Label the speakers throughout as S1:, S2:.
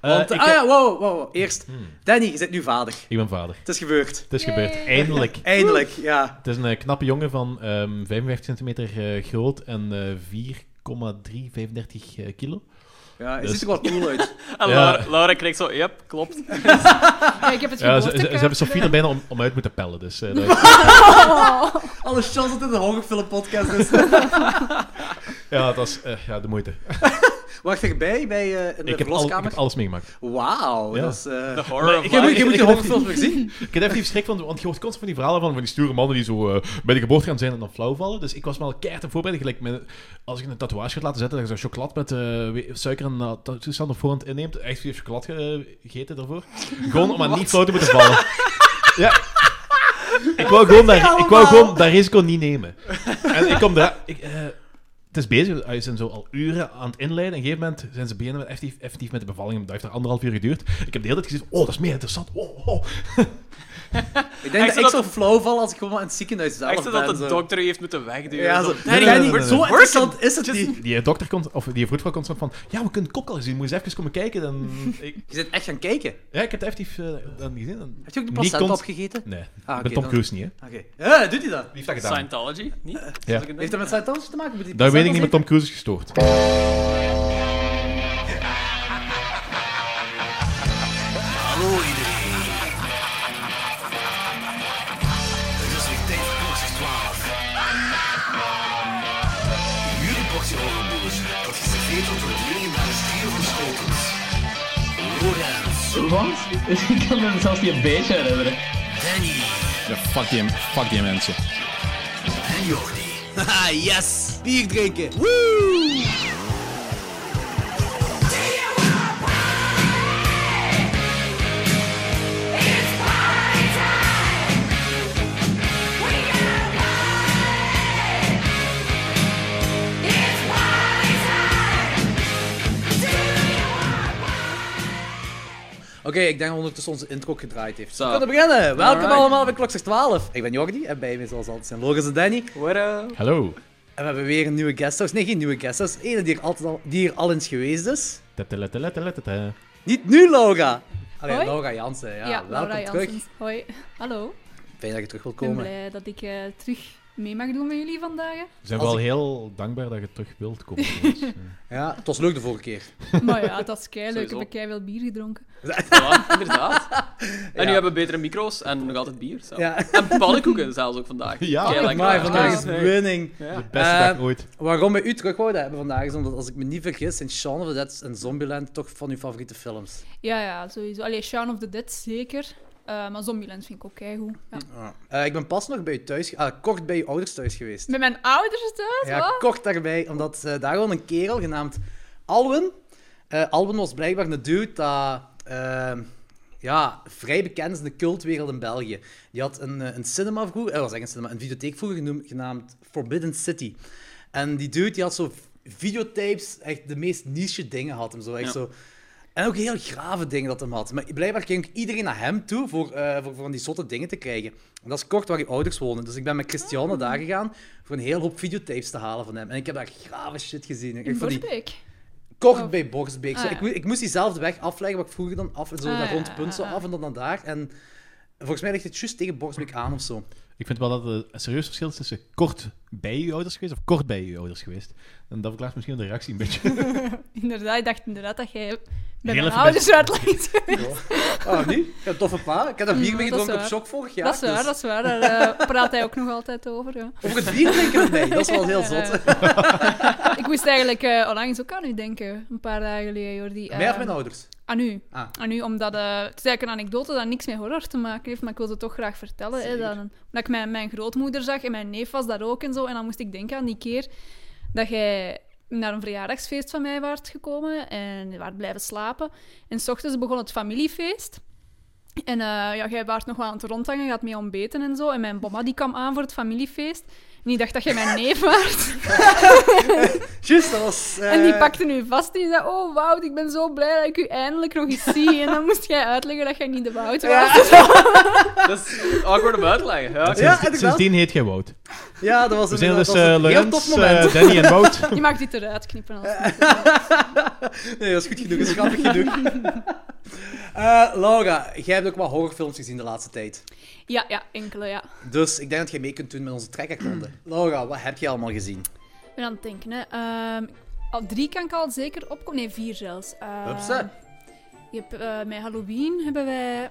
S1: Want,
S2: Eh, ik
S1: ah
S2: heb- Hmm.
S1: ja, wow, wow, wow. Eerst, Danny, je bent nu vader.
S2: Ik ben vader.
S1: Het is gebeurd.
S2: Het is
S3: Yay.
S2: gebeurd. Eindelijk.
S1: Eindelijk, ja.
S2: Het is een eh, knappe jongen van ehm 55 centimeter eh, groot en eh 4,335 eh, kilo.
S1: ja het
S2: Dus-
S1: ziet er wel cool uit.
S4: En
S2: Ja.
S4: Laura, Laura kreeg zo, yep, klopt.
S3: Ja, ik heb
S2: Ja, ze, ze-
S3: het
S2: ze
S3: geboortekaartje.
S2: hebben Sofie er bijna om, om uit moeten pellen. Dus, eh, dat-
S3: Oh.
S1: Alle chance dat dit een horrorfilmpodcast is.
S2: ja, dat was eh, ja, de moeite.
S1: Wacht erbij bij eh in de
S2: Ik heb, al, ik
S1: verloskamer.
S2: heb alles meegemaakt.
S1: Wauw,
S2: Ja.
S1: dat is... eh,
S4: De
S2: Maar
S4: horror of
S2: ik
S1: Je
S2: heb-
S1: moet,
S4: life.
S2: ik-
S1: je moet die
S2: ik-
S1: horrorfilms weer zien.
S2: Ik had even die schrik van, want je hoort constant van die verhalen van, van die stoere mannen die zo eh, bij de geboorte gaan zijn en dan flauw vallen. Dus ik was me al keihard op voorbereid. Gelijk met, als ik een tatoeage had laten zetten, dat je zo chocolade met eh, we- suiker en eh, ta- toestand op voorhand inneemt. Echt vier chocolade ge- eh, gegeten daarvoor. Gewoon om aan niet flauw te moeten vallen. Ja. Ik wou, gewoon daar, ik wou gewoon dat risico niet nemen. En ik kom daar... Ik, eh, het is bezig, eh, ze zijn zo al uren aan het inleiden. En op een gegeven moment zijn ze beginnen met effectief, effectief met de bevalling. Dat heeft daar anderhalf uur geduurd. Ik heb de hele tijd gezien, oh, dat is meer interessant. Oh, oh.
S1: Ik denk
S4: Echt
S1: dat ik
S4: zo
S1: zou flauw vallen als ik gewoon in het ziekenhuis zelf
S4: Echt zo
S1: ben.
S4: dat de
S1: zo.
S4: dokter u heeft moeten wegduwen.
S1: Ja,
S4: zo,
S1: zo.
S4: Danny,
S2: nee, nee,
S4: we're
S2: nee.
S1: zo
S4: working.
S1: interessant is het niet.
S2: Die dokter komt, of die vroedvrouw komt soort van, ja, we kunnen het kopkal zien, moet je eens even komen kijken. Dan, ik,
S1: Je zit echt gaan kijken.
S2: ja, ik heb het effectief eh, dan gezien. Dan,
S1: Heb je ook
S2: Niet
S1: de placenta
S2: cons-
S1: opgegeten?
S2: nee,
S1: Ah,
S2: met
S1: oké,
S2: Tom
S1: dan-
S2: Cruise niet, hè.
S1: Oké. Ja, doet hij dat?
S2: Wie heeft dat gedaan?
S4: Scientology? Niet?
S2: Ja.
S4: Is dat een
S1: Heeft
S4: ding?
S1: dat met Scientology te maken? Moet die
S2: Dat weet ik niet,
S1: placenta
S2: maar Tom Cruise is gestoord.
S5: Hallo iedereen. Het is weer tijd voor Klokjes 12. Jullie boxje horrorboers, dat geserveerd wordt door het legendarische trio van Schotens. Lorenz,
S6: Wat? Ik kan me zelfs niet een beetje herinneren.
S5: Danny
S7: Ja, fuck, die, fuck die mensen.
S5: en Jordi.
S1: Haha, yes! Bier drinken! Oké, ik denk dat ondertussen onze intro gedraaid heeft.
S4: Zo.
S1: We kunnen beginnen. Welkom
S4: Alright.
S1: allemaal bij Klokzicht 12. Ik ben Jordi en bij mij zoals altijd zijn Loris en Danny.
S4: What eh? up?
S2: Hallo.
S1: En we hebben weer een nieuwe guesthouse. Nee, geen nieuwe guesthouse. Ene die er, altijd al, die er al eens geweest is.
S2: Teteleteleteletete.
S1: Niet nu, Laura! Allee,
S3: Hoi.
S1: Laura Jansen. Ja,
S3: Ja,
S1: welkom
S3: Laura
S1: terug.
S3: Janssens. Hoi. Hallo.
S1: Fijn dat je terug wilt
S3: Ik ben
S1: komen.
S3: blij dat ik eh, terug mee mag doen met jullie vandaag.
S2: We zijn
S1: Als
S2: wel
S1: ik-
S2: heel dankbaar dat je terug wilt komen. trouwens. Ja.
S1: Ja, het was leuk de vorige keer.
S3: Maar ja, dat is keileuk. Ik
S4: Sowieso.
S3: heb kei veel bier gedronken.
S4: Voilà, inderdaad. En
S1: Ja.
S4: nu hebben we betere micro's en nog altijd bier. zelf.
S1: Ja.
S4: En pannenkoeken zelfs ook vandaag.
S2: Ja.
S3: Oh
S4: Kei lekker.
S1: maar vandaag
S4: Ja.
S1: is winning.
S4: Ja.
S2: Beste
S1: Eh,
S2: dag ooit.
S1: Waarom we u terug wouden hebben vandaag is omdat, als ik me niet vergis, zijn Shaun of the Dead en Zombieland toch van uw favoriete films.
S3: Ja, ja, sowieso. Allee, Shaun of the Dead zeker. Eh, maar Zombieland vind ik ook keigoed. Ja.
S1: Eh, ik ben pas nog bij u thuis, ge- ah, kort bij uw ouders thuis geweest.
S3: Met mijn ouders thuis,
S1: Ja,
S3: wat?
S1: kort daarbij, omdat eh, daar gewoon een kerel genaamd Alwin. Eh, Alwin was blijkbaar een dude dat eh, ja, vrij bekend is in de cultwereld in België. Die had een, eh, een cinema vroeger, eh, was eigenlijk een cinema, een videotheek vroeger genoemd, genaamd Forbidden City. En die dude die had zo videotapes, echt de meest niche dingen had hem zo. Echt
S4: Ja.
S1: zo en ook heel grave dingen dat hem had. Maar blijkbaar ging ook iedereen naar hem toe voor, eh, voor, voor van die zotte dingen te krijgen. En dat is kort waar je ouders wonen. Dus ik ben met
S3: Ah.
S1: Christiane daar gegaan voor een heel hoop videotapes te halen van hem. En ik heb daar grave shit gezien. Ik
S3: In
S1: vond die
S3: Borsbeek.
S1: kort
S3: Of-
S1: bij Borsbeek. Zo,
S3: Ah, ja.
S1: ik, moe- ik moest diezelfde weg afleggen, wat ik vroeger dan af, zo
S3: Ah,
S1: dat
S3: ja,
S1: rond punt zo
S3: ah, ah.
S1: af en dan naar daar. En volgens mij ligt het juist tegen Borsbeek aan of zo.
S2: Ik vind wel dat er een serieus verschil is tussen kort bij je ouders geweest of kort bij je ouders geweest. En dat verklaart misschien de reactie een beetje.
S3: Inderdaad, ik dacht inderdaad dat jij bij
S2: even
S3: mijn ouders uit langs
S1: Ah, nu? Ik heb een toffe pa. Ik heb daar bier
S3: Mm,
S1: mee
S3: dat is
S1: gedronken op
S3: waar.
S1: shock vorig jaar.
S3: dat is waar,
S1: dus
S3: dat is waar. Daar eh, praat hij ook nog altijd over. Ja.
S1: Over het bier drinken met mij, dat is wel heel
S3: Ja,
S1: zot.
S3: ja. ik moest eigenlijk eh onlangs ook aan u denken, een paar dagen geleden, Jordi.
S1: Mij of
S3: Eh,
S1: mijn ouders?
S3: Aan u.
S1: Ah.
S3: Aan u, omdat eh, het is eigenlijk een anekdote dat niks met horror te maken heeft, maar ik wilde het toch graag vertellen. Hè,
S1: Zeker.
S3: dat, een- dat ik mijn, mijn grootmoeder zag en mijn neef was daar ook en zo. En dan moest ik denken aan die keer dat jij naar een verjaardagsfeest van mij waart gekomen en je waart blijven slapen. En s ochtends begon het familiefeest. En eh, ja, jij waart nog wel aan het rondhangen, je had mee ontbeten en zo. En mijn mama die kwam aan voor het familiefeest. En die dacht dat jij mijn neef waart.
S1: Juist, dat was... eh,
S3: En die pakte nu vast en die zei, oh Wout, ik ben zo blij dat ik u eindelijk nog eens zie. En dan moest jij uitleggen dat jij niet de Wout was.
S4: Dat is Dus awkward om uit te leggen. Ja, oké.
S1: Ja,
S2: Sinds-
S1: inderdaad.
S2: Sindsdien heet jij Wout.
S1: Ja, dat was
S2: We
S1: een,
S2: zijn dus
S1: dat was een
S2: eh
S1: heel tof
S2: Lorenz,
S1: moment.
S2: eh, Danny en Wout.
S3: Je mag dit eruit knippen. Als...
S2: eh,
S1: Nee, dat is goed genoeg, dat is grappig genoeg. Eh, Laura, jij hebt ook wat horrorfilms gezien de laatste tijd.
S3: Ja, ja, enkele, ja.
S1: Dus ik denk dat jij mee kunt doen met onze trekkerkonde. Laura, wat heb je allemaal gezien?
S3: Ik ben aan het denken, hè. Ehm, al drie kan ik al zeker opkomen. Nee, vier zelfs. Ehm,
S1: Hupsa.
S3: je hebt, eh, met Halloween hebben wij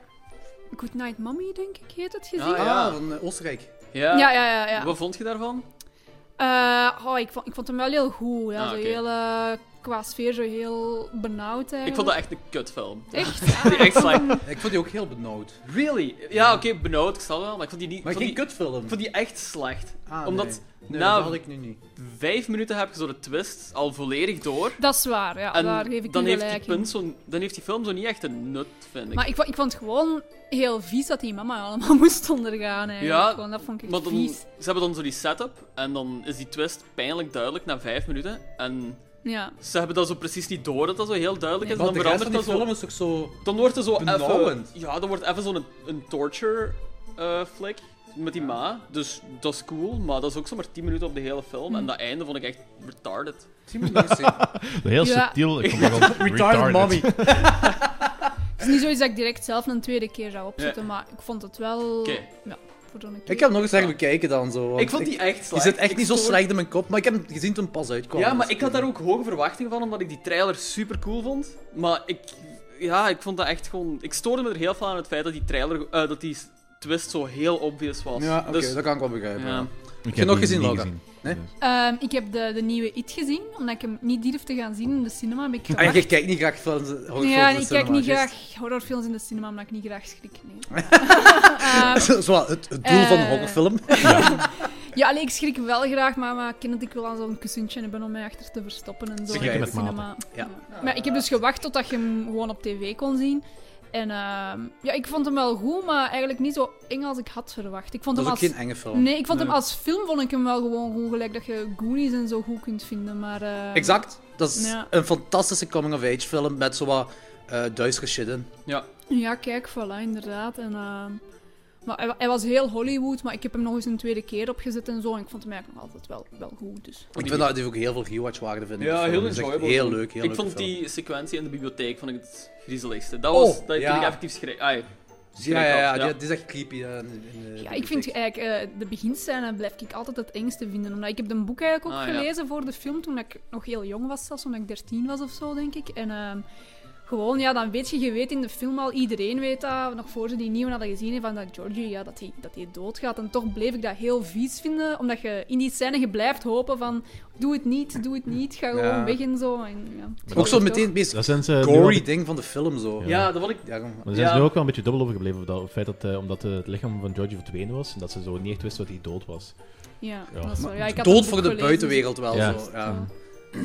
S3: Good Night Mommy, denk ik, heet het, gezien.
S4: Ah, ja.
S1: Ah, van eh, Oostenrijk.
S4: Ja.
S3: Ja, ja, ja. ja.
S4: Wat vond je daarvan?
S3: Eh, oh, ik, vond, ik vond hem wel heel goed. Ja.
S4: Ah,
S3: zo
S4: oké.
S3: heel, eh, qua sfeer zo heel benauwd eigenlijk.
S4: Ik vond dat echt een kutfilm.
S3: Echt?
S4: Die echt like,
S1: Ik vond die ook heel benauwd.
S4: really? Ja, oké, benauwd, ik snap wel, maar ik vond die niet...
S1: Maar
S4: ik vond
S1: geen
S4: die,
S1: kutfilm.
S4: ik vond die echt slecht.
S1: Ah,
S4: omdat
S1: nee. Nee,
S4: na-
S1: dat had ik nu niet.
S4: vijf minuten heb je zo de twist al volledig door.
S3: Dat is waar, ja.
S4: En
S3: daar geef ik
S4: dan,
S3: u
S4: heeft die
S3: gelijk in.
S4: punt zo'n- dan heeft die film zo niet echt een nut, vind ik.
S3: Maar ik, vo- ik vond het gewoon heel vies dat die mama allemaal moest ondergaan. Eigenlijk.
S4: Ja,
S3: gewoon, dat vond ik
S4: Maar dan,
S3: vies.
S4: ze hebben dan zo die setup en dan is die twist pijnlijk duidelijk na vijf minuten. En
S3: Ja.
S4: ze hebben dat zo precies niet door dat dat zo heel duidelijk is.
S1: Want
S4: en
S1: de
S4: dan
S1: rest van
S4: verandert
S1: die
S4: dat zo.
S1: film is toch zo...
S4: Dan wordt er zo even.
S1: Benauwend.
S4: Ja, dan wordt even zo'n een, torture eh, flick met die ma. Dus dat is cool, maar dat is ook zomaar 10 minuten op de hele film.
S3: Mm.
S4: En dat einde vond ik echt retarded.
S2: Heel
S3: Ja.
S2: subtiel. Ik vond dat wel
S1: Retarded mommy.
S3: Het is niet zoiets dat ik direct zelf een tweede keer zou opzetten, maar ik vond het wel...
S4: Oké.
S3: Ja, voor dan een keer.
S1: Ik heb hem nog eens echt bekijken dan zo. want
S4: ik vond die echt
S1: Die
S4: slecht.
S1: zit echt
S4: Ik
S1: niet zo
S4: stoor-
S1: slecht in mijn kop, maar ik heb hem gezien toen het pas uitkwam.
S4: Ja, maar
S1: Dus
S4: ik had daar ook hoge verwachtingen van, omdat ik die trailer super cool vond. Maar ik, ja, ik vond dat echt gewoon. Ik stoorde me er heel veel aan het feit dat die trailer, eh, dat die twist zo heel obvious was.
S1: Ja, oké,
S4: Dus-
S1: dat kan ik wel begrijpen.
S4: ja.
S1: ja.
S2: Ik
S1: nog gezien, Logan? Nee?
S2: Nee?
S3: Ehm, ik heb de, de nieuwe It gezien, omdat ik hem niet durfde gaan zien in de cinema. heb ik
S1: En
S3: gewacht.
S1: Ah, je kijkt niet graag films, eh, horrorfilms dus
S3: ja,
S1: in de
S3: ik kijk
S1: cinema,
S3: niet
S1: juist.
S3: graag horrorfilms in de cinema, omdat ik niet graag schrik. Nee. Ehm,
S1: Zo- Zo, het, het doel van een
S3: Eh,
S1: horrorfilm.
S3: Ja, allee, ik schrik wel graag, maar, maar ik ken het, ik wil aan zo'n kussentje hebben om mij achter te verstoppen en zo.
S1: Schrikken
S3: in de
S1: met
S2: mate.
S3: cinema.
S1: Ja.
S3: Maar ik heb dus gewacht totdat je hem gewoon op tv kon zien. En ehm, ja, ik vond hem wel goed, maar eigenlijk niet zo eng als ik had verwacht. Ik vond
S1: Dat is
S3: hem
S1: ook
S3: als...
S1: geen enge film.
S3: Nee, ik vond hem als film vond ik hem wel gewoon goed, gelijk dat je Goonies en zo goed kunt vinden, maar... ehm,
S1: Exact. Dat is
S3: Ja.
S1: een fantastische coming-of-age film met zo wat eh duistere shit in.
S4: ja.
S3: Ja, kijk, voilà, inderdaad. En, ehm, maar hij, wa- hij was heel Hollywood, maar ik heb hem nog eens een tweede keer opgezet en zo. En ik vond hem eigenlijk nog altijd wel, wel goed, dus...
S1: Ik vind dat die ook heel veel rewatch-waarde vind ik.
S4: Ja,
S1: die film.
S4: heel
S1: Dat is echt
S4: enjoyable.
S1: Heel leuk, heel
S4: ik
S1: leuke
S4: vond
S1: film.
S4: die sequentie in de bibliotheek vond ik het griezeligste. Dat
S1: Oh,
S4: was dat ik
S1: ja.
S4: toen ik effectief schreef. Ai, schrik
S1: Ja, ja, ja,
S4: had, ja.
S1: Die, die is echt creepy. eh, in- in de
S3: Ja, ik vind
S1: bibliotheek.
S3: eigenlijk eh, de beginscène blijf ik altijd het engste vinden. Omdat ik heb een boek eigenlijk ook
S4: Ah, ja.
S3: gelezen voor de film toen ik nog heel jong was, zelfs omdat ik 13 was of zo, denk ik. En ehm, gewoon, ja, dan weet je, je weet in de film al, iedereen weet dat, nog voor ze die nieuwe hadden gezien, van dat Georgie, ja, dat hij dat hij doodgaat. En toch bleef ik dat heel vies vinden, omdat je in die scène, je blijft hopen van, doe het niet, doe het niet, ga gewoon
S1: Ja.
S3: weg en zo. En, ja, het
S1: Ook zo
S3: gebeurt
S1: meteen
S3: toch.
S1: het meest
S2: Dat zijn ze nu al-
S1: gory ding van de film zo.
S4: Ja, dat vond ik.
S1: Daarom-
S2: Maar er zijn ze
S4: Ja.
S2: nu ook wel een beetje dubbel over gebleven. Dat, het feit dat, eh, omdat eh, het lichaam van Georgie verdwenen was. En dat ze zo niet echt wist dat hij dood was.
S3: Ja,
S2: Ja.
S3: dat is wel- ja, ik had dat
S1: Dood
S3: boek
S1: voor de
S3: gelezen, dus-
S1: buitenwereld wel
S2: Ja.
S1: zo. Ja.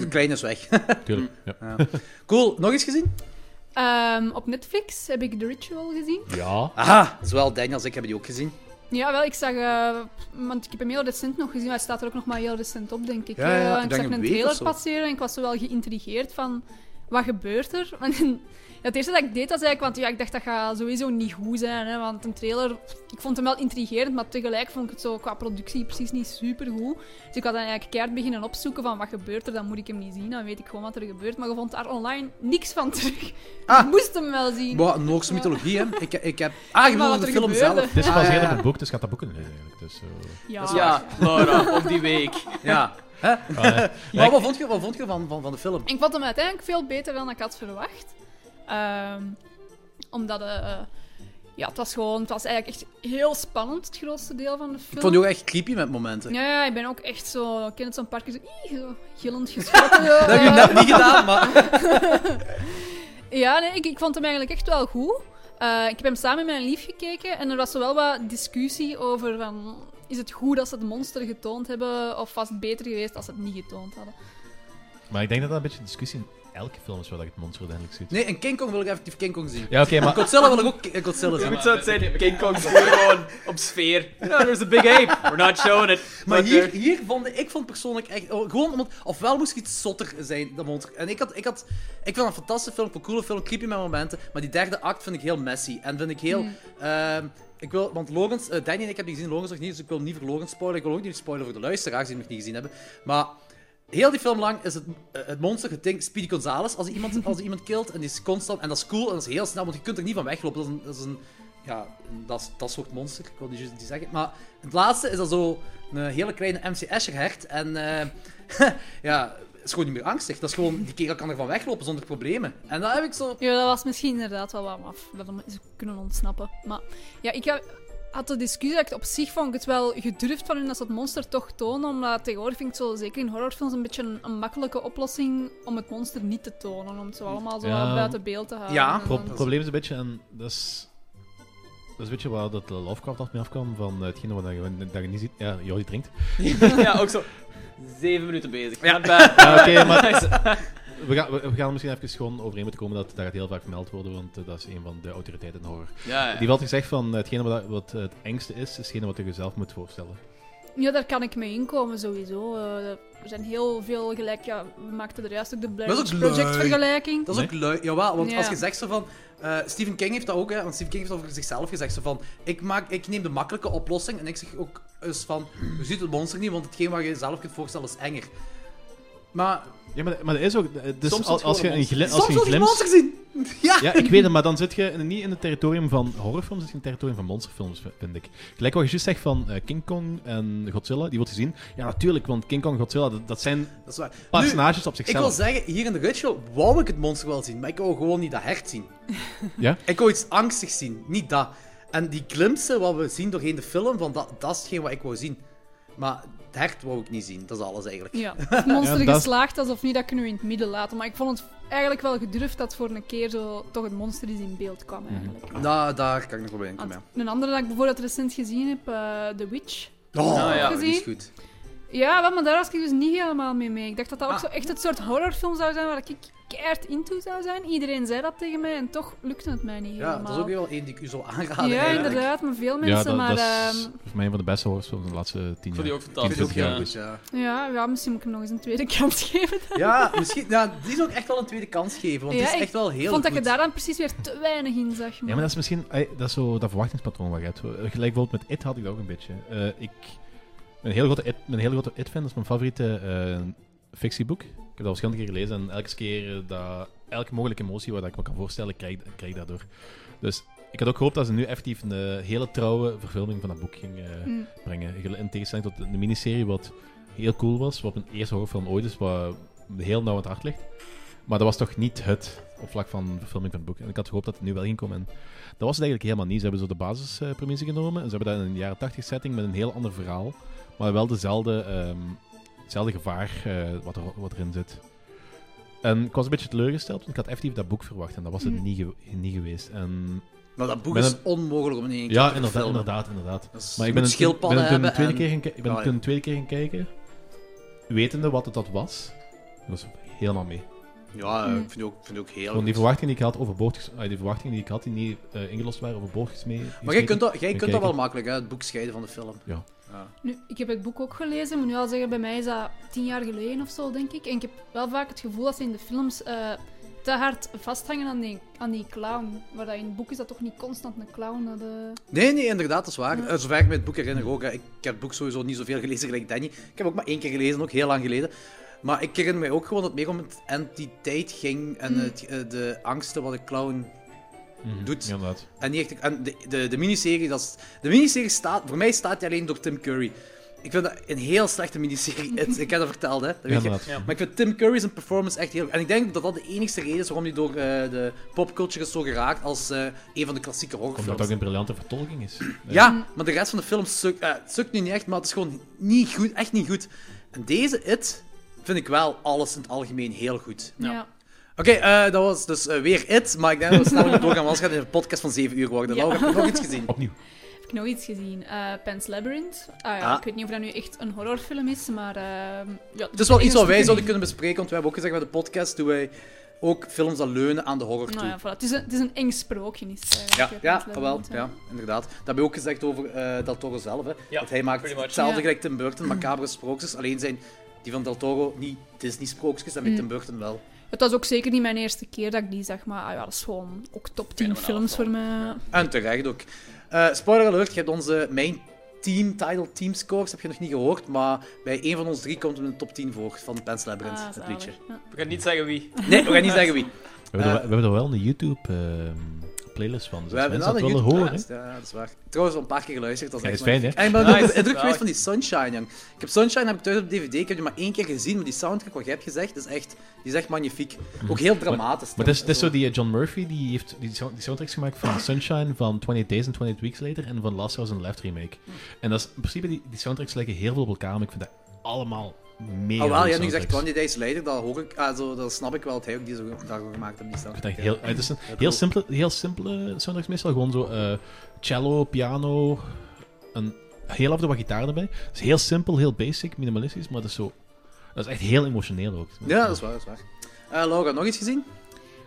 S1: De kleine is weg.
S2: Tuurlijk. Ja.
S1: Cool, nog eens gezien?
S3: Ehm, op Netflix heb ik The Ritual gezien.
S1: Mm.
S2: ja.
S1: Aha, zowel Daniel als ik hebben die ook gezien.
S3: Ja, wel, ik zag... eh, want ik heb hem heel recent nog gezien, maar hij staat er ook nog maar heel recent op, denk ik.
S1: Ja, ja,
S3: Eh,
S1: ik
S3: en ik
S1: denk
S3: zag
S1: een
S3: een
S1: week of
S3: trailer
S1: zo.
S3: passeren en ik was zo wel geïntrigeerd van... Wat gebeurt er? Want in- het eerste dat ik deed, was eigenlijk... Want ja, ik dacht, dat gaat sowieso niet goed zijn. Hè, want een trailer... Ik vond hem wel intrigerend, maar tegelijk vond ik het zo qua productie precies niet supergoed. Dus ik had dan eigenlijk keihard beginnen opzoeken van... Wat gebeurt er? Dan moet ik hem niet zien. Dan weet ik gewoon wat er gebeurt. Maar je vond daar online niks van terug.
S1: Ah.
S3: Ik moest hem wel zien.
S1: Wat, Noorse mythologie, hè? Ik, ik heb... Ah, je
S3: Maar
S1: bedoelt
S3: wat
S1: de
S3: er
S1: film
S3: gebeurde.
S1: zelf.
S2: Het is
S1: Ah,
S2: gebaseerd
S1: ja,
S2: op
S1: ja.
S2: een boek, dus gaat dat boek kunnen lezen eigenlijk. Dus, eh,
S3: Ja.
S4: Ja, Laura, op die week.
S1: Ja. Hè?
S4: Oh,
S1: Maar wat vond je, wat vond je van, van, van de film?
S3: Ik vond hem uiteindelijk veel beter dan ik had verwacht. Ehm, omdat eh, eh, ja, het was gewoon, het was eigenlijk echt heel spannend, het grootste deel van de film.
S1: Ik vond die ook echt creepy met momenten.
S3: Ja, ja, ik ben ook echt zo, ik ken het zo'n parkje zo, "Ih," zo gillend geschrokken. zo. Eh,
S1: Dat heb je net niet gedaan, maar...
S3: Ja, nee, ik, ik vond hem eigenlijk echt wel goed. Eh, ik heb hem samen met mijn lief gekeken en er was zo wel wat discussie over van, is het goed dat ze het monster getoond hebben of was het beter geweest als ze het niet getoond hadden.
S2: maar ik denk dat dat een beetje een discussie in elke film is waar dat je het monster uiteindelijk ziet.
S1: Nee, in King Kong wil ik effectief King Kong zien.
S2: Ja, oké, maar
S1: Godzilla wil ik ook eh, Godzilla zien.
S4: Goed zou het zijn, King Kong's gewoon op sfeer. No, there's a big ape. We're not showing it.
S1: Maar
S4: But
S1: hier,
S4: there-
S1: hier vond ik, ik vond persoonlijk echt... oh, Gewoon omdat... Ofwel moest iets zotter zijn dan monster. En ik had... Ik, had, ik vond een fantastische film, een coole film, creepy met momenten. Maar die derde act vind ik heel messy. En vind ik heel... ehm, ik wil, want Logans, eh, Danny en ik hebben die gezien, Logans nog niet, dus ik wil niet voor Logans spoilen. Ik wil ook niet spoilen voor de luisteraars die hem nog niet gezien hebben. Maar Heel die film lang is het, eh, het monster getinkt Speedy Gonzales als hij iemand, als hij iemand killt. En die is constant, en dat is cool en dat is heel snel, want je kunt er niet van weglopen. Dat is een, dat is een ja, een- dat, is- dat soort monster, ik wil niet juist niet zeggen. Maar het laatste is dan zo een eh, hele kleine MC Escher hert. En eh, ja, is gewoon niet meer angstig. Dat is gewoon, die kerel kan er van weglopen zonder problemen. En dat heb ik zo...
S3: Ja, dat was misschien inderdaad wel wat maf. Dat we ze kunnen ontsnappen. Maar ja, ik ha- had de discussie dat ik het op zich vond ik het wel gedurfd van hun dat ze het monster toch tonen. Omdat tegenwoordig vind ik het zo, zeker in horrorfilms, een beetje een, een makkelijke oplossing om het monster niet te tonen. Om het zo allemaal zo
S2: Ja.
S3: wat buiten beeld te houden.
S1: Ja,
S3: En
S2: Pro-
S3: dan-
S2: probleem is een beetje, en dat is, dat is een beetje waar dat eh, Lovecraft af mee afkwam, van eh, hetgene wat je, dat je niet ziet. Ja, Jordi drinkt.
S4: ja, ook zo. Zeven minuten bezig. Ja. bij.
S2: Ja, Oké, maar we, gaan, we, we gaan er misschien even gewoon overeen moeten komen dat daar gaat heel vaak vermeld worden, want eh, dat is een van de autoriteiten in horror.
S4: Ja, ja.
S2: Die wel gezegd van, eh, hetgene wat, wat het engste is, is hetgene wat je jezelf moet voorstellen.
S3: Ja, daar kan ik mee inkomen sowieso. Eh, er zijn heel veel gelijk. Ja, we maakten er juist ook de Blair
S1: Dat is
S3: Witch
S1: ook
S3: Project
S1: leuk.
S3: vergelijking.
S1: Dat is ook leuk, jawel, want
S3: Ja.
S1: als je zegt zo van... eh, Stephen King heeft dat ook, hè, want Stephen King heeft over zichzelf gezegd zo van... Ik, maak, ik neem de makkelijke oplossing en ik zeg ook eens van... Je ziet het monster niet, want hetgeen wat je zelf kunt voorstellen is enger. Maar
S2: Ja, maar, maar dat is ook... eh, Dus
S4: Soms is het
S2: als, als je
S4: gewoon
S2: een,
S4: een
S2: glim, als
S1: soms
S2: je een
S1: wil je een
S2: glimp...
S1: monster zien! Ja!
S2: Ja, ik weet het, maar dan zit je in- niet in het territorium van horrorfilms, zit je in het territorium van monsterfilms, v- vind ik. Gelijk wat je juist zegt van eh, King Kong en Godzilla, die wordt gezien. Ja, natuurlijk, want King Kong en Godzilla, dat, dat zijn
S1: Dat is waar. Nu,
S2: personages op
S1: ik wil
S2: zichzelf.
S1: zeggen, hier in de ritual wou ik het monster wel zien, maar ik wou gewoon niet dat hert zien.
S2: Ja?
S1: Ik wou iets angstigs zien, niet dat. En die glimpsen wat we zien doorheen de film, van dat, dat is hetgeen wat ik wou zien. Maar het hert wou ik niet zien, dat is alles eigenlijk.
S3: Ja, of monster
S2: Ja, dat-
S3: geslaagd is of niet, dat kunnen we in het midden laten. Maar ik vond het eigenlijk wel gedurfd dat voor een keer zo toch het monster eens in beeld kwam eigenlijk.
S1: Da- Nou, daar kan ik nog wel bij
S3: Want
S1: inkomen.
S3: Een andere dat ik bijvoorbeeld recent gezien heb, eh, The Witch.
S1: ja. Oh,
S4: Nou ja,
S1: die is
S3: gezien.
S1: goed.
S3: Ja, wel, maar daar was ik dus niet helemaal mee mee. Ik dacht dat dat ook
S1: Ah.
S3: zo echt het soort horrorfilm zou zijn waar ik keihard into zou zijn. Iedereen zei dat tegen mij en toch lukte het mij niet
S1: Ja,
S3: helemaal.
S1: dat is ook wel één die ik u zou aanraden.
S3: Ja,
S1: eigenlijk.
S3: inderdaad, maar veel
S2: Ja,
S3: mensen.
S2: dat,
S3: maar
S2: dat is
S3: ehm,
S2: voor mij een van de beste horrorfilms van de laatste tien
S4: Ik vond die
S2: jaar.
S4: ook
S1: Ik vind
S4: fantastisch.
S1: het ook
S2: Ja.
S1: heel goed, ja.
S3: ehm, ja, ja, misschien moet ik hem nog eens een tweede kans geven.
S1: Ja, misschien, ja, die zou ik echt wel een tweede kans geven, want
S3: Ja,
S1: die is
S3: ik
S1: echt wel heel
S3: Ik vond dat
S1: goed.
S3: je daar dan precies weer te weinig in zag.
S2: Ja, maar dat is misschien ey, dat, is zo, dat verwachtingspatroon wat je hebt. Eh, Gelijk bijvoorbeeld met It had ik dat ook een beetje. Eh, ik ben een hele grote It- ben een hele grote It-fan, dat is mijn favoriete eh, fictieboek. Ik heb dat verschillende keer gelezen en elke keer eh, dat, elke mogelijke emotie wat ik me kan voorstellen, krijg, krijg ik daardoor. Dus ik had ook gehoopt dat ze nu effectief een eh, hele trouwe verfilming van dat boek ging eh,
S3: Mm.
S2: brengen. Gel- In tegenstelling tot de miniserie, wat heel cool was, wat mijn eerste horrorfilm ooit is, wat me heel nauw aan het hart ligt. Maar dat was toch niet het op vlak van verfilming van het boek. En ik had gehoopt dat het nu wel ging komen. En dat was het eigenlijk helemaal niet. Ze hebben zo de basispremisse genomen en ze hebben dat in een jaren 80 setting met een heel ander verhaal. Maar wel dezelfde, ehm, hetzelfde gevaar eh, wat, er, wat erin zit. En ik was een beetje teleurgesteld, want ik had effectief dat boek verwacht en dat was het
S3: Mhm.
S2: niet, ge- niet geweest. En,
S1: Maar dat boek
S2: Met
S1: is
S2: een-
S1: onmogelijk om in één keer
S2: ja,
S1: te
S2: inderdaad,
S1: verfilmen.
S2: inderdaad, inderdaad.
S1: Dat is-
S2: Maar
S1: je
S2: ik ben een,
S1: moet
S2: ik ben
S1: schildpadden
S2: er toen een
S1: hebben
S2: tweede,
S1: en-
S2: keer gaan ki- ik ben er
S1: Ah,
S2: toen een tweede keer gaan kijken, wetende wat het dat was. Dat was helemaal mee.
S1: Ja, eh,
S3: Mm.
S1: ik vind die ook, vind die ook heel
S2: Want die
S1: goed.
S2: verwachtingen die ik had overboord, ges- ah, die verwachtingen die ik had die niet eh, ingelost waren overboord gesmeten.
S1: Maar jij kunt, dat, jij
S2: Even
S1: kunt dat wel
S2: kijken.
S1: makkelijk, hè, het boek scheiden van de film.
S2: Ja.
S3: Nu, ik heb het boek ook gelezen. Ik moet nu al zeggen, bij mij is dat tien jaar geleden of zo, denk ik. En ik heb wel vaak het gevoel dat ze in de films eh, te hard vasthangen aan die, aan die clown. Waar dat in het boek is dat toch niet constant een clown dat, eh,
S1: Nee, nee, inderdaad, dat is waar.
S3: Ja.
S1: Eh, Zover ik me het boek herinner ook. hè. Ik heb het boek sowieso niet zoveel gelezen gelijk Danny. Ik heb ook maar één keer gelezen, ook heel lang geleden. Maar ik herinner mij ook gewoon dat het meer om het entiteit ging en
S3: Mm.
S1: het, eh, de angsten wat de clown
S2: Mhm,
S1: doet.
S2: Ja, inderdaad.
S1: En, die echt, en de, de, de miniserie, dat is, de miniserie staat, voor mij staat die alleen door Tim Curry. Ik vind dat een heel slechte miniserie. Het- ik heb dat verteld, hè. Dat
S2: Ja,
S1: weet je.
S2: inderdaad.
S4: Ja.
S1: Maar ik vind Tim Curry's een performance echt heel goed. En ik denk dat dat de enige reden is waarom hij door eh, de popculture is zo geraakt als eh, een van de klassieke
S2: Omdat
S1: horrorfilms.
S2: dat ook een briljante vertolking is.
S1: Ja, maar de rest van de film sukt, eh, het sukt nu niet echt, maar het is gewoon niet goed, echt niet goed. En deze It vind ik wel alles in het algemeen heel goed.
S3: ja.
S1: Oké, eh, dat was dus eh, weer It, maar ik denk dat we snel moeten doorgaan, want anders gaat het een podcast van 7 uur worden.
S3: Ja.
S1: Laura, heb je nog iets gezien?
S2: Opnieuw.
S3: Heb ik nog iets gezien? Eh Pan's Labyrinth. Ah, ja,
S1: Ah.
S3: Ik weet niet of dat nu echt een horrorfilm is, maar... ehm ja,
S1: Het is Dus wel iets wat wij zouden kunnen bespreken, want we hebben ook gezegd bij de podcast doen wij ook films dat leunen aan de horror toe.
S3: Nou ja, voilà. het, is een, het is een eng sprookje. Is, het
S1: Ja,
S3: eigenlijk,
S1: ja,
S3: Pan's
S1: wel,
S3: Labyrinth, hè.
S1: ja, inderdaad. Dat heb je ook gezegd over eh Del Toro zelf. Hè.
S4: Ja,
S1: dat hij maakt
S4: pretty much.
S1: hetzelfde
S3: Ja.
S1: gelijk Tim Burton, macabere sprookjes. Alleen zijn die van Del Toro niet Disney-sprookjes en bij
S3: Mm.
S1: Tim Burton wel.
S3: Het was ook zeker niet mijn eerste keer dat ik die zag, maar ah, ja, dat is gewoon ook top 10
S4: Fenomenaal
S3: films voor Ah, mij.
S1: En terecht ook. Eh, spoiler alert, je hebt onze main team, title team scores heb je nog niet gehoord, maar bij één van ons drie komt hem in de top 10 voor van Pens Labyrinth,
S3: Ah,
S1: het
S3: zalig.
S1: liedje.
S3: Ja.
S4: We gaan niet zeggen wie.
S1: Nee, we gaan niet zeggen wie.
S2: We hebben, er, we hebben er wel een YouTube-playlist van. Dus
S1: Eh. We hebben
S2: mensen dat
S1: wel
S2: willen horen. hè.
S1: YouTube-playlist, Ja, dat is waar. Trouwens, al een paar keer geluisterd. Dat is
S2: Ja,
S1: echt
S2: dat is fijn,
S1: maar-
S2: hè?
S1: En ik ben ook
S4: Nice.
S1: onder de indruk geweest
S4: Ja.
S1: van die Sunshine, jong. Ik heb Sunshine heb ik thuis op DVD, ik heb die maar één keer gezien, maar die soundtrack, wat jij hebt gezegd, is echt, die is echt magnifiek. Ook heel dramatisch.
S2: Mhm. Maar dat is, dat is zo die eh, John Murphy, die heeft die, sound- die soundtracks gemaakt van Sunshine, van 20 Days and 20 Weeks Later en van Last House on Left remake. En dat is, in principe, die, die soundtracks lijken heel veel op elkaar, maar ik vind dat allemaal mega
S1: Ah, wel,
S2: goede
S1: ja, nu gezegd
S2: soundtracks.
S1: 20 Days Later, dat, hoor ik, ah, zo, dat snap ik wel, dat hij ook die zo, daarvoor gemaakt heeft. Die
S2: Ik
S1: soundtrack,
S2: vind dat echt
S1: ja.
S2: heel, het is een heel simpele, heel simpele soundtracks meestal, gewoon zo eh, cello, piano, een heel af en toe wat gitaar erbij. Het is heel simpel, heel basic, minimalistisch, maar dat is zo... Dat is echt heel emotioneel ook.
S1: Ja, dat is waar, dat is waar. Eh, Laura, nog iets gezien?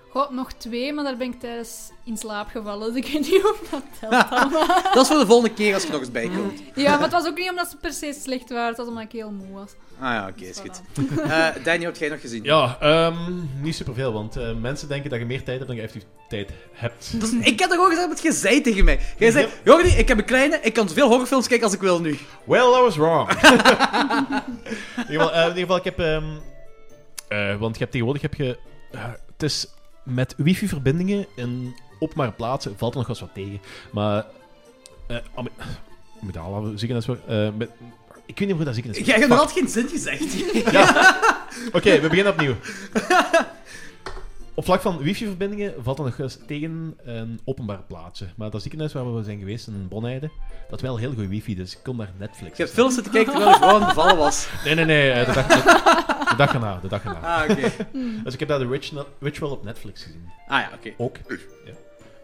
S3: Goh, nog twee, maar daar ben ik tijdens in slaap gevallen. Dus ik weet niet of dat telt allemaal.
S1: Dat is voor de volgende keer als je nog eens bij komt.
S3: Ja, maar het was ook niet omdat ze per se slecht waren. Het was omdat ik heel moe was.
S1: Ah ja, oké,
S3: Dus
S1: is goed.
S3: voilà.
S1: Eh Danny, wat heb jij nog gezien?
S2: Ja, ehm, niet superveel, want eh, mensen denken dat je meer tijd hebt dan je effectief tijd hebt.
S1: Dat is- ik heb toch gewoon gezegd wat jij zei tegen mij. Jij zei, Jordi, ik heb een kleine, ik kan zoveel horrorfilms kijken als ik wil nu.
S2: Well, I was wrong. in, ieder geval, eh, in ieder geval, ik heb... ehm, eh, want je hebt tegenwoordig... Heb je, eh, het is met wifi-verbindingen in opmaar plaatsen valt er nog wel eens wat tegen. Maar... eh am- ik moet al ziekenhuis... voor- eh, met, ik weet niet hoe dat ziekenhuis
S1: Jij hebt nog altijd geen zin gezegd.
S2: Oké, we beginnen opnieuw. Op vlak van wifi-verbindingen valt dat nog eens tegen een openbare plaatsen. Maar dat ziekenhuis waar we zijn geweest, in Bonheide, dat wel heel goede wifi, dus ik kon daar Netflix.
S1: Je hebt films zitten kijken terwijl ik gewoon bevallen was.
S2: Nee, nee, nee, eh, de dag, de, de dag erna, de dag erna.
S1: Ah, oké.
S2: Dus ik heb daar de Ritual, Ritual op Netflix gezien.
S1: Ah ja, oké.
S2: Ook. Ja.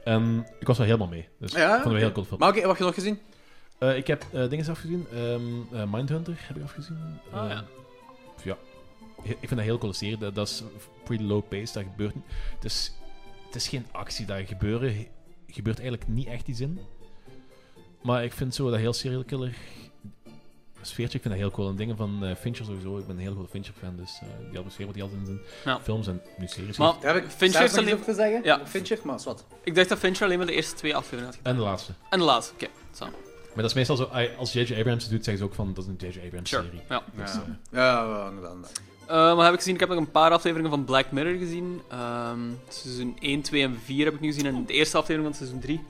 S2: En ik was wel helemaal mee. Dus
S1: Ja,
S2: vonden we
S1: oké.
S2: heel cool film.
S1: Maar oké, wat heb je nog gezien?
S2: Eh, ik heb eh, dingen afgezien. Ehm, eh, Mindhunter heb ik afgezien.
S4: Ah, ja.
S2: Ehm, ja. He- Ik vind dat heel cool serie. Dat, dat is pretty low pace. Dat gebeurt niet. Het is, het is geen actie. Daar gebeuren, he- gebeurt eigenlijk niet echt iets in. Maar ik vind zo dat heel serial killer sfeertje. Ik vind dat heel cool. En dingen van eh, Fincher sowieso. Ik ben een heel grote Fincher fan. Dus eh die atmosfeer wat hij altijd in zijn
S4: Ja.
S2: films en nu series
S4: Maar-
S2: heeft.
S1: Daar heb ik
S4: Fincher
S1: zelfs nog
S4: is
S1: iets over te zeggen.
S4: Ja.
S1: Fincher, maar is wat.
S4: Ik dacht dat Fincher alleen maar de eerste twee afleveringen had gedaan.
S2: En de laatste.
S4: En de laatste, oké. zo.
S2: Maar dat is meestal zo. eh, Als J.J. Abrams het doet, zeggen ze ook van dat is een J.J. Abrams
S4: Sure.
S2: serie. Dus, eh,
S1: Ja,
S4: Ja.
S1: ja wel, inderdaad. inderdaad.
S4: Eh, maar heb ik gezien, ik heb nog een paar afleveringen van Black Mirror gezien. Ehm, seizoen 1, 2 en 4 heb ik nu gezien. En de eerste aflevering van seizoen 3.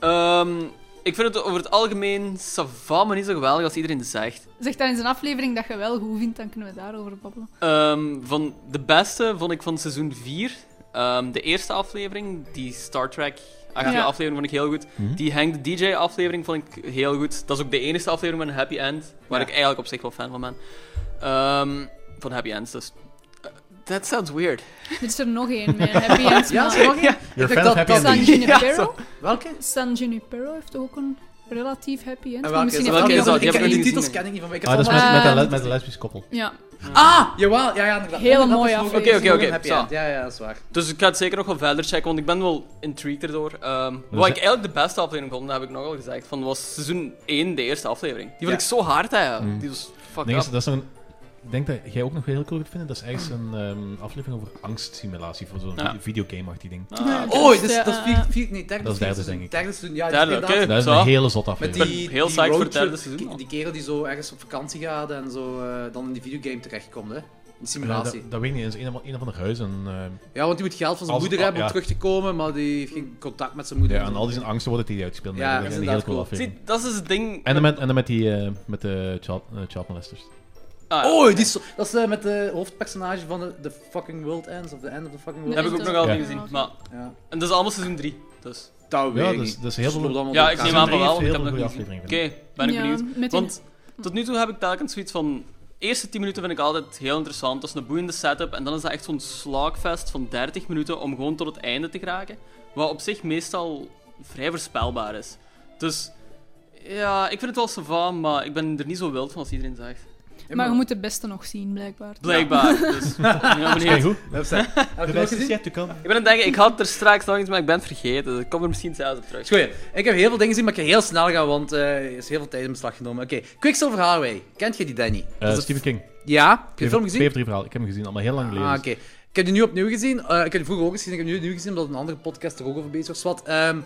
S4: Ehm, ik vind het over het algemeen savant, maar niet zo geweldig als iedereen zegt.
S3: Zeg dan in zijn aflevering dat je wel goed vindt, dan kunnen we daarover babbelen.
S4: Ehm, van de beste vond ik van seizoen 4. Ehm, de eerste aflevering, die Star Trek. achtige
S3: Ja.
S4: aflevering vond ik heel goed.
S2: Mhm.
S4: Die Hank de DJ aflevering vond ik heel goed. Dat is ook de enige aflevering met een happy end. Waar
S1: Ja.
S4: ik eigenlijk op zich wel fan van ben. Ehm, van happy ends, dus... eh, that sounds weird.
S3: Er is er nog één met een happy end.
S1: Ja,
S3: maar-
S1: is er nog één?
S2: You're
S1: Ik
S2: a fan
S1: dacht
S2: of Happy
S1: dat-
S3: San
S2: Endings.
S3: Junipero.
S1: Welke?
S3: San Junipero heeft ook een relatief happy end.
S1: En
S3: Maar
S1: welke is
S3: misschien
S1: dat?
S4: Welke
S3: heeft hij
S4: is
S1: Ik
S3: nog
S4: dat? heb
S1: heb
S4: ik
S1: die
S4: niet
S1: titels
S4: gezien.
S1: ken ik niet van mij. Ik heb
S2: Ah, dat is
S1: allemaal-
S2: met, met,
S3: Eh,
S2: een le- met een lesbisch koppel.
S3: een- Ja.
S1: Ah, jawel, ja, ja, inderdaad.
S3: Hele
S1: Dat is
S3: mooie
S1: nog-
S3: aflevering.
S4: Oké, oké, oké,
S1: Een happy
S4: zo.
S1: end. Ja, ja, dat is waar.
S4: Dus ik ga het zeker nog wel verder checken, want ik ben wel intrigued erdoor. Ehm, wat ik
S2: is-
S4: eigenlijk de beste aflevering vond, dat heb ik nogal gezegd, van was seizoen 1, de eerste aflevering. Die vond
S1: Ja.
S4: ik zo hard, hè. Die was
S2: Ik
S4: fucked
S2: denk,
S4: up.
S2: dat, dat is een, ik denk dat jij ook nog heel cool kunt vinden. Dat is ergens een ehm, aflevering over angstsimulatie voor zo'n
S4: Ja.
S2: video videogame-achtig ding.
S4: Ah,
S3: Ja.
S1: Oh, dat
S3: Dus,
S1: is, dat is
S3: eh,
S1: vier, vier, nee, derde
S2: Dat is derde,
S1: seizoen.
S2: denk ik.
S1: Derde seizoen, ja.
S4: Derde,
S1: inderdaad.
S4: oké.
S2: Dat is
S4: Zo.
S2: een hele zot
S1: Met
S2: aflevering.
S1: die,
S4: heel
S1: die
S4: psyched voor het
S1: roadtrip,
S4: derde seizoen al.
S1: Die kerel die zo ergens op vakantie gaat en zo eh, dan in die videogame terechtkomt, hè. Een
S2: Ja,
S1: simulatie.
S2: dat, dat weet ik niet. Dat is een, of- een of ander huis. En, ehm,
S1: Ja, want die moet geld van zijn
S2: Als-
S1: moeder hebben om
S2: ja.
S1: terug te komen, maar die heeft geen contact met zijn moeder.
S2: ja, en al die zijn angsten worden die hij uitgespeeld.
S1: Ja,
S2: dat
S1: dat
S2: is
S1: is
S2: een heel
S1: inderdaad
S2: cool
S1: cool.
S2: aflevering.
S4: Zie, dat is dus het ding...
S2: En dan met, en dan met die eh, met de child, eh, child molesters.
S4: Ah, ja.
S1: Oh, die is zo- dat is eh, met de hoofdpersonage van de, The Fucking World Ends, of The End of the Fucking World
S4: dat heb ik ook nog
S3: Ja.
S4: altijd niet gezien. Maar,
S1: Ja.
S4: en dat is allemaal seizoen 3, dus...
S1: Dat weet
S2: Ja,
S1: ik
S2: dat is-
S1: niet.
S2: Oh, dat is heel veel-
S1: Loopt allemaal
S4: Ja,
S1: door
S4: ik
S1: elkaar.
S4: neem aan
S2: drie
S4: van wel, want ik
S2: heeft
S4: heb
S2: heel
S4: nog niet
S2: goede
S4: gezien. Oké,
S2: afleveringen.
S4: ben ik
S3: Ja,
S4: benieuwd.
S3: met die-
S4: Want tot nu toe heb ik telkens zoiets van... De eerste 10 minuten vind ik altijd heel interessant. Dat is een boeiende setup. En dan is dat echt zo'n slagfest van 30 minuten om gewoon tot het einde te geraken. Wat op zich meestal vrij voorspelbaar is. Dus ja, ik vind het wel savan, maar ik ben er niet zo wild van als iedereen zegt.
S1: Ja,
S3: Maar je moet de beste nog zien, blijkbaar.
S4: Blijkbaar. Dus, ik ben heel
S2: Is kei
S4: benieuwd.
S2: goed.
S1: Heb je- heb je nog gezien?
S2: te komen.
S4: Ik ben aan het denken, ik had er straks nog iets, maar ik ben het vergeten. Ik kom er misschien zelfs op terug.
S1: Is goed, hè. Ik heb heel veel dingen gezien, maar ik ga heel snel gaan, want eh, er is heel veel tijd in beslag genomen. Oké, Quicksilver Highway. Kent je die, Danny?
S2: Eh,
S1: Dat is een-
S2: Stephen King. Heb
S1: Ja? Heb je de film gezien?
S2: Twee of drie verhalen. Ik heb hem gezien, al maar heel lang geleden.
S1: Ah, oké. Ik heb die nu opnieuw gezien. Eh, ik heb die vroeger ook gezien. Ik heb die nu opnieuw gezien omdat een andere podcast er ook over bezig was. Wat, ehm,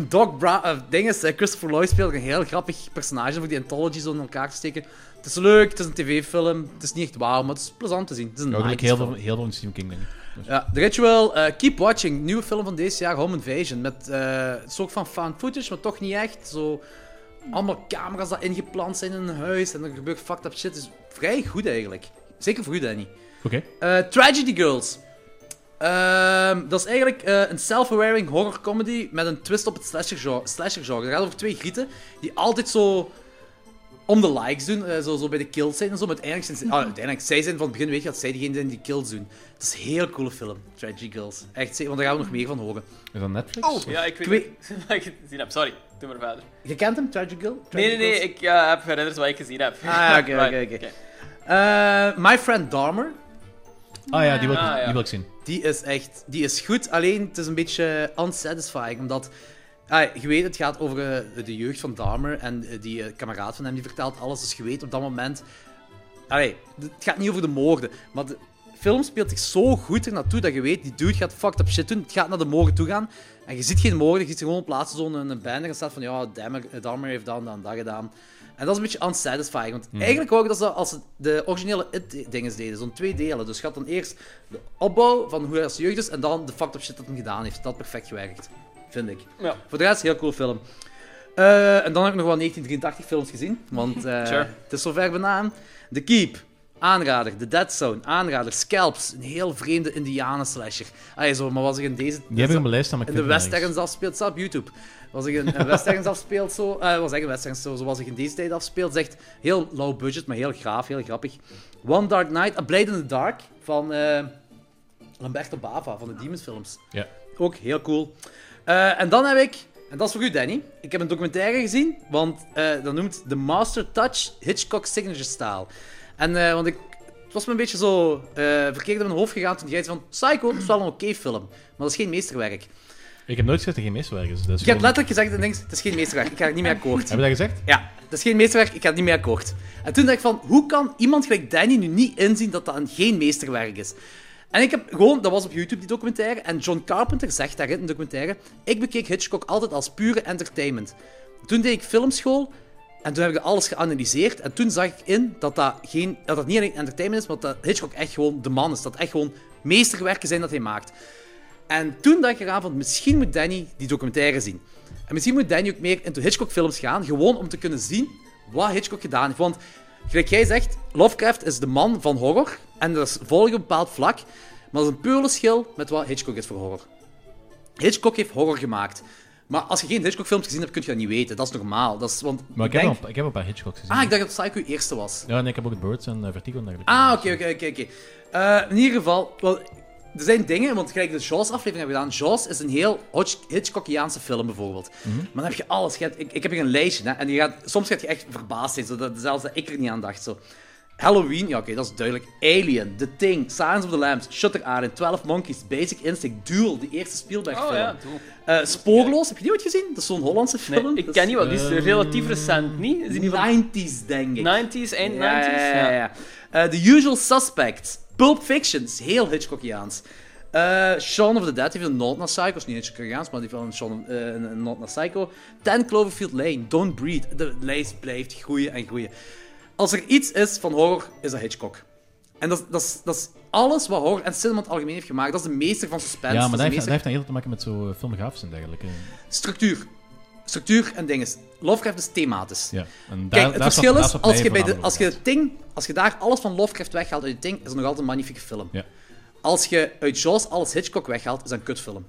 S1: Doc Brown, eh, ding is, eh, Christopher Lloyd speelt een heel grappig personage voor die anthology zo in elkaar te steken. Het is leuk, het is een tv-film, het is niet echt wauw, maar het is plezant te zien. Het is een
S2: Ja, eigenlijk
S1: nice
S2: heel
S1: film.
S2: veel, heel veel in Stephen King dingen.
S1: Ja, The Ritual, eh, Keep Watching, nieuwe film van deze jaar, Home Invasion. Met eh, het is ook van found footage, maar toch niet echt. Zo, allemaal camera's dat ingeplant zijn in een huis en er gebeurt fucked up shit. is vrij goed eigenlijk. Zeker voor u, Danny.
S2: Oké.
S1: Eh, Tragedy Girls. Ehm, dat is eigenlijk eh, een self-awaring horror comedy met een twist op het slasher genre. Slasher genre. Het gaat over twee grieten die altijd zo om de likes doen, eh, zo, zo bij de kills zijn en zo. Maar uiteindelijk zijn, ze- ah, uiteindelijk, zij zijn van het begin weet je dat zij degene zijn die kills doen. Het is een heel coole film, Tragedy Girls. Echt, zeker, want daar gaan we nog meer van horen.
S2: Is dat Netflix?
S4: Oh, ja, ik
S1: Twee-
S4: weet niet wat ik gezien heb. Sorry, doe maar verder.
S1: Je kent hem, Tragic Girl?
S4: Nee,
S1: Tragedy
S4: nee, nee,
S1: Girls?
S4: ik eh, heb herinnerd wat ik gezien heb.
S1: Ah, oké,
S4: Maar-
S1: oké, oké. Eh, My Friend Dahmer.
S2: Ah ja, die wil, ik-
S4: Ah, ja.
S2: Die wil ik zien.
S1: Die is echt... Die is goed, alleen het is een beetje unsatisfying, omdat... ah, je weet, het gaat over eh, de jeugd van Dahmer en eh, die eh, kameraad van hem, die vertelt alles. Dus je weet op dat moment... Allee, d- het gaat niet over de moorden, maar de film speelt zich zo goed ernaartoe dat je weet, die dude gaat fucked up shit doen. Het gaat naar de moorden toe gaan en je ziet geen moorden, je ziet gewoon op plaatsen zo'n een, een banner en staat van ja, Dahmer, eh, Dahmer heeft dan, dan, dat gedaan. En dat is een beetje unsatisfying, want eigenlijk ook dat ze als ze de originele It-dinges deden, zo'n twee delen. Dus je had dan eerst de opbouw van hoe hij als jeugd is en dan de fucked up shit dat hij gedaan heeft. Dat had perfect gewerkt, vind ik.
S4: Ja.
S1: Voor de rest, heel cool film. Eh, en dan heb ik nog wel 1983 films gezien, want eh,
S4: Sure.
S1: het is zover bijna. The Keep, aanrader. The Dead Zone, aanrader. Scalps, een heel vreemde indianen-slasher. Allee, zo, maar was ik in deze...
S2: Die heb ik op mijn lijst staan, maar ik
S1: In de
S2: vind het
S1: westerns afspeelt, staat op YouTube. Was ik een, een westerns afspeelt zo, eh was echt een westerns zo, zoals ik in deze tijd afspeelt, zegt heel low budget, maar heel graaf, heel grappig. One Dark Night, A Blade in the Dark van eh, Lamberto Bava van de Demons films.
S2: Ja.
S1: Ook heel cool. Eh, en dan heb ik, en dat is voor u Danny, ik heb een documentaire gezien, want eh, dat noemt The Master Touch Hitchcock Signature Style. En eh, want ik, het was me een beetje zo eh, verkeerd in mijn hoofd gegaan toen jij zei van Psycho, dat is wel een oké film, maar dat is geen meesterwerk.
S2: Ik heb nooit gezegd dat er geen meesterwerk is. Dus
S1: Je hebt letterlijk gezegd en denkt, het is geen meesterwerk, ik ga er niet mee akkoord.
S2: Heb je dat gezegd?
S1: Ja, het is geen meesterwerk, ik ga er niet mee akkoord. En toen dacht ik van, hoe kan iemand gelijk Danny nu niet inzien dat dat een geen meesterwerk is? En ik heb gewoon, dat was op YouTube die documentaire, en John Carpenter zegt daarin in de documentaire, ik bekeek Hitchcock altijd als pure entertainment. Toen deed ik filmschool, en toen heb ik alles geanalyseerd, en toen zag ik in dat dat, geen, dat, dat niet alleen entertainment is, maar dat Hitchcock echt gewoon de man is. Dat echt gewoon meesterwerken zijn dat hij maakt. En toen dacht ik eraan van, misschien moet Danny die documentaire zien. En misschien moet Danny ook meer into Hitchcock-films gaan, gewoon om te kunnen zien wat Hitchcock gedaan heeft. Want, gelijk jij zegt, Lovecraft is de man van horror, en dat is volgens een bepaald vlak, maar dat is een pure schil met wat Hitchcock is voor horror. Hitchcock heeft horror gemaakt. Maar als je geen Hitchcock-films gezien hebt, kun je dat niet weten. Dat is normaal. Dat is, want
S2: Maar ik heb,
S1: denk-
S2: wel een, ik heb een paar Hitchcocks gezien.
S1: Ah, ik dacht dat Psycho je eerste was.
S2: Ja, en ik heb ook Birds en eh, Vertigo en dergelijke.
S1: Ah, oké, oké, oké. oké. Eh, in ieder geval, wel, er zijn dingen, want gelijk de Jaws-aflevering hebben we gedaan. Jaws is een heel Hodge- Hitchcockiaanse film, bijvoorbeeld.
S4: Mhm.
S1: Maar dan heb je alles. Je hebt- ik, ik heb hier een lijstje, hè, en je gaat, soms gaat je echt verbaasd zijn, zodat, zelfs dat ik er niet aan dacht. Zo. Halloween, ja oké, dat is duidelijk. Alien, The Thing, Silence of the Lambs, Shutter Island, 12 Monkeys, Basic Instinct, Duel, de eerste Spielberg-film.
S4: Oh ja, doe.
S1: Eh, Spoorloos, heb je die ooit gezien? Dat is zo'n Hollandse film.
S4: Nee, ik
S1: Dat
S4: ken
S1: is- eh,
S4: niet wat, die is relatief recent, niet? Is die niet van
S1: 90s, denk ik.
S4: 90s, eind 90s?
S1: Ja, ja, ja, ja. Eh, The Usual Suspects. Pulp Fiction is heel Hitchcockiaans. Eh, Shaun of the Dead heeft een nood naar Psycho. Is niet Hitchcockiaans, maar die heeft wel een, Shaun, eh, een, een nood naar Psycho. Ten Cloverfield Lane, Don't Breathe. De lijst blijft groeien en groeien. Als er iets is van horror, is dat Hitchcock. En dat, is- dat, is- dat is alles wat horror en cinema in het algemeen heeft gemaakt. Dat is de meester van suspense.
S2: Ja,
S1: dat
S2: maar
S1: is
S2: dat
S1: de
S2: heeft, dat
S1: meester-
S2: heeft dan heel te maken met zo'n filmgrafisch en dergelijke.
S1: Structuur. Structuur en dinges. Lovecraft is thematisch.
S2: Ja. En daar,
S1: Kijk,
S2: daar
S1: het
S2: is
S1: verschil
S2: wat- daar
S1: is,
S2: wat
S1: als
S2: mij
S1: je, bij de,
S2: voornamelijk
S1: als je de Ting, als je daar alles van Lovecraft weghaalt uit de Ting, is het nog altijd een magnifieke film.
S2: Ja.
S1: Als je uit Jaws alles Hitchcock weghaalt, is dat een kutfilm.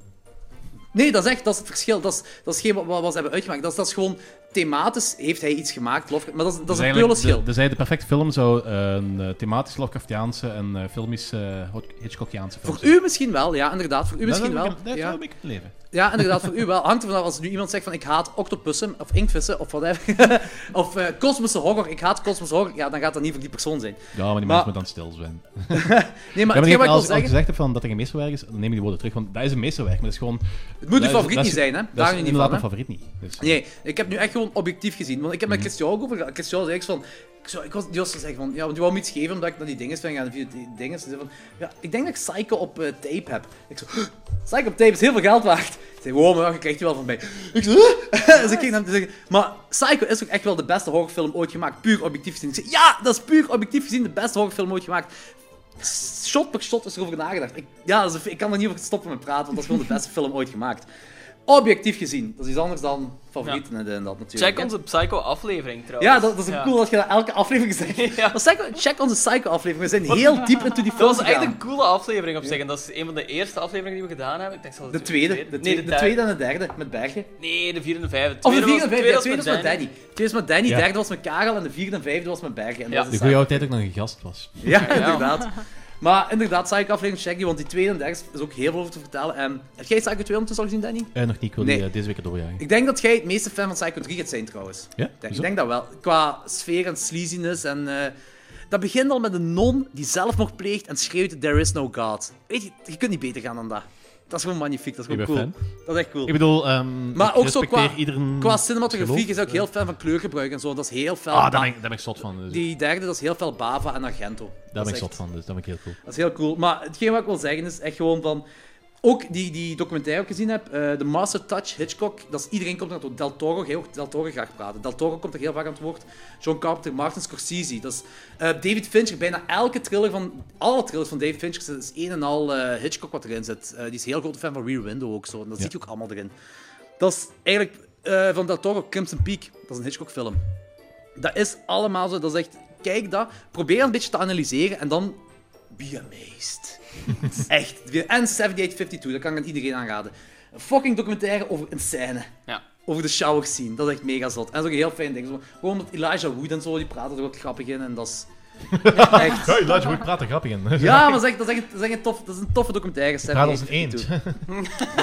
S1: Nee, dat is echt, dat is het verschil. Dat is, dat is geen wat, wat ze hebben uitgemaakt. Dat is, dat is gewoon, thematisch heeft hij iets gemaakt, Lovecraft, maar dat is, dat is
S2: Dus
S1: een
S2: eigenlijk
S1: pure schil.
S2: De, dus eigenlijk de perfecte film zou eh, een eh, thematisch Lovecraftiaanse en eh, filmisch eh, Hot- Hitchcockiaanse film
S1: Voor
S2: zijn.
S1: u misschien wel, ja, inderdaad. Voor u misschien
S2: dat
S1: wel.
S2: Dat
S1: ja.
S2: ik het leven.
S1: Ja, inderdaad, voor u wel. Hangt ervan af als nu iemand zegt van ik haat octopussen of inktvissen of whatever. of eh, kosmische horror, ik haat kosmische horror. Ja, dan gaat dat niet voor die persoon zijn.
S2: Ja, maar die
S1: Maar-
S2: mensen moeten dan stil zijn.
S1: Nee, maar
S2: Ja, maar ik
S1: hetgeen wat
S2: als,
S1: ik wil
S2: als ik
S1: zeggen,
S2: gezegd heb van dat er geen meesterwerk is, dan neem ik die woorden terug. Want dat is een meesterwerk, maar dat is gewoon...
S1: het moet uw
S2: dat is-
S1: favoriet
S2: dat
S1: niet
S2: is-
S1: zijn, hè.
S2: Dat
S1: Daar
S2: is
S1: nu niet
S2: inderdaad
S1: van,
S2: mijn
S1: hè.
S2: favoriet niet. Dus,
S1: Nee, ik heb nu echt gewoon objectief gezien. Want ik heb met Christian ook over gehad. Christian zei echt van... Ik, zou, ik was, die was zo zeggen van... Ja, want die wou me iets geven omdat ik naar die dinges ben gaan. Die dingen. Ze zei van... Ja, ik denk dat ik Psycho op eh, tape heb. Ik zo... Psycho op tape is heel veel geld waard. zei, wow, maar je krijgt die wel van mij. Ik zei, huh? dus ik ging hem te zeggen, maar Psycho is ook echt wel de beste horrorfilm ooit gemaakt, puur objectief gezien. Ik zei, ja, dat is puur objectief gezien de beste horrorfilm ooit gemaakt. Shot per shot is erover nagedacht. Ik, ja, dat is- ik kan er niet over stoppen met praten, want dat is gewoon de beste film ooit gemaakt. Objectief gezien, dat is iets anders dan favorieten en dit en dat natuurlijk.
S4: Check
S1: hè.
S4: onze Psycho-aflevering trouwens.
S1: Ja, dat, dat is ook
S4: Ja.
S1: cool dat je dat elke aflevering zegt.
S4: Ja.
S1: Maar Psycho- check onze Psycho-aflevering, we zijn heel diep into die film
S4: Dat was echt
S1: gegaan.
S4: een coole aflevering op zich. En dat is een van de eerste afleveringen die we gedaan hebben. Ik denk zelfs
S1: De tweede, de
S4: Nee,
S1: tweede,
S4: de,
S1: de tweede en de derde, met Bergen.
S4: derde. Nee, de vierde en de vijfde.
S1: Of de
S4: Tweede
S1: vierde en
S4: was-
S1: vijfde, de
S4: tweede
S1: tweede was met Danny. De tweede was met Danny, de
S2: Ja.
S1: derde was met Karel en de vierde en vijfde was met Bergen. En
S4: Ja.
S1: dat is
S2: De
S1: de
S2: goede oude
S1: zaak.
S2: tijd dat ik nog een gast was.
S1: Ja, inderdaad. Maar inderdaad, Psycho aflevering check die, want die tweede en derde is ook heel veel over te vertellen. En, heb jij Psycho 2 ondertussen al gezien, Danny?
S2: En nog niet, ik wil die,
S1: Nee.
S2: eh, deze week erdoor jagen.
S1: Ik denk dat jij het meeste fan van Psycho 3 gaat zijn trouwens.
S2: Ja?
S1: Ik denk- Ik
S2: Hoezo?
S1: denk dat wel. Qua sfeer en sleaziness en... eh, dat begint al met een non die zelfmoord pleegt en schreeuwt There is no God. Weet je, je kunt niet beter gaan dan dat. Dat is gewoon magnifiek, dat is gewoon
S2: Ik
S1: cool.
S2: ben
S1: Dat is echt cool.
S2: Ik bedoel, ehm
S1: Maar
S2: ik
S1: ook zo
S2: respecteer
S1: qua-
S2: iedereen...
S1: Qua cinematografie
S2: geloof.
S1: is hij ook heel fan van kleurgebruik en zo. Dat is heel fel.
S2: eh. Ah, daar ben, ik, daar ben ik zot van. Dus.
S1: Die derde, dat is heel veel Bava en Argento.
S2: daar
S1: dat
S2: ben
S1: is
S2: ik
S1: echt-
S2: zot van, dus dat ben ik heel cool.
S1: Dat is heel cool. Maar hetgeen wat ik wil zeggen is echt gewoon van... Ook die, die documentaire ook gezien heb, eh The Master Touch, Hitchcock, dat is, iedereen komt er naartoe. Del Toro, heel Del Toro graag praten. Del Toro komt er heel vaak aan het woord. John Carpenter, Martin Scorsese. Dat is, eh, David Fincher, bijna elke thriller van... Alle thrillers van David Fincher, dat is één en al eh, Hitchcock wat erin zit. Eh, die is heel grote fan van Rear Window ook zo. En dat
S2: Ja.
S1: ziet je ook allemaal erin. Dat is eigenlijk eh, van Del Toro, Crimson Peak. Dat is een Hitchcock-film. Dat is allemaal zo. Dat is echt... Kijk dat, probeer een beetje te analyseren en dan be amazed. Echt. En 7852, dat kan ik aan iedereen aanraden. Een fucking documentaire over een scène.
S4: Ja.
S1: Over de shower scene. Dat is echt mega zot. En dat is ook een heel fijn ding. Zo, Gewoon omdat Elijah Wood en zo, die praten er ook grappig in. En dat is... Echt.
S2: Hey, laat je goed praten, grappig in.
S1: Ja, maar dat is echt, dat is echt, dat is echt een, tof, dat is een toffe documentaire.
S2: Praat als een
S1: 7852.
S2: eend.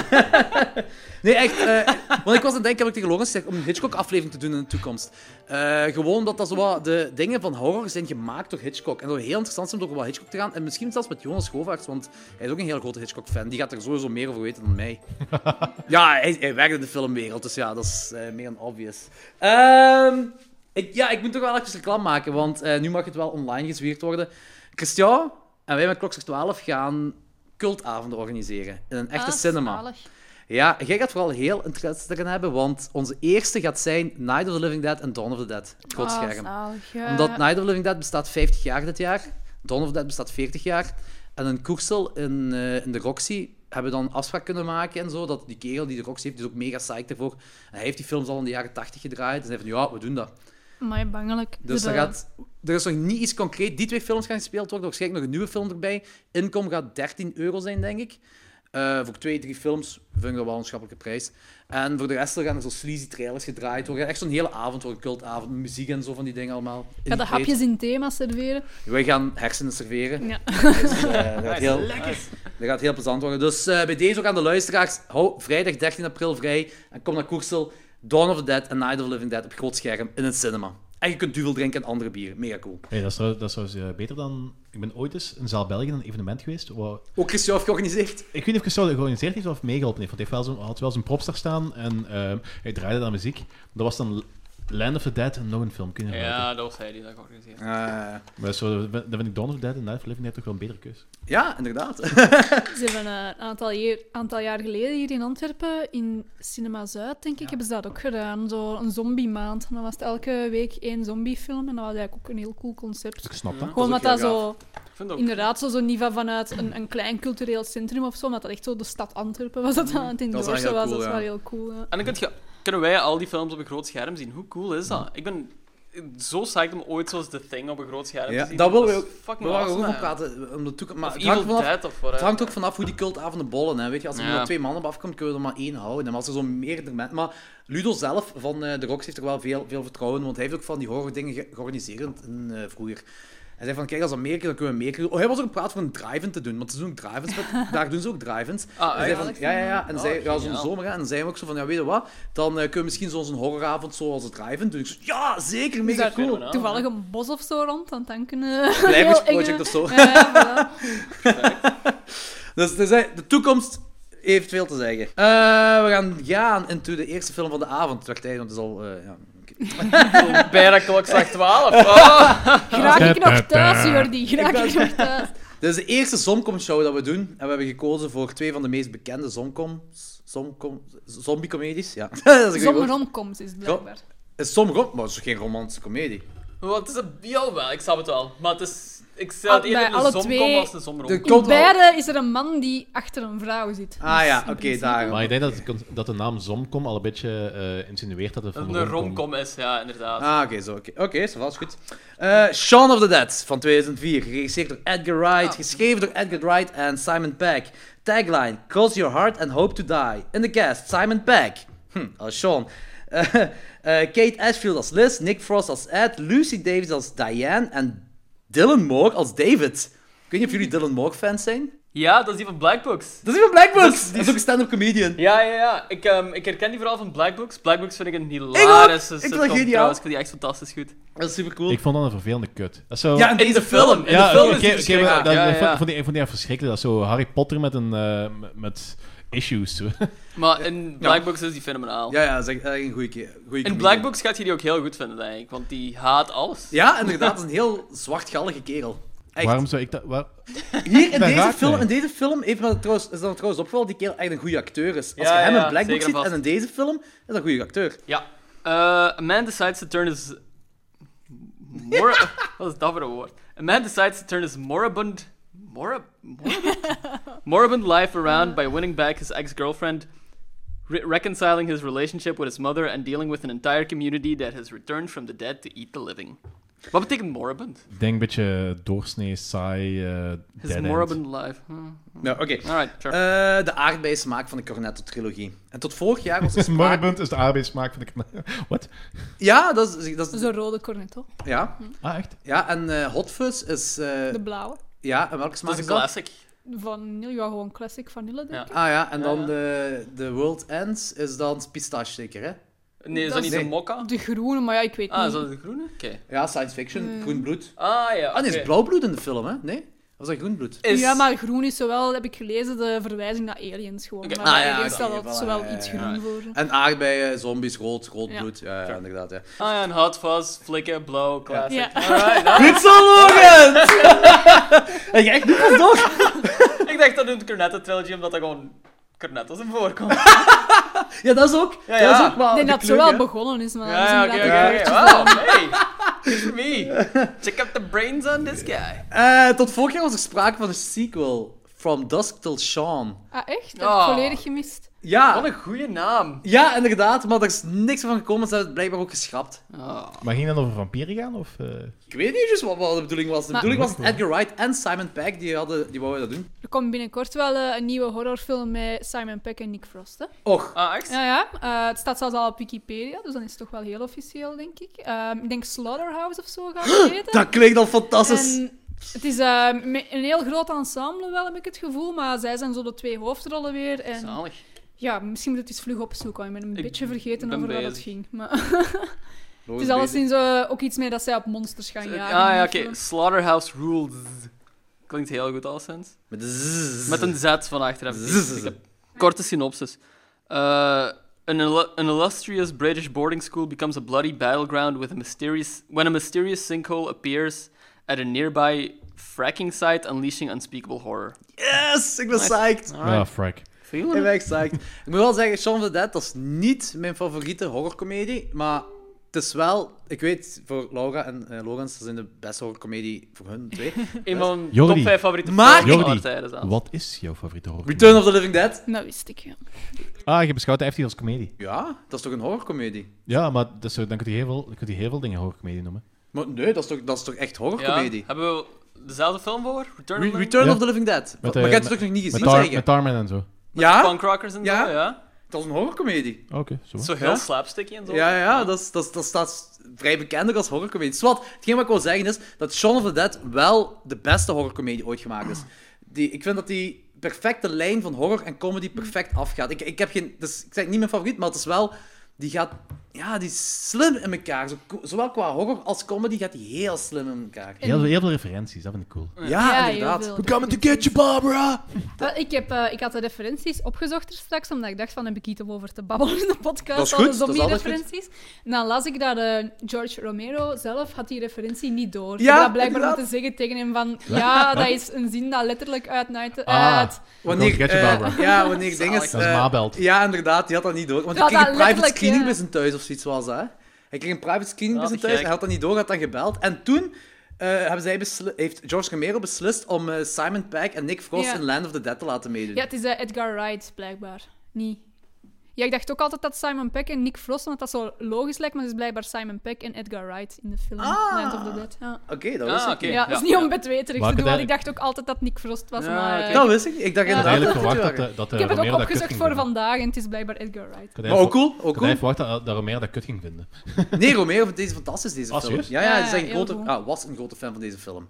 S1: Nee, echt. eh, want ik was aan het denken, heb ik tegen Lorenz gezegd, om een Hitchcock-aflevering te doen in de toekomst. Eh, gewoon omdat dat zo wat de dingen van horror zijn gemaakt door Hitchcock. En dat heel interessant is om door wat Hitchcock te gaan. En misschien zelfs met Jonas Govaerts, want hij is ook een heel grote Hitchcock-fan. Die gaat er sowieso meer over weten dan mij. ja, hij, hij werkt in de filmwereld, dus ja, dat is eh, meer dan obvious. Ehm, ik, ja, ik moet toch wel even reclame maken, want eh, nu mag het wel online gezwierd worden. Christian en wij met Klokster 12 gaan cultavonden organiseren in een echte
S3: Ah,
S1: cinema.
S3: zalig.
S1: Ja, jij gaat vooral heel interesse erin hebben, want onze eerste gaat zijn Night of the Living Dead en Dawn of the Dead. Het groot
S3: Ah,
S1: scherm.
S3: zalig, ja.
S1: Omdat Night of the Living Dead bestaat 50 jaar dit jaar, Dawn of the Dead bestaat 40 jaar. En in Koersel, in, eh, in de Roxy, hebben we dan een afspraak kunnen maken en zo. Dat die kerel die de Roxy heeft, die is ook mega psyched ervoor. En hij heeft die films al in de jaren 80 gedraaid. En zei van, ja, we doen dat.
S3: Amai, bangelijk.
S1: Dus
S3: Zo.
S1: er, gaat, er is nog niet iets concreet. Die twee films gaan gespeeld worden. Waarschijnlijk nog een nieuwe film erbij. Inkom gaat 13 euro zijn, denk ik. Eh, voor twee, drie films vind ik dat wel een schappelijke prijs. En voor de rest gaan er zo sleazy trailers gedraaid worden. Echt zo'n hele avond wordt cultavond. Muziek en zo van die dingen allemaal.
S3: Ik ga de
S1: ingekleed.
S3: hapjes in thema serveren.
S1: Wij gaan hersenen serveren.
S3: Ja.
S1: Dus, eh, dat, gaat heel, dat gaat heel plezant worden. Dus eh, bij deze ook aan de luisteraars. Hou vrijdag 13 april vrij. En kom naar Koersel. Dawn of the Dead en Night of the Living Dead op groot scherm in het cinema. En je kunt duvel drinken en andere bieren. Mega cool.
S2: Hey, dat is trouw- dat is trouwens eh, beter dan... Ik ben ooit eens in Zaal België in een evenement geweest. waar-
S1: Ook Christian heeft georganiseerd.
S2: Ik weet niet of Christel dat georganiseerd heeft of meegeholpen heeft. Want hij heeft wel zo'n- had wel zijn propster staan en ehm, hij draaide dan muziek. Dat was dan Land of the Dead en nog een film. Kun je ja.
S4: Ja, dat was hij die dat georganiseerd heeft.
S1: Eh,
S2: Maar zo, dan vind ik Dawn of the Dead en Night of the Living Dead toch wel een betere keus.
S1: ja, inderdaad.
S3: Ze hebben eh, een aantal, jaar- aantal jaar geleden hier in Antwerpen, in Cinema Zuid, denk ik, hebben ze dat ook gedaan. Zo een zombiemaand. En dan was het elke week één zombiefilm. En dat was eigenlijk ook een heel cool concept.
S2: Ik snap dat.
S3: Gewoon
S1: ook
S3: omdat dat
S1: heel
S3: zo,
S4: Ik vind dat ook.
S3: inderdaad, zo zo'n niveau vanuit een, een klein cultureel centrum of zo. Omdat dat echt zo de stad Antwerpen was dat aan het
S1: Dat is wel heel
S3: indoorsen was.
S1: cool,
S3: dat is
S1: ja.
S3: wel heel cool. Ja.
S4: En dan kun je, kunnen wij al die films op een groot scherm zien. Hoe cool is dat? Ik ben zo psyched om ooit zoals The Thing op een groot scherm
S1: Ja,
S4: te zien.
S1: dat willen
S4: is
S1: we ook. We
S4: Fucking
S1: waren ook
S4: awesome,
S1: van
S4: hè.
S1: praten eh, om de toekomst. Maar
S4: Of
S1: het hangt,
S4: Evil
S1: vanaf,
S4: Dead of
S1: het
S4: whatever.
S1: hangt ook vanaf hoe die cultavonden bollen. Hè. Weet je, als er
S4: Ja.
S1: maar twee mannen op afkomt, kunnen we er maar één houden. En als er zo meerdere mensen. Maar Ludo zelf van eh, de Rox heeft er wel veel, veel vertrouwen in, want hij heeft ook van die horror dingen ge- georganiseerd in, eh, vroeger. Hij zei van, kijk, als dat meer keer, dan kunnen we meer keer doen. Oh, hij was ook gepraat voor een drive-in te doen, want ze doen ook drive-ins, met- daar doen ze ook drive-ins.
S4: Ah,
S1: En zei
S4: echt?
S1: van, ja, ja, ja. En dan
S4: Oh,
S1: zei, ja, zo'n
S4: geniaal.
S1: zomer, hè. en dan zei hij ook zo van, ja, weet je wat, dan eh, kunnen we misschien zo'n zo'n horroravond zoals het drive-in doen. Ik zo, ja, zeker,
S3: Dus
S1: mega
S3: daar
S1: cool.
S4: fenomenaal,
S3: toevallig een bos of zo rond, want dan kunnen...
S1: Blijvers
S3: heel enge-
S1: Project of zo.
S3: Ja, ja, voilà.
S1: Dus, dus, hè, de toekomst heeft veel te zeggen. Eh, we gaan gaan into de eerste film van de avond. Het werd tijd, want het is al... eh, ja. oké.
S4: Bijna klokslag 12. Oh.
S3: Graag ik nog thuis, Jordi. Graag ik nog thuis.
S1: Dit is de eerste Zomcom-show dat we doen. En we hebben gekozen voor twee van de meest bekende Zomcoms. Zomcom, zombie-comedies? Ja. dat is een
S3: Zonder
S1: goeie
S3: omkomst is het blijkbaar.
S1: woord. Sommige, maar het is geen romantische comedie.
S4: Oh, Wat is het? Jawel, ik snap het wel. Maar het is... Ik zou het
S3: Ah,
S4: eerder
S3: bij
S4: een
S3: alle
S4: zom
S3: twee-
S4: komen als een zom
S1: De-
S4: erom.
S3: In
S1: Komt wel.
S3: beide is er een man die achter een vrouw zit.
S1: Ah
S3: Dus
S1: ja,
S3: in
S1: oké,
S3: principe-
S1: daarom.
S2: Maar ik denk dat, het cons- dat de naam Zomcom al een beetje eh, insinueert dat het van de
S4: Een romcom is, ja, inderdaad.
S1: Ah, oké, zo. Oké, oké, zo was goed. Eh, Shaun of the Dead van 2004, geregisseerd door Edgar
S4: Oh.
S1: Wright, geschreven door Edgar Wright en Simon Pegg. Tagline: Cross your heart and hope to die. In the cast: Simon Pegg hm, als Sean. Eh, eh, Kate Ashfield als Liz, Nick Frost als Ed, Lucy Davis als Diane en Dylan Moore als David. Ik weet niet of jullie Dylan Moore fans zijn.
S4: Ja, dat is die van Black Books.
S1: Dat is van Black Books.
S4: is-
S1: Dat is ook een stand-up comedian.
S4: Ja, ja, ja. Ik, ehm, ik herken die vooral van Black Books. Black Books vind ik een hilarische
S1: Ik vind dat
S4: sitcom
S1: geniaal.
S4: trouwens. Ik vind die echt fantastisch goed.
S1: Dat is super cool.
S2: Ik Oh, vond dat een vervelende kut. Dat is zo...
S1: Ja, en deze
S4: de
S1: film.
S4: film. In de film is die
S2: oké, oké,
S4: verschrikkelijk.
S2: maar dat-
S4: Ja,
S2: dat
S4: ja,
S2: vond-
S4: ja.
S2: vond ik- Ik vond die echt verschrikkelijk. Dat is zo Harry Potter met een... eh, met- met issues.
S4: Maar in Black Books is die fenomenaal.
S1: Ja, ja, dat is echt echt een goede keer.
S4: In Black Books gaat je die ook heel goed vinden, denk ik. Want die haat alles.
S1: Ja, inderdaad, dat is een heel zwartgallige kerel. Echt.
S2: Waarom zou ik dat... waar-
S1: Hier in
S2: Daar
S1: deze,
S2: raakt
S1: film,
S2: hij.
S1: in deze film heeft me dat trouwens, is dat trouwens opgevallen dat die kerel echt een goede acteur is. Als
S4: Ja,
S1: je hem
S4: ja,
S1: in Black Book
S4: zeker
S1: ziet
S4: vast.
S1: en in deze film, is dat een goede acteur.
S4: Ja. Eh, a man decides to turn his... Mor- Wat is dat voor een woord? A man decides to turn his moribund... Morib... Moribund? moribund life around by winning back his ex-girlfriend, re- reconciling his relationship with his mother, and dealing with an entire community that has returned from the dead to eat the living. Wat betekent moribund?
S2: Ik denk een beetje doorsnee, saai, eh
S4: His
S2: dead end.
S4: moribund life. Hmm.
S1: Ja, oké.
S4: Alright, sure.
S1: Eh, de aardbeismaak van de Cornetto-trilogie. En tot vorig jaar was er sprake...
S2: Moribund is de arbeidsmaak van de kanaal. Wat?
S1: ja, dat is... Dat
S3: Dat
S1: is
S3: is een rode cornetto.
S1: ja.
S2: Ah, echt?
S1: ja, en eh, Hot Fuzz is... eh,
S3: De blauwe.
S1: ja, en welke smaak
S4: Dat is
S1: is
S4: een
S1: dat?
S4: classic.
S3: Vanille, ja, gewoon classic vanille, denk
S4: Ja.
S3: ik.
S1: Ah ja, en dan
S4: Ja.
S1: De, de World Ends is dan pistache zeker, hè?
S4: Nee, is
S3: Dat
S4: dat
S3: is-
S4: niet de mokka?
S3: De groene, maar ja, ik weet
S4: Ah, is
S3: niet.
S4: dat de groene? Oké.
S1: Ja, science fiction, groen bloed.
S4: Ah, ja.
S1: Ah nee,
S4: oké.
S1: is blauw bloed in de film, hè? Nee? Of is dat groen bloed?
S4: Is-
S3: Ja, maar groen is zowel, heb ik gelezen, de verwijzing naar aliens gewoon.
S4: Oké.
S3: Maar
S1: Ah,
S3: bij
S1: ja,
S3: aliens
S1: oké,
S3: staat
S1: voilà,
S3: dat zowel
S1: ja, ja,
S3: iets
S1: ja.
S3: groen voor.
S1: En aardbeien, zombies, rood, rood
S3: Ja.
S1: bloed. Ja, ja, inderdaad. Ja.
S4: Ah ja, een hot fuzz, flikken, blauw, classic.
S3: Ja.
S4: Alright,
S1: Goed zo, Logan! Heb je Ah. echt niet pas door?
S4: nou, Ik dacht dat een Cornetto trilogy, omdat dat gewoon Cornetto's in voorkomt.
S1: Ja, dat is ook.
S4: Ja,
S1: Dat is
S4: ja.
S1: ook wel
S3: Ik denk
S1: de
S3: dat het
S1: kleur,
S3: zowel
S1: hè.
S3: begonnen is, maar dat is
S4: Ja, oké,
S3: inderdaad
S4: oké.
S3: ook
S4: oké.
S3: echt
S4: Wow, hey. Good for me. Check out the brains on this guy.
S1: Eh, Tot vorig jaar was er sprake van een sequel. From Dusk Till Dawn.
S3: Ah, echt? Dat
S4: Oh.
S3: heb ik volledig gemist.
S4: Wat
S1: Ja,
S4: een goede naam.
S1: ja, inderdaad, maar er is niks van gekomen. Ze hebben het blijkbaar ook geschrapt.
S4: Oh.
S2: Maar ging dat over vampieren gaan? Of, eh?
S1: Ik weet niet eens wat, wat de bedoeling was. De
S3: Maar-
S1: bedoeling was dat Edgar Wright en Simon Pegg, die, hadden, die wouden dat doen.
S3: Er komt binnenkort wel eh, een nieuwe horrorfilm met Simon Peck en Nick Frost, hè?
S1: Och,
S4: Ah, echt?
S3: Ja, ja. eh, het staat zelfs al op Wikipedia, dus dan is het toch wel heel officieel, denk ik. Ehm, ik denk Slaughterhouse of zo gaat het heten.
S1: dat klinkt al fantastisch.
S3: En het is ehm, me- een heel groot ensemble wel, heb ik het gevoel. Maar zij zijn zo de twee hoofdrollen weer. En
S4: Zalig.
S3: ja, misschien moet ik het eens vlug opzoeken. want Ik ben een
S4: Ik
S3: beetje vergeten
S4: ben
S3: over wat het
S4: bezig.
S3: ging. Maar het is alleszins eh, ook iets mee dat zij op monsters gaan
S4: Ah
S3: jagen.
S4: ja,
S3: in
S4: oké.
S3: die film.
S4: Slaughterhouse Rules. Klinkt heel goed alleszins.
S1: Met de zzz.
S4: Met een Z van achteraf.
S1: Zzz.
S4: Ik heb- Korte synopsis. Uh, an, illu- an illustrious British boarding school becomes a bloody battleground with a mysterious when a mysterious sinkhole appears at a nearby fracking site, unleashing unspeakable horror.
S1: Yes, ik ben
S4: Nice.
S1: psyched.
S2: Ah, Frank.
S4: Feeling
S1: Ik
S4: it?
S1: ben echt psyched. Ik moet wel zeggen, Shaun of the Dead, dat is niet mijn favoriete horrorcomedie, maar het is wel... Ik weet, voor Laura en eh Logans, dat zijn de beste horrorcomedie voor hun twee.
S4: Een van mijn
S2: Jordi.
S4: um top 5 favoriete
S1: Maar-
S4: films van
S2: Jordi.
S4: alle tijden zelfs.
S2: Wat is jouw favoriete horror?
S1: dus Return of the Living Dead.
S3: Dat wist ik, ja.
S2: Ah, je beschouwt de FT als comedie.
S1: Ja, dat is toch een horrorcomedie?
S2: Ja, maar dat is zo- dan kun je heel veel, dan kun je heel veel dingen horrorcomedie noemen.
S1: Maar nee, dat is toch, dat is toch echt
S4: Ja,
S1: horrorcomedie?
S4: hebben we dezelfde film voor? Return of
S1: Re-
S4: the
S1: Return
S2: Ja.
S1: of the Living Dead.
S2: Met,
S1: maar
S2: eh,
S1: je hebt het
S2: met-
S1: toch nog niet
S2: Met,
S1: gezien,
S2: Tar-
S1: zeggen?
S2: met Tarman en zo.
S1: Ja,
S4: Punk Rockers en
S1: Ja.
S4: zo, ja.
S1: dat is een horrorcomedie.
S2: Ah, Oké, zo.
S4: Zo heel
S1: Ja.
S4: slapsticky en zo.
S1: Ja,
S3: Ah.
S1: ja, dat, is, dat, is- dat staat vrij bekender als horrorcomedie. Swat, hetgeen wat ik wil zeggen is dat Shaun of the Dead wel de beste horrorcomedie ooit gemaakt is. Die, ik vind dat die perfecte lijn van horror en comedy perfect afgaat. Ik, ik heb geen... Dus, ik zeg niet mijn favoriet, maar het is wel... Die gaat ja, die is slim in elkaar. Zo, zowel qua horror als comedy gaat die heel slim in elkaar. Ja,
S2: Heel, heel veel referenties, dat vind ik cool.
S3: heel
S1: Ah, inderdaad.
S3: veel.
S2: coming to get you, Barbara!
S3: Wel, Ik, heb, eh, ik had de referenties opgezocht er straks, omdat ik dacht van heb ik iets om over te babbelen in de podcast.
S1: Dat is
S3: alle
S1: goed, dat is altijd
S3: zombie-referenties. En dan las ik dat eh, George Romero zelf had die referentie niet door.
S1: Ja,
S3: Ja, dat blijkbaar om te
S1: inderdaad.
S3: zeggen tegen hem van ja, dat is een zin dat letterlijk uit Night
S2: Ah.
S3: uit.
S2: Wanneer, get you,
S1: eh,
S2: Barbara.
S1: ja, wanneer dingen. eh,
S2: Dat is Mabelt.
S1: Ja, inderdaad, die had dat niet door. Want
S3: Ja,
S1: hij kreeg
S3: dat
S1: een private
S3: letterlijk,
S1: screening
S3: ja.
S1: bij zijn thuis of zoiets was, hè? Hij kreeg een private screening bij
S4: Ja,
S1: zijn
S4: die
S1: thuis,
S4: gek.
S1: hij had dat niet door, had dan gebeld. En toen eh, hebben zij besli- heeft George Romero beslist om eh, Simon Pegg en Nick Frost
S3: Ja.
S1: in Land of the Dead te laten meedoen.
S3: Ja, het is eh, Edgar Wright blijkbaar. Niet. Ja, ik dacht ook altijd dat Simon Peck en Nick Frost, omdat dat zo logisch lijkt, maar het is blijkbaar Simon Peck en Edgar Wright in de film
S1: Ah.
S3: Night of the Dead. Ja.
S1: Oké, dat
S4: Ah,
S1: wist ik
S4: oké.
S1: niet.
S3: Ja, dat is
S4: ja,
S3: niet
S4: ja.
S3: om betweterig te
S2: Welke
S3: doen, want
S2: derde-
S3: ik dacht ook altijd dat Nick Frost was,
S4: Ja,
S3: maar...
S4: oké.
S3: eh,
S1: Dat wist ik niet. Ik dacht
S3: Ja.
S2: Ik had
S1: inderdaad
S2: eigenlijk
S1: dat het
S2: verwacht dat,
S1: waren.
S2: eh, dat
S3: Ik heb het
S2: Romero
S3: ook
S2: dat kut
S3: opgezocht
S2: ging
S3: voor
S2: vinden.
S3: vandaag en het is blijkbaar Edgar Wright.
S2: Ik had
S1: Maar ook
S2: eigenlijk
S1: cool, ook
S2: Ik had
S1: cool.
S2: eigenlijk verwacht dat, dat Romero dat kut ging vinden.
S1: Nee, Romero vindt deze fantastisch, deze
S2: Ah,
S1: film.
S2: serieus?
S1: Ja, ja, hij
S3: Ja,
S1: is
S3: ja,
S1: echt een
S3: heel
S1: grote,
S3: goed.
S1: ah, was een grote fan van deze film.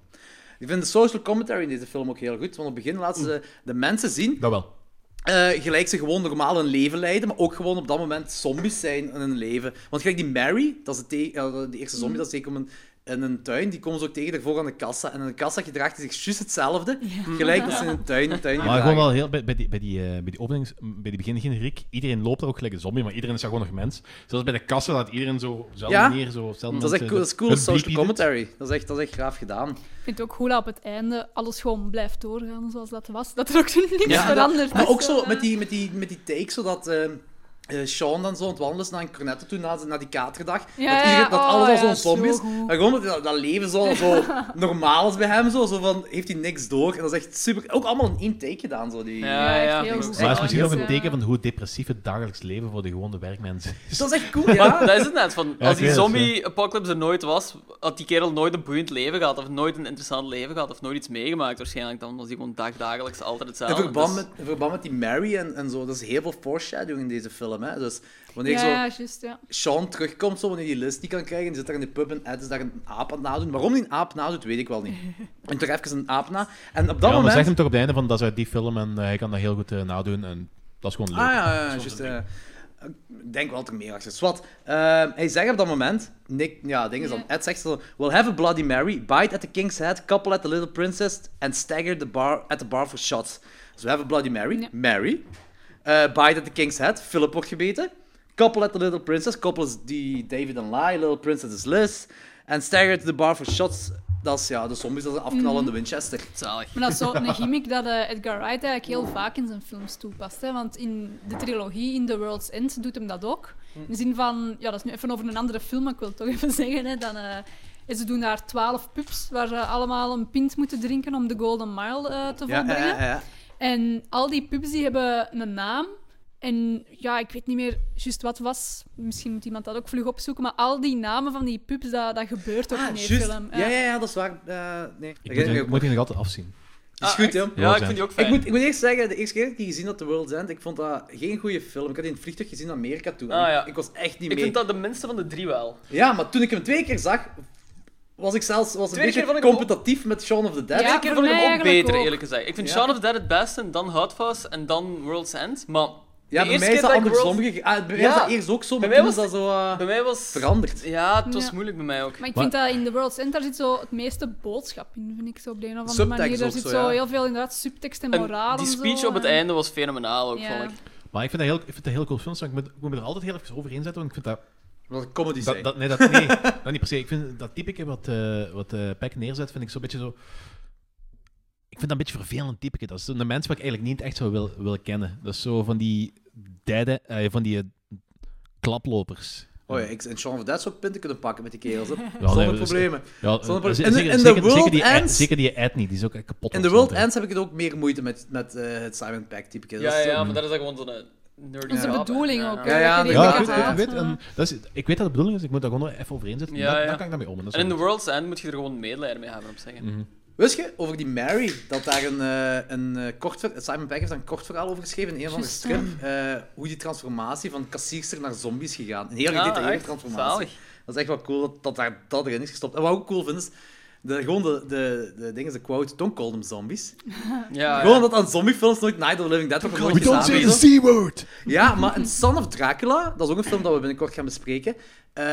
S1: Ik vind de social commentary in deze film ook heel goed. Want op het begin laten ze de mensen zien
S2: Dat wel.
S1: eh, gelijk ze gewoon normaal een leven leiden, maar ook gewoon op dat moment zombies zijn in hun leven. Want gelijk die Mary, dat is de, te- eh, die eerste
S3: Mhm.
S1: zombie, dat is zeker om een, in een tuin, die komen ze ook tegen daarvoor aan de kassa. En in de kassa gedraagt hij zich juist hetzelfde, gelijk als ze in een tuin, een tuin
S2: Maar
S1: gedragen.
S2: gewoon wel heel, bij, bij die, bij die, eh, bij die openings, bij die begingeneriek, iedereen loopt daar ook gelijk een zombie, maar iedereen is daar gewoon nog mens. Zoals bij de kassen, dat iedereen zo op dezelfde
S1: Ja.
S2: manier, zo op eh, dezelfde
S1: Dat is echt
S2: mensen-
S1: cool, dat is cool
S2: hun
S1: social
S2: bleepie
S1: commentary. Dat is echt, dat is echt graaf gedaan.
S3: Ik vind het ook cool dat op het einde alles gewoon blijft doorgaan zoals dat was. Dat er ook niks
S1: Ja, dat-
S3: verandert.
S1: Maar
S3: Dus,
S1: ook zo
S3: eh,
S1: met die, met die, met die take, zodat eh, eh, Sean dan zo aan het wandelen is naar een cornetto toe, na, na die katerdag.
S3: Ja,
S1: dat iedereen- dat
S3: ja,
S1: alles
S3: oh,
S1: al
S3: ja,
S1: zo'n
S3: dat is
S1: zombie
S3: zo
S1: is.
S3: goed.
S1: Maar gewoon dat, dat- dat leven zo, zo normaal is bij hem. Zo, zo van, heeft hij niks door. En dat is echt super... Ook allemaal in één take gedaan. Zo, die...
S4: Ja,
S3: echt
S4: ja.
S3: heel goed.
S4: ik-
S2: Maar het is
S3: Oh,
S2: misschien
S3: dus,
S2: ook een
S3: eh,
S2: teken van hoe depressief het dagelijks leven voor de gewone werkmensen is.
S1: Dus dat is echt cool, ja.
S4: Maar dat is het net. Van,
S2: Ja,
S4: als
S2: ik
S4: die
S2: weet het,
S4: zombie-apocalypse er nooit was, had die kerel nooit een boeiend leven gehad, of nooit een interessant leven gehad, of nooit iets meegemaakt waarschijnlijk. Dan was die gewoon dagdagelijks altijd hetzelfde.
S1: In verband,
S4: Dus-
S1: met, in verband met die Mary en, en zo, dat is heel veel foreshadowing in deze film. Hè? Dus wanneer
S3: ja,
S1: zo
S3: ja, juist, ja.
S1: Sean terugkomt, zo, wanneer hij list niet kan krijgen, die zit daar in de pub en Ed is daar een aap aan het nadoen. Waarom hij een aap nadoet, weet ik wel niet. En toch even een aap na. En op dat
S2: ja, maar
S1: moment...
S2: zegt hem toch op het einde van, dat is uit die film en eh, hij kan dat heel goed eh, nadoen en dat is gewoon leuk.
S1: Ah ja, ja, ja, juist. eh, ik denk wel dat er meer achter zit. Wat? ehm, hij zegt op dat moment, Nick, ja, ding is dan,
S3: Ja.
S1: Ed zegt zo, we'll have a bloody Mary, bite at the king's head, couple at the little princess, and stagger the bar at the bar for shots. Dus we have a bloody Mary,
S3: Ja.
S1: Mary, eh, bite at the king's head, Philip wordt gebeten, couple at the little princess, couple is die David en Lai, little princess is Liz, and stagger to the bar for shots. Dat is, ja, de zombies, dat is een
S3: Mhm.
S1: afknallende Winchester.
S4: Zalig.
S3: Maar dat is zo een gimmick dat eh, Edgar Wright eigenlijk heel vaak in zijn films toepast. Hè? Want in de trilogie In The World's End doet hem dat ook.
S1: Hm.
S3: In de zin van, ja, dat is nu even over een andere film, maar ik wil het toch even zeggen. Hè? Dan, eh, en ze doen daar twaalf pubs waar ze allemaal een pint moeten drinken om de Golden Mile eh, te
S1: Ja, ja,
S3: volbrengen.
S1: ja, ja.
S3: En al die pubs die hebben een naam. En ja, ik weet niet meer juist wat was. Misschien moet iemand dat ook vlug opzoeken. Maar al die namen van die pubs, dat, dat gebeurt ook
S1: Ah,
S3: in die
S1: juist.
S3: film.
S1: Ja, ja, ja, dat is waar. Eh, nee,
S2: Ik moet, die-
S1: Dat
S2: ik moet die nog altijd afzien.
S1: is
S4: Ah,
S1: goed,
S4: echt?
S1: Tim.
S4: Ja, ik vind die ook fijn.
S1: Ik moet, ik moet eerst zeggen, de eerste keer dat ik die gezien had, The World's End, ik vond dat geen goede film. Ik had die in het vliegtuig gezien naar Amerika toe.
S4: Ah, ja.
S1: Ik was echt niet
S4: Ik
S1: mee.
S4: vind dat de minste van de drie wel.
S1: Ja, maar toen ik hem twee keer zag, was ik zelfs was een
S4: Tweede keer vond
S1: beetje
S4: ik hem
S1: competitief met Shaun of the Dead.
S3: Ja,
S4: Elke keer
S3: voor
S4: vond ik
S3: mij
S4: hem ook
S3: eigenlijk
S4: beter,
S3: ook.
S4: eerlijk gezegd. Ik vind
S1: Ja.
S4: Shaun of the Dead het beste, en dan Houtfast, en dan World's End. Maar
S1: Ja,
S4: de
S1: bij
S4: eerste
S1: mij is
S4: keer
S1: dat
S4: dat ik
S1: andersom
S4: World's-
S1: gegaan. Ah, bij mij
S4: Ja.
S1: was dat eerst ook zo, maar
S4: mij
S1: toen was
S4: was-
S1: dat zo eh,
S4: Bij mij was...
S1: veranderd.
S4: Ja, het was
S3: Ja.
S4: moeilijk bij mij ook.
S3: Maar ik
S2: Maar-
S3: vind dat in The World Center zit zo het meeste boodschap in, vind ik zo op de een of andere
S1: Subtekst
S3: manier.
S1: ook
S3: Er zit
S1: zo,
S3: zo,
S1: ja.
S3: heel veel inderdaad subtekst en
S4: En
S3: moraal.
S4: die
S3: en
S4: speech
S3: zo,
S4: op het
S3: en-
S4: einde was fenomenaal ook,
S3: Ja.
S4: vond ik.
S2: Maar ik vind dat heel, ik vind dat heel cool films, maar ik moet, ik moet me er altijd heel even over inzetten, want ik vind dat
S1: Wat een comedy
S2: Dat,
S1: zijn.
S2: dat, nee, dat, nee dat niet per se. Ik vind dat typeke wat, eh wat eh Peck neerzet, vind ik zo'n beetje zo... Ik vind dat een beetje vervelend typeke. Dat is een mens waar ik eigenlijk niet echt zou wil, willen kennen. Dat is zo van die derde, eh, van die eh, klaplopers.
S1: Oh ja, ik, en Shaun of the Dead zou ik punten kunnen pakken met die kerels. hè.
S2: nee,
S1: Zonder
S2: dat is-
S1: problemen.
S2: Ja, eh,
S1: Zonder-
S2: ze-
S1: In-
S2: zeker-
S1: in The
S2: zeker-
S1: World
S2: zeker die Ed-
S1: Ends-
S2: Zeker die Ed niet, die is ook echt kapot.
S1: In The World
S2: ontzettend.
S1: Ends heb ik het ook meer moeite met, met eh, het Simon Pegg type.
S4: Ja, ja, maar dat is dan gewoon zo'n nerdy
S3: Onze
S4: grap, hè.
S3: bedoeling
S4: Ja,
S3: ook.
S4: ja.
S3: hè,
S1: ja,
S3: dat je die
S2: Ja,
S1: inderdaad,
S2: ik
S3: dingen
S2: weet, ik,
S3: haalt,
S2: weet,
S3: eh.
S2: en dat is, ik weet dat de bedoeling is, ik moet daar gewoon nog even over inzetten.
S4: Ja,
S2: dan,
S4: ja.
S2: dan kan ik daarmee om. en dat
S4: En
S2: is
S4: in The
S2: wel Mm.
S4: World's End moet je er gewoon een medelijden mee hebben, op zeggen.
S1: Wist je over die Mary dat daar een, eh, een eh, kort ver- Simon Pegg heeft daar een kort verhaal over geschreven in een van de
S3: Juist,
S1: strip eh, hoe die transformatie van kassierster naar zombie is gegaan. Een heel
S4: Ja,
S1: gedetailleerde
S4: Ah, echt?
S1: transformatie.
S4: Zalig.
S1: Dat is echt wel cool dat, dat daar dat erin is gestopt. En wat ik ook cool vind is De, gewoon de, de, de dingen, de quote, don't call them zombies.
S4: Ah, Ja,
S1: Gewoon dat aan zombiefilms nooit Night of the Living Dead wordt nooit gedaan. weet je.
S2: C-word!
S1: Ja, maar in Son of Dracula, dat is ook een film dat we binnenkort gaan bespreken, eh,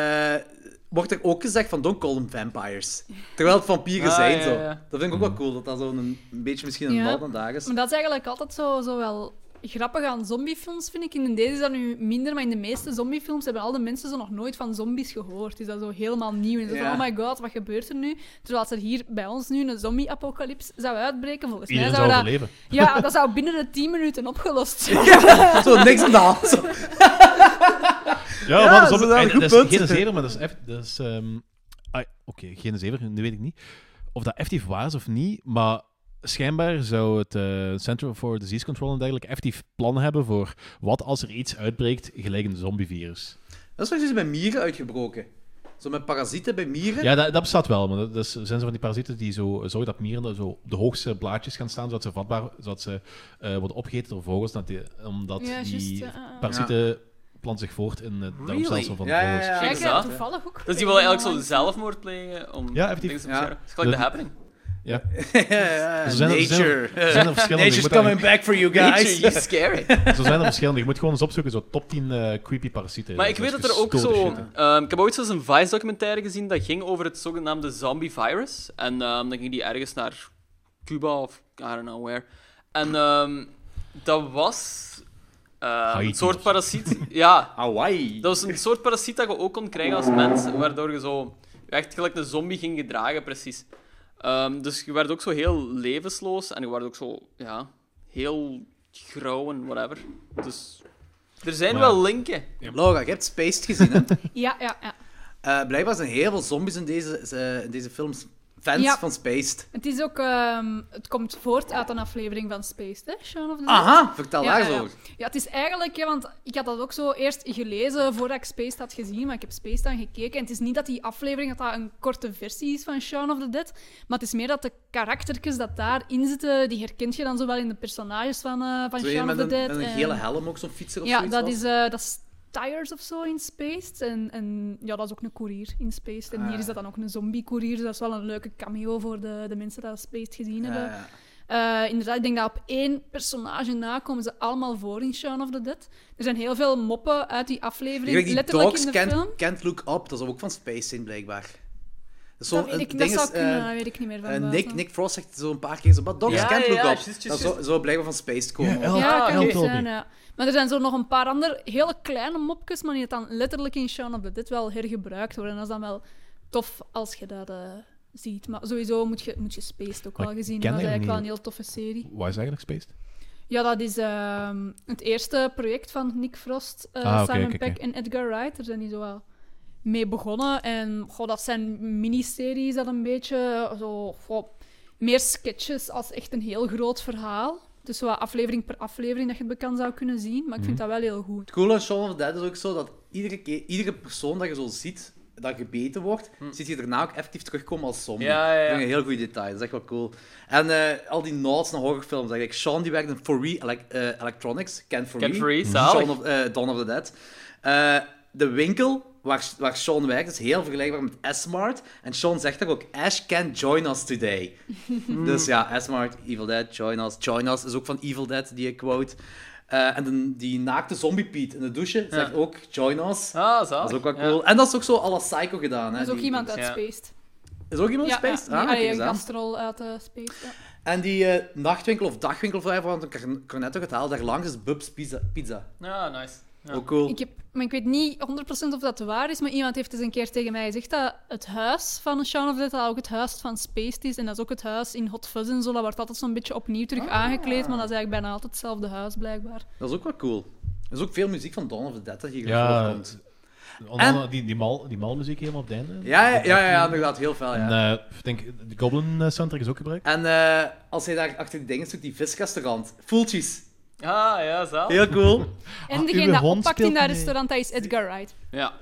S1: wordt er ook gezegd van don't call them vampires. Terwijl het vampieren
S4: Ah,
S1: zijn,
S4: ja,
S1: zo.
S4: ja.
S1: Dat vind ik ook wel cool, dat dat zo'n een, een beetje misschien
S3: Ja.
S1: een bal van dag is.
S3: Maar dat is eigenlijk altijd zo, zo wel grappig aan zombiefilms, vind ik. In deze is dat nu minder, maar in de meeste zombiefilms hebben al de mensen zo nog nooit van zombies gehoord. Is dat zo helemaal nieuw. En zo
S1: Ja.
S3: van, oh my god, wat gebeurt er nu? Terwijl als er hier bij ons nu een zombie-apocalypse zou uitbreken, volgens mij
S2: Iedereen
S3: zou
S2: zou
S3: dat...
S2: overleven.
S3: Ja, dat zou binnen de 10 minuten opgelost zijn.
S1: Zo, niks aan de hand. Zo.
S2: Ja,
S1: Ja,
S2: maar dat
S1: dat
S2: is,
S1: is
S2: op-
S1: wel een
S2: en
S1: goed
S2: dat is
S1: punt.
S2: geen zever, maar dat is echt... dat is, ehm, ah, Oké, geen zever, nu weet ik niet. Of dat effectief was of niet, maar schijnbaar zou het eh, Center for Disease Control en dergelijke effectief plannen hebben voor wat als er iets uitbreekt gelijk een zombievirus.
S1: Dat is precies bij mieren uitgebroken. Zo met parasieten bij mieren.
S2: Ja, dat, dat bestaat wel, maar dat, dat is- zijn zo van die parasieten die zo zorgen dat mieren daar zo op de hoogste blaadjes gaan staan, zodat ze vatbaar zodat ze eh, worden opgegeten door vogels, dat die- omdat
S3: Ja,
S2: die
S3: juist, eh, eh.
S2: parasieten planten zich voort in het darmstelsel van de
S1: Ja, ja,
S2: vogels.
S1: ja.
S3: Ja, ik
S4: is
S3: heb
S4: dat?
S3: toevallig ook...
S4: Dus die willen eigenlijk zo zelfmoord plegen om
S2: Ja, effectief.
S4: dingen te
S1: Ja.
S4: beschermen. Het is gelijk de
S2: Dat-
S4: happening.
S2: Zo zijn er- zijn er-
S1: Nature.
S2: zijn er verschillende. Je
S1: Nature's
S2: moet
S1: coming back for you guys.
S4: Nature, you're scary.
S2: Zo zijn er verschillende. Je moet gewoon eens opzoeken, zo top 10 eh, creepy parasieten.
S4: Maar
S2: Dat
S4: ik
S2: is
S4: weet dat er
S2: gestoorde
S4: ook zo.
S2: shit, hè.
S4: ehm, ik heb ooit eens een Vice-documentaire gezien dat ging over het zogenaamde zombie virus. En ehm, dan ging die ergens naar Cuba of I don't know where. En ehm, dat was eh,
S2: Haiti
S4: een
S2: of
S4: soort
S2: zo.
S4: parasiet. ja,
S1: Hawaii.
S4: dat was een soort parasiet dat je ook kon krijgen als mens, waardoor je zo je echt gelijk een zombie ging gedragen, precies. Ehm, dus je werd ook zo heel levensloos en je werd ook zo, ja, heel grauw en whatever. Dus er zijn
S2: Maar-
S4: wel linken.
S1: Laura, je hebt Spaced gezien, hè?
S3: Ja, ja, ja.
S1: Eh, blijkbaar zijn heel veel zombies in deze, eh, in deze films fans
S3: Ja.
S1: van Spaced.
S3: Het is ook... ehm, het komt voort uit een aflevering van Space, hè? Shaun of the Dead.
S1: Aha, vertel daar eens
S3: ja, ja.
S1: over.
S3: Ja, het is eigenlijk, ja, want ik had dat ook zo eerst gelezen voordat ik Space had gezien, maar ik heb Space dan gekeken. En het is niet dat die aflevering dat dat een korte versie is van Shaun of the Dead, maar het is meer dat de karaktertjes dat daarin zitten, die herkent je dan zowel in de personages van, eh, van
S1: Zo een
S3: Shaun
S1: met
S3: of the
S1: een,
S3: Dead.
S1: met een
S3: en-
S1: gele helm, ook zo'n fietser of
S3: Ja,
S1: zoiets.
S3: dat
S1: was.
S3: is, eh, dat is Tires of zo in Space. En, en ja, dat is ook een koerier in Space. En
S1: Ah,
S3: hier is
S1: ja.
S3: dat dan ook een zombie-koerier, dus dat is wel een leuke cameo voor de, de mensen die Space gezien
S1: Ja,
S3: hebben.
S1: ja.
S3: Eh, inderdaad, ik denk dat op één personage na komen ze allemaal voor in Shaun of the Dead. Er zijn heel veel moppen uit die
S1: Ik
S3: aflevering,
S1: denk die
S3: letterlijk
S1: dogs
S3: in de film.
S1: can't, can't look up, dat is ook van Space in blijkbaar. Dat,
S3: Dat, weet ik, dat zou kunnen, dat weet ik niet meer van
S1: eh, Nick,
S3: buiten.
S1: Nick Frost zegt zo een paar keer zo, but dogs
S4: Ja,
S1: can't
S4: ja,
S1: look
S4: ja,
S1: up.
S4: juist,
S1: dat
S4: juist,
S1: zou, zou blijkbaar van Space komen.
S2: Ja,
S3: Ja,
S4: Ah,
S3: kan
S4: oké.
S3: ook zijn,
S2: Toby.
S3: ja. Maar er zijn zo nog een paar andere hele kleine mopjes, maar die het dan letterlijk in Shaun of the Dead wel hergebruikt worden. En dat is dan wel tof als je dat eh, ziet. Maar sowieso moet je, moet je Spaced ook
S2: Maar
S3: wel
S2: ik
S3: gezien
S2: ken
S3: hebben. Dat is
S2: die
S3: eigenlijk wel een
S2: niet.
S3: heel toffe serie.
S2: Waar is eigenlijk Spaced?
S3: Ja, dat is ehm, het eerste project van Nick Frost, eh,
S2: Ah, oké,
S3: Simon
S2: oké,
S3: Peck
S2: oké.
S3: en Edgar Wright. Daar zijn die zo wel mee begonnen. En goh, dat zijn miniseries dat een beetje eh, zo, goh, meer sketches als echt een heel groot verhaal. Dus zo wat aflevering per aflevering dat je het bekend zou kunnen zien. Maar ik vind
S2: Mhm.
S3: dat wel heel goed.
S1: Het coole aan Shaun of the Dead is ook zo dat iedere, keer, iedere persoon dat je zo ziet, dat gebeten wordt, ziet je daarna ook effectief terugkomen als zombie.
S4: Hm. Ja, ja, ja.
S1: Dat vind ik een heel goed detail, dat is echt wel cool. En eh, al die nods naar horrorfilms, like, Sean die werkt in For Re elec- eh, Electronics, Ken For
S4: Ken
S1: Re,
S4: For Re,
S1: Mhm.
S4: zalig.
S1: Shaun of, eh, Dawn of the Dead. Eh, de winkel waar, waar Sean werkt is heel vergelijkbaar met S-Mart. En Sean zegt daar ook, Ash can't join us today. Dus
S3: Mm.
S1: ja, S-Mart, Evil Dead, Join Us. Join Us is ook van Evil Dead, die ik quote. Eh, en de- die naakte zombie Piet in de douche zegt
S4: Ja.
S1: ook Join Us.
S4: Ah, zalig.
S1: Dat is ook wel
S4: Ja.
S1: cool. En dat is ook zo alle Psycho gedaan. Hè,
S3: Dat is ook
S1: Ah, die-
S3: iemand
S4: die-
S3: uit
S4: ja.
S3: Spaced.
S1: Is ook iemand
S3: ja,
S1: Space?
S3: ja,
S1: ah,
S3: die-
S1: kijk
S3: allee,
S1: eens
S3: een
S1: aan.
S3: gastrol uit eh, Spaced. Ja.
S1: En die eh, nachtwinkel of dagwinkel, of whatever, want ik kan net ook het halen, daar langs is Bub's Pizza. pizza.
S4: Ja, Ah, nice. Ja.
S1: Ook cool.
S3: Ik, heb, maar ik weet niet 100% of dat waar is, maar iemand heeft eens een keer tegen mij gezegd dat het huis van Shaun of the Dead dat ook het huis van Spaced is. En dat is ook het huis in Hot Fuzz en zo. Dat wordt altijd zo'n beetje opnieuw terug aangekleed, maar dat is eigenlijk bijna altijd hetzelfde huis, blijkbaar.
S1: Dat is ook wel cool. Er is ook veel muziek van Dawn of the Dead dat hier
S2: Ja.
S1: voorkomt.
S2: Onder andere Die, die, mal, die malmuziek helemaal op het einde.
S1: Ja, ja, ja, ja, inderdaad, heel veel. Ja.
S2: En, eh, ik denk, de Goblin eh, soundtrack is ook gebruikt.
S1: En eh, als hij daar achter die dingen zoekt, die visrestaurant. Fultjes.
S4: Ah, ja, zalig.
S1: Heel cool.
S3: En
S2: Ah, uw
S3: degene dat
S2: hond
S3: oppakt
S2: speelt
S3: in dat
S2: mee.
S3: restaurant, dat is Edgar Wright.
S4: Ja.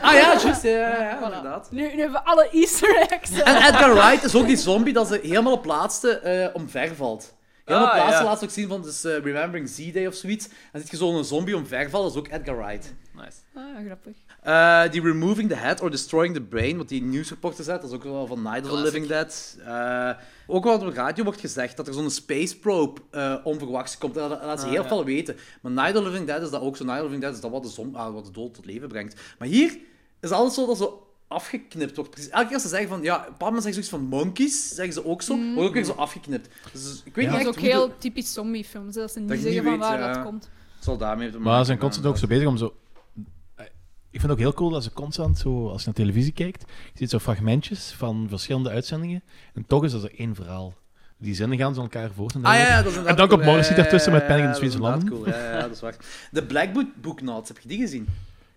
S1: Ah ja, juist. Ja, ja, ja, inderdaad.
S3: Nu, nu hebben we alle easter eggs.
S1: En Edgar Wright is ook die zombie dat ze helemaal op laatste eh omver valt. Heel veel
S4: Ah,
S1: plaatsen
S4: ja.
S1: laatst ook zien van dus, eh, Remembering Z-Day of zoiets. Dan zit je zo'n zombie omvervallen, dat is ook Edgar Wright.
S4: Nice.
S3: Ah, grappig.
S1: Eh, die Removing the Head or Destroying the Brain, wat die nieuwsreporter zet, dat is ook wel van Night of the
S4: Classic.
S1: Living Dead. Eh, ook wel op de radio wordt gezegd dat er zo'n space probe eh, onverwachts komt. En dat laat
S3: Ah,
S1: ze heel veel weten. Maar Night of the Living Dead is dat ook zo. Night of the Living Dead is dat wat de, zon, ah, wat de dood tot leven brengt. Maar hier is alles zo dat zo afgeknipt wordt. Precies. Elke keer als ze zeggen van, ja, op een bepaald moment zeggen ze zoiets van monkeys, zeggen ze ook zo, wordt ook weer zo afgeknipt. Dus ik weet
S2: Ja.
S1: niet
S3: Mm. Dat is
S1: echt
S3: ook
S1: hoe de-
S3: heel typisch zombiefilms, hè, dat ze
S1: Dat
S3: niet
S1: je
S3: zeggen
S1: niet
S3: van
S1: weet,
S3: waar
S1: ja.
S3: dat komt.
S1: Het zal daarmee te maken
S2: Maar ze zijn
S1: hebben,
S2: constant ook zo
S1: inderdaad.
S2: bezig om zo... eh, Ik vind het ook heel cool dat ze constant zo, als je naar televisie kijkt, je ziet zo fragmentjes van verschillende uitzendingen. En toch is dat er één verhaal. Die zinnen gaan ze elkaar voort. En
S1: Ah ja, ja, dat is
S2: En dan komt Morrissey
S1: daar
S2: daartussen met Panic in the Streets of
S1: Cool. Ja, ja, dat is waar. De Black Book, Book Notes, heb je die gezien?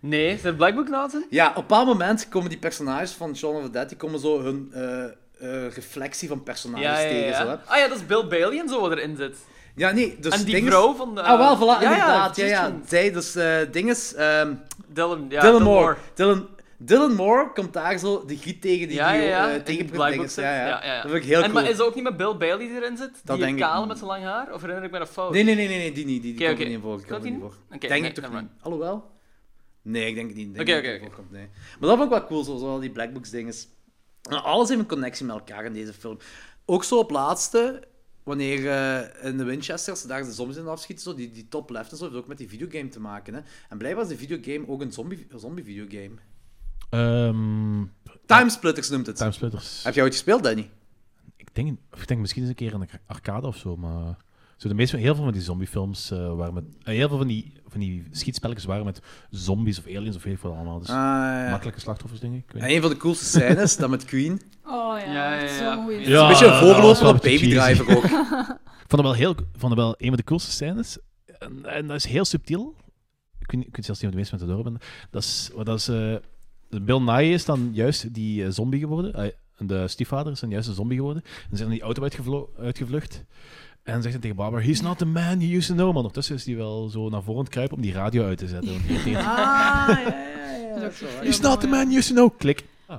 S4: Nee, zijn Black Book nou, Notes in?
S1: Ja, op een bepaald moment komen die personages van Shaun of the Dead, die komen zo hun eh, eh, reflectie van personages
S4: Ja, ja,
S1: tegen.
S4: ja.
S1: Zo, hè.
S4: Ah ja, dat is Bill Bailey en zo wat erin zit.
S1: ja, nee, dus
S4: en die
S1: dinges-
S4: vrouw van... de-
S1: Ah, wel, voilà,
S4: ja,
S1: inderdaad. Ja,
S4: juist
S1: ja.
S4: van
S1: Zij, dus eh dinges... ehm,
S4: Dylan, ja,
S1: Dylan Moore. Dylan, Dylan Moore komt daar zo de giet tegen die
S4: Ja, ja, ja.
S1: eh,
S4: in
S1: tegen
S4: die Black Book
S1: dinges.
S4: zit.
S1: Ja, ja.
S4: Ja, ja, ja.
S1: Dat vind ik heel
S4: en,
S1: cool.
S4: Maar is dat ook niet met Bill Bailey die erin zit?
S1: Dat
S4: die
S1: denk ik
S4: kale
S1: niet.
S4: met zijn lang haar? Of herinner ik me dat fout?
S1: Nee, nee, nee, nee, nee, die niet. Die, die
S4: Oh. Oké,
S1: komt er
S4: oké.
S1: niet voor. die
S4: Komt
S1: komt er
S4: die
S1: niet voor.
S4: Oké,
S1: denk
S4: nee,
S1: ik toch
S4: never
S1: niet. Alhoewel? Nee, ik denk het niet. Ik denk
S4: Oké,
S1: niet dat
S4: oké,
S1: die
S4: oké.
S1: voorkomt, nee. Maar dat vond ik wel cool, zoals al die Black Books dinges. En alles heeft een connectie met elkaar in deze film. Ook zo op laatste, wanneer eh, in de Winchester, als ze daar de zombies in afschieten, zo, die, die top left en zo, heeft ook met die videogame te maken. Hè. En blijkbaar is de videogame ook een zombie, een zombie videogame.
S2: Ehm,
S1: Timesplitters noemt het.
S2: Timesplitters.
S1: Heb jij ooit gespeeld, Danny?
S2: Ik denk, of ik denk misschien eens een keer in een arcade of zo, maar... Zo de meeste, heel veel van die zombiefilms eh, waren met... eh, heel veel van die, van die schietspelletjes waren met zombies of aliens of weet ik wat allemaal. Dus
S1: Ah, ja. Ah,
S2: makkelijke slachtoffers, denk ik. ik weet
S1: Eh, En een van de coolste scènes, dat met Queen.
S3: Oh ja,
S4: Ja, ja,
S3: echt
S4: ja.
S3: zo'n goeie
S2: Ja.
S3: film.
S1: Een beetje een
S2: Ah, dat was
S1: voorloper
S2: wel
S1: op
S2: een beetje
S1: Baby Driver ook.
S2: Ik vond het wel, heel, ik vond het wel een van de coolste scènes. En, en dat is heel subtiel. Ik weet, niet- ik weet zelfs niet of de meeste mensen door hebben. Dat is, wat dat is, eh, Bill Nye is dan juist die eh, zombie geworden. Ah, de stiefvader is dan juist een zombie geworden. En ze zijn dan die auto uitgevlo- uitgevlucht. En zegt hij tegen Barbara, he's not the man he used to know. Maar ondertussen is hij wel zo naar voren aan het kruipen om die radio uit te zetten. Want die irriteert.
S1: Ah, ja, ja, ja.
S3: Dat is ook
S2: he's
S3: heel
S2: not the
S3: mooi.
S2: man he used to know. Klik.
S3: Ah,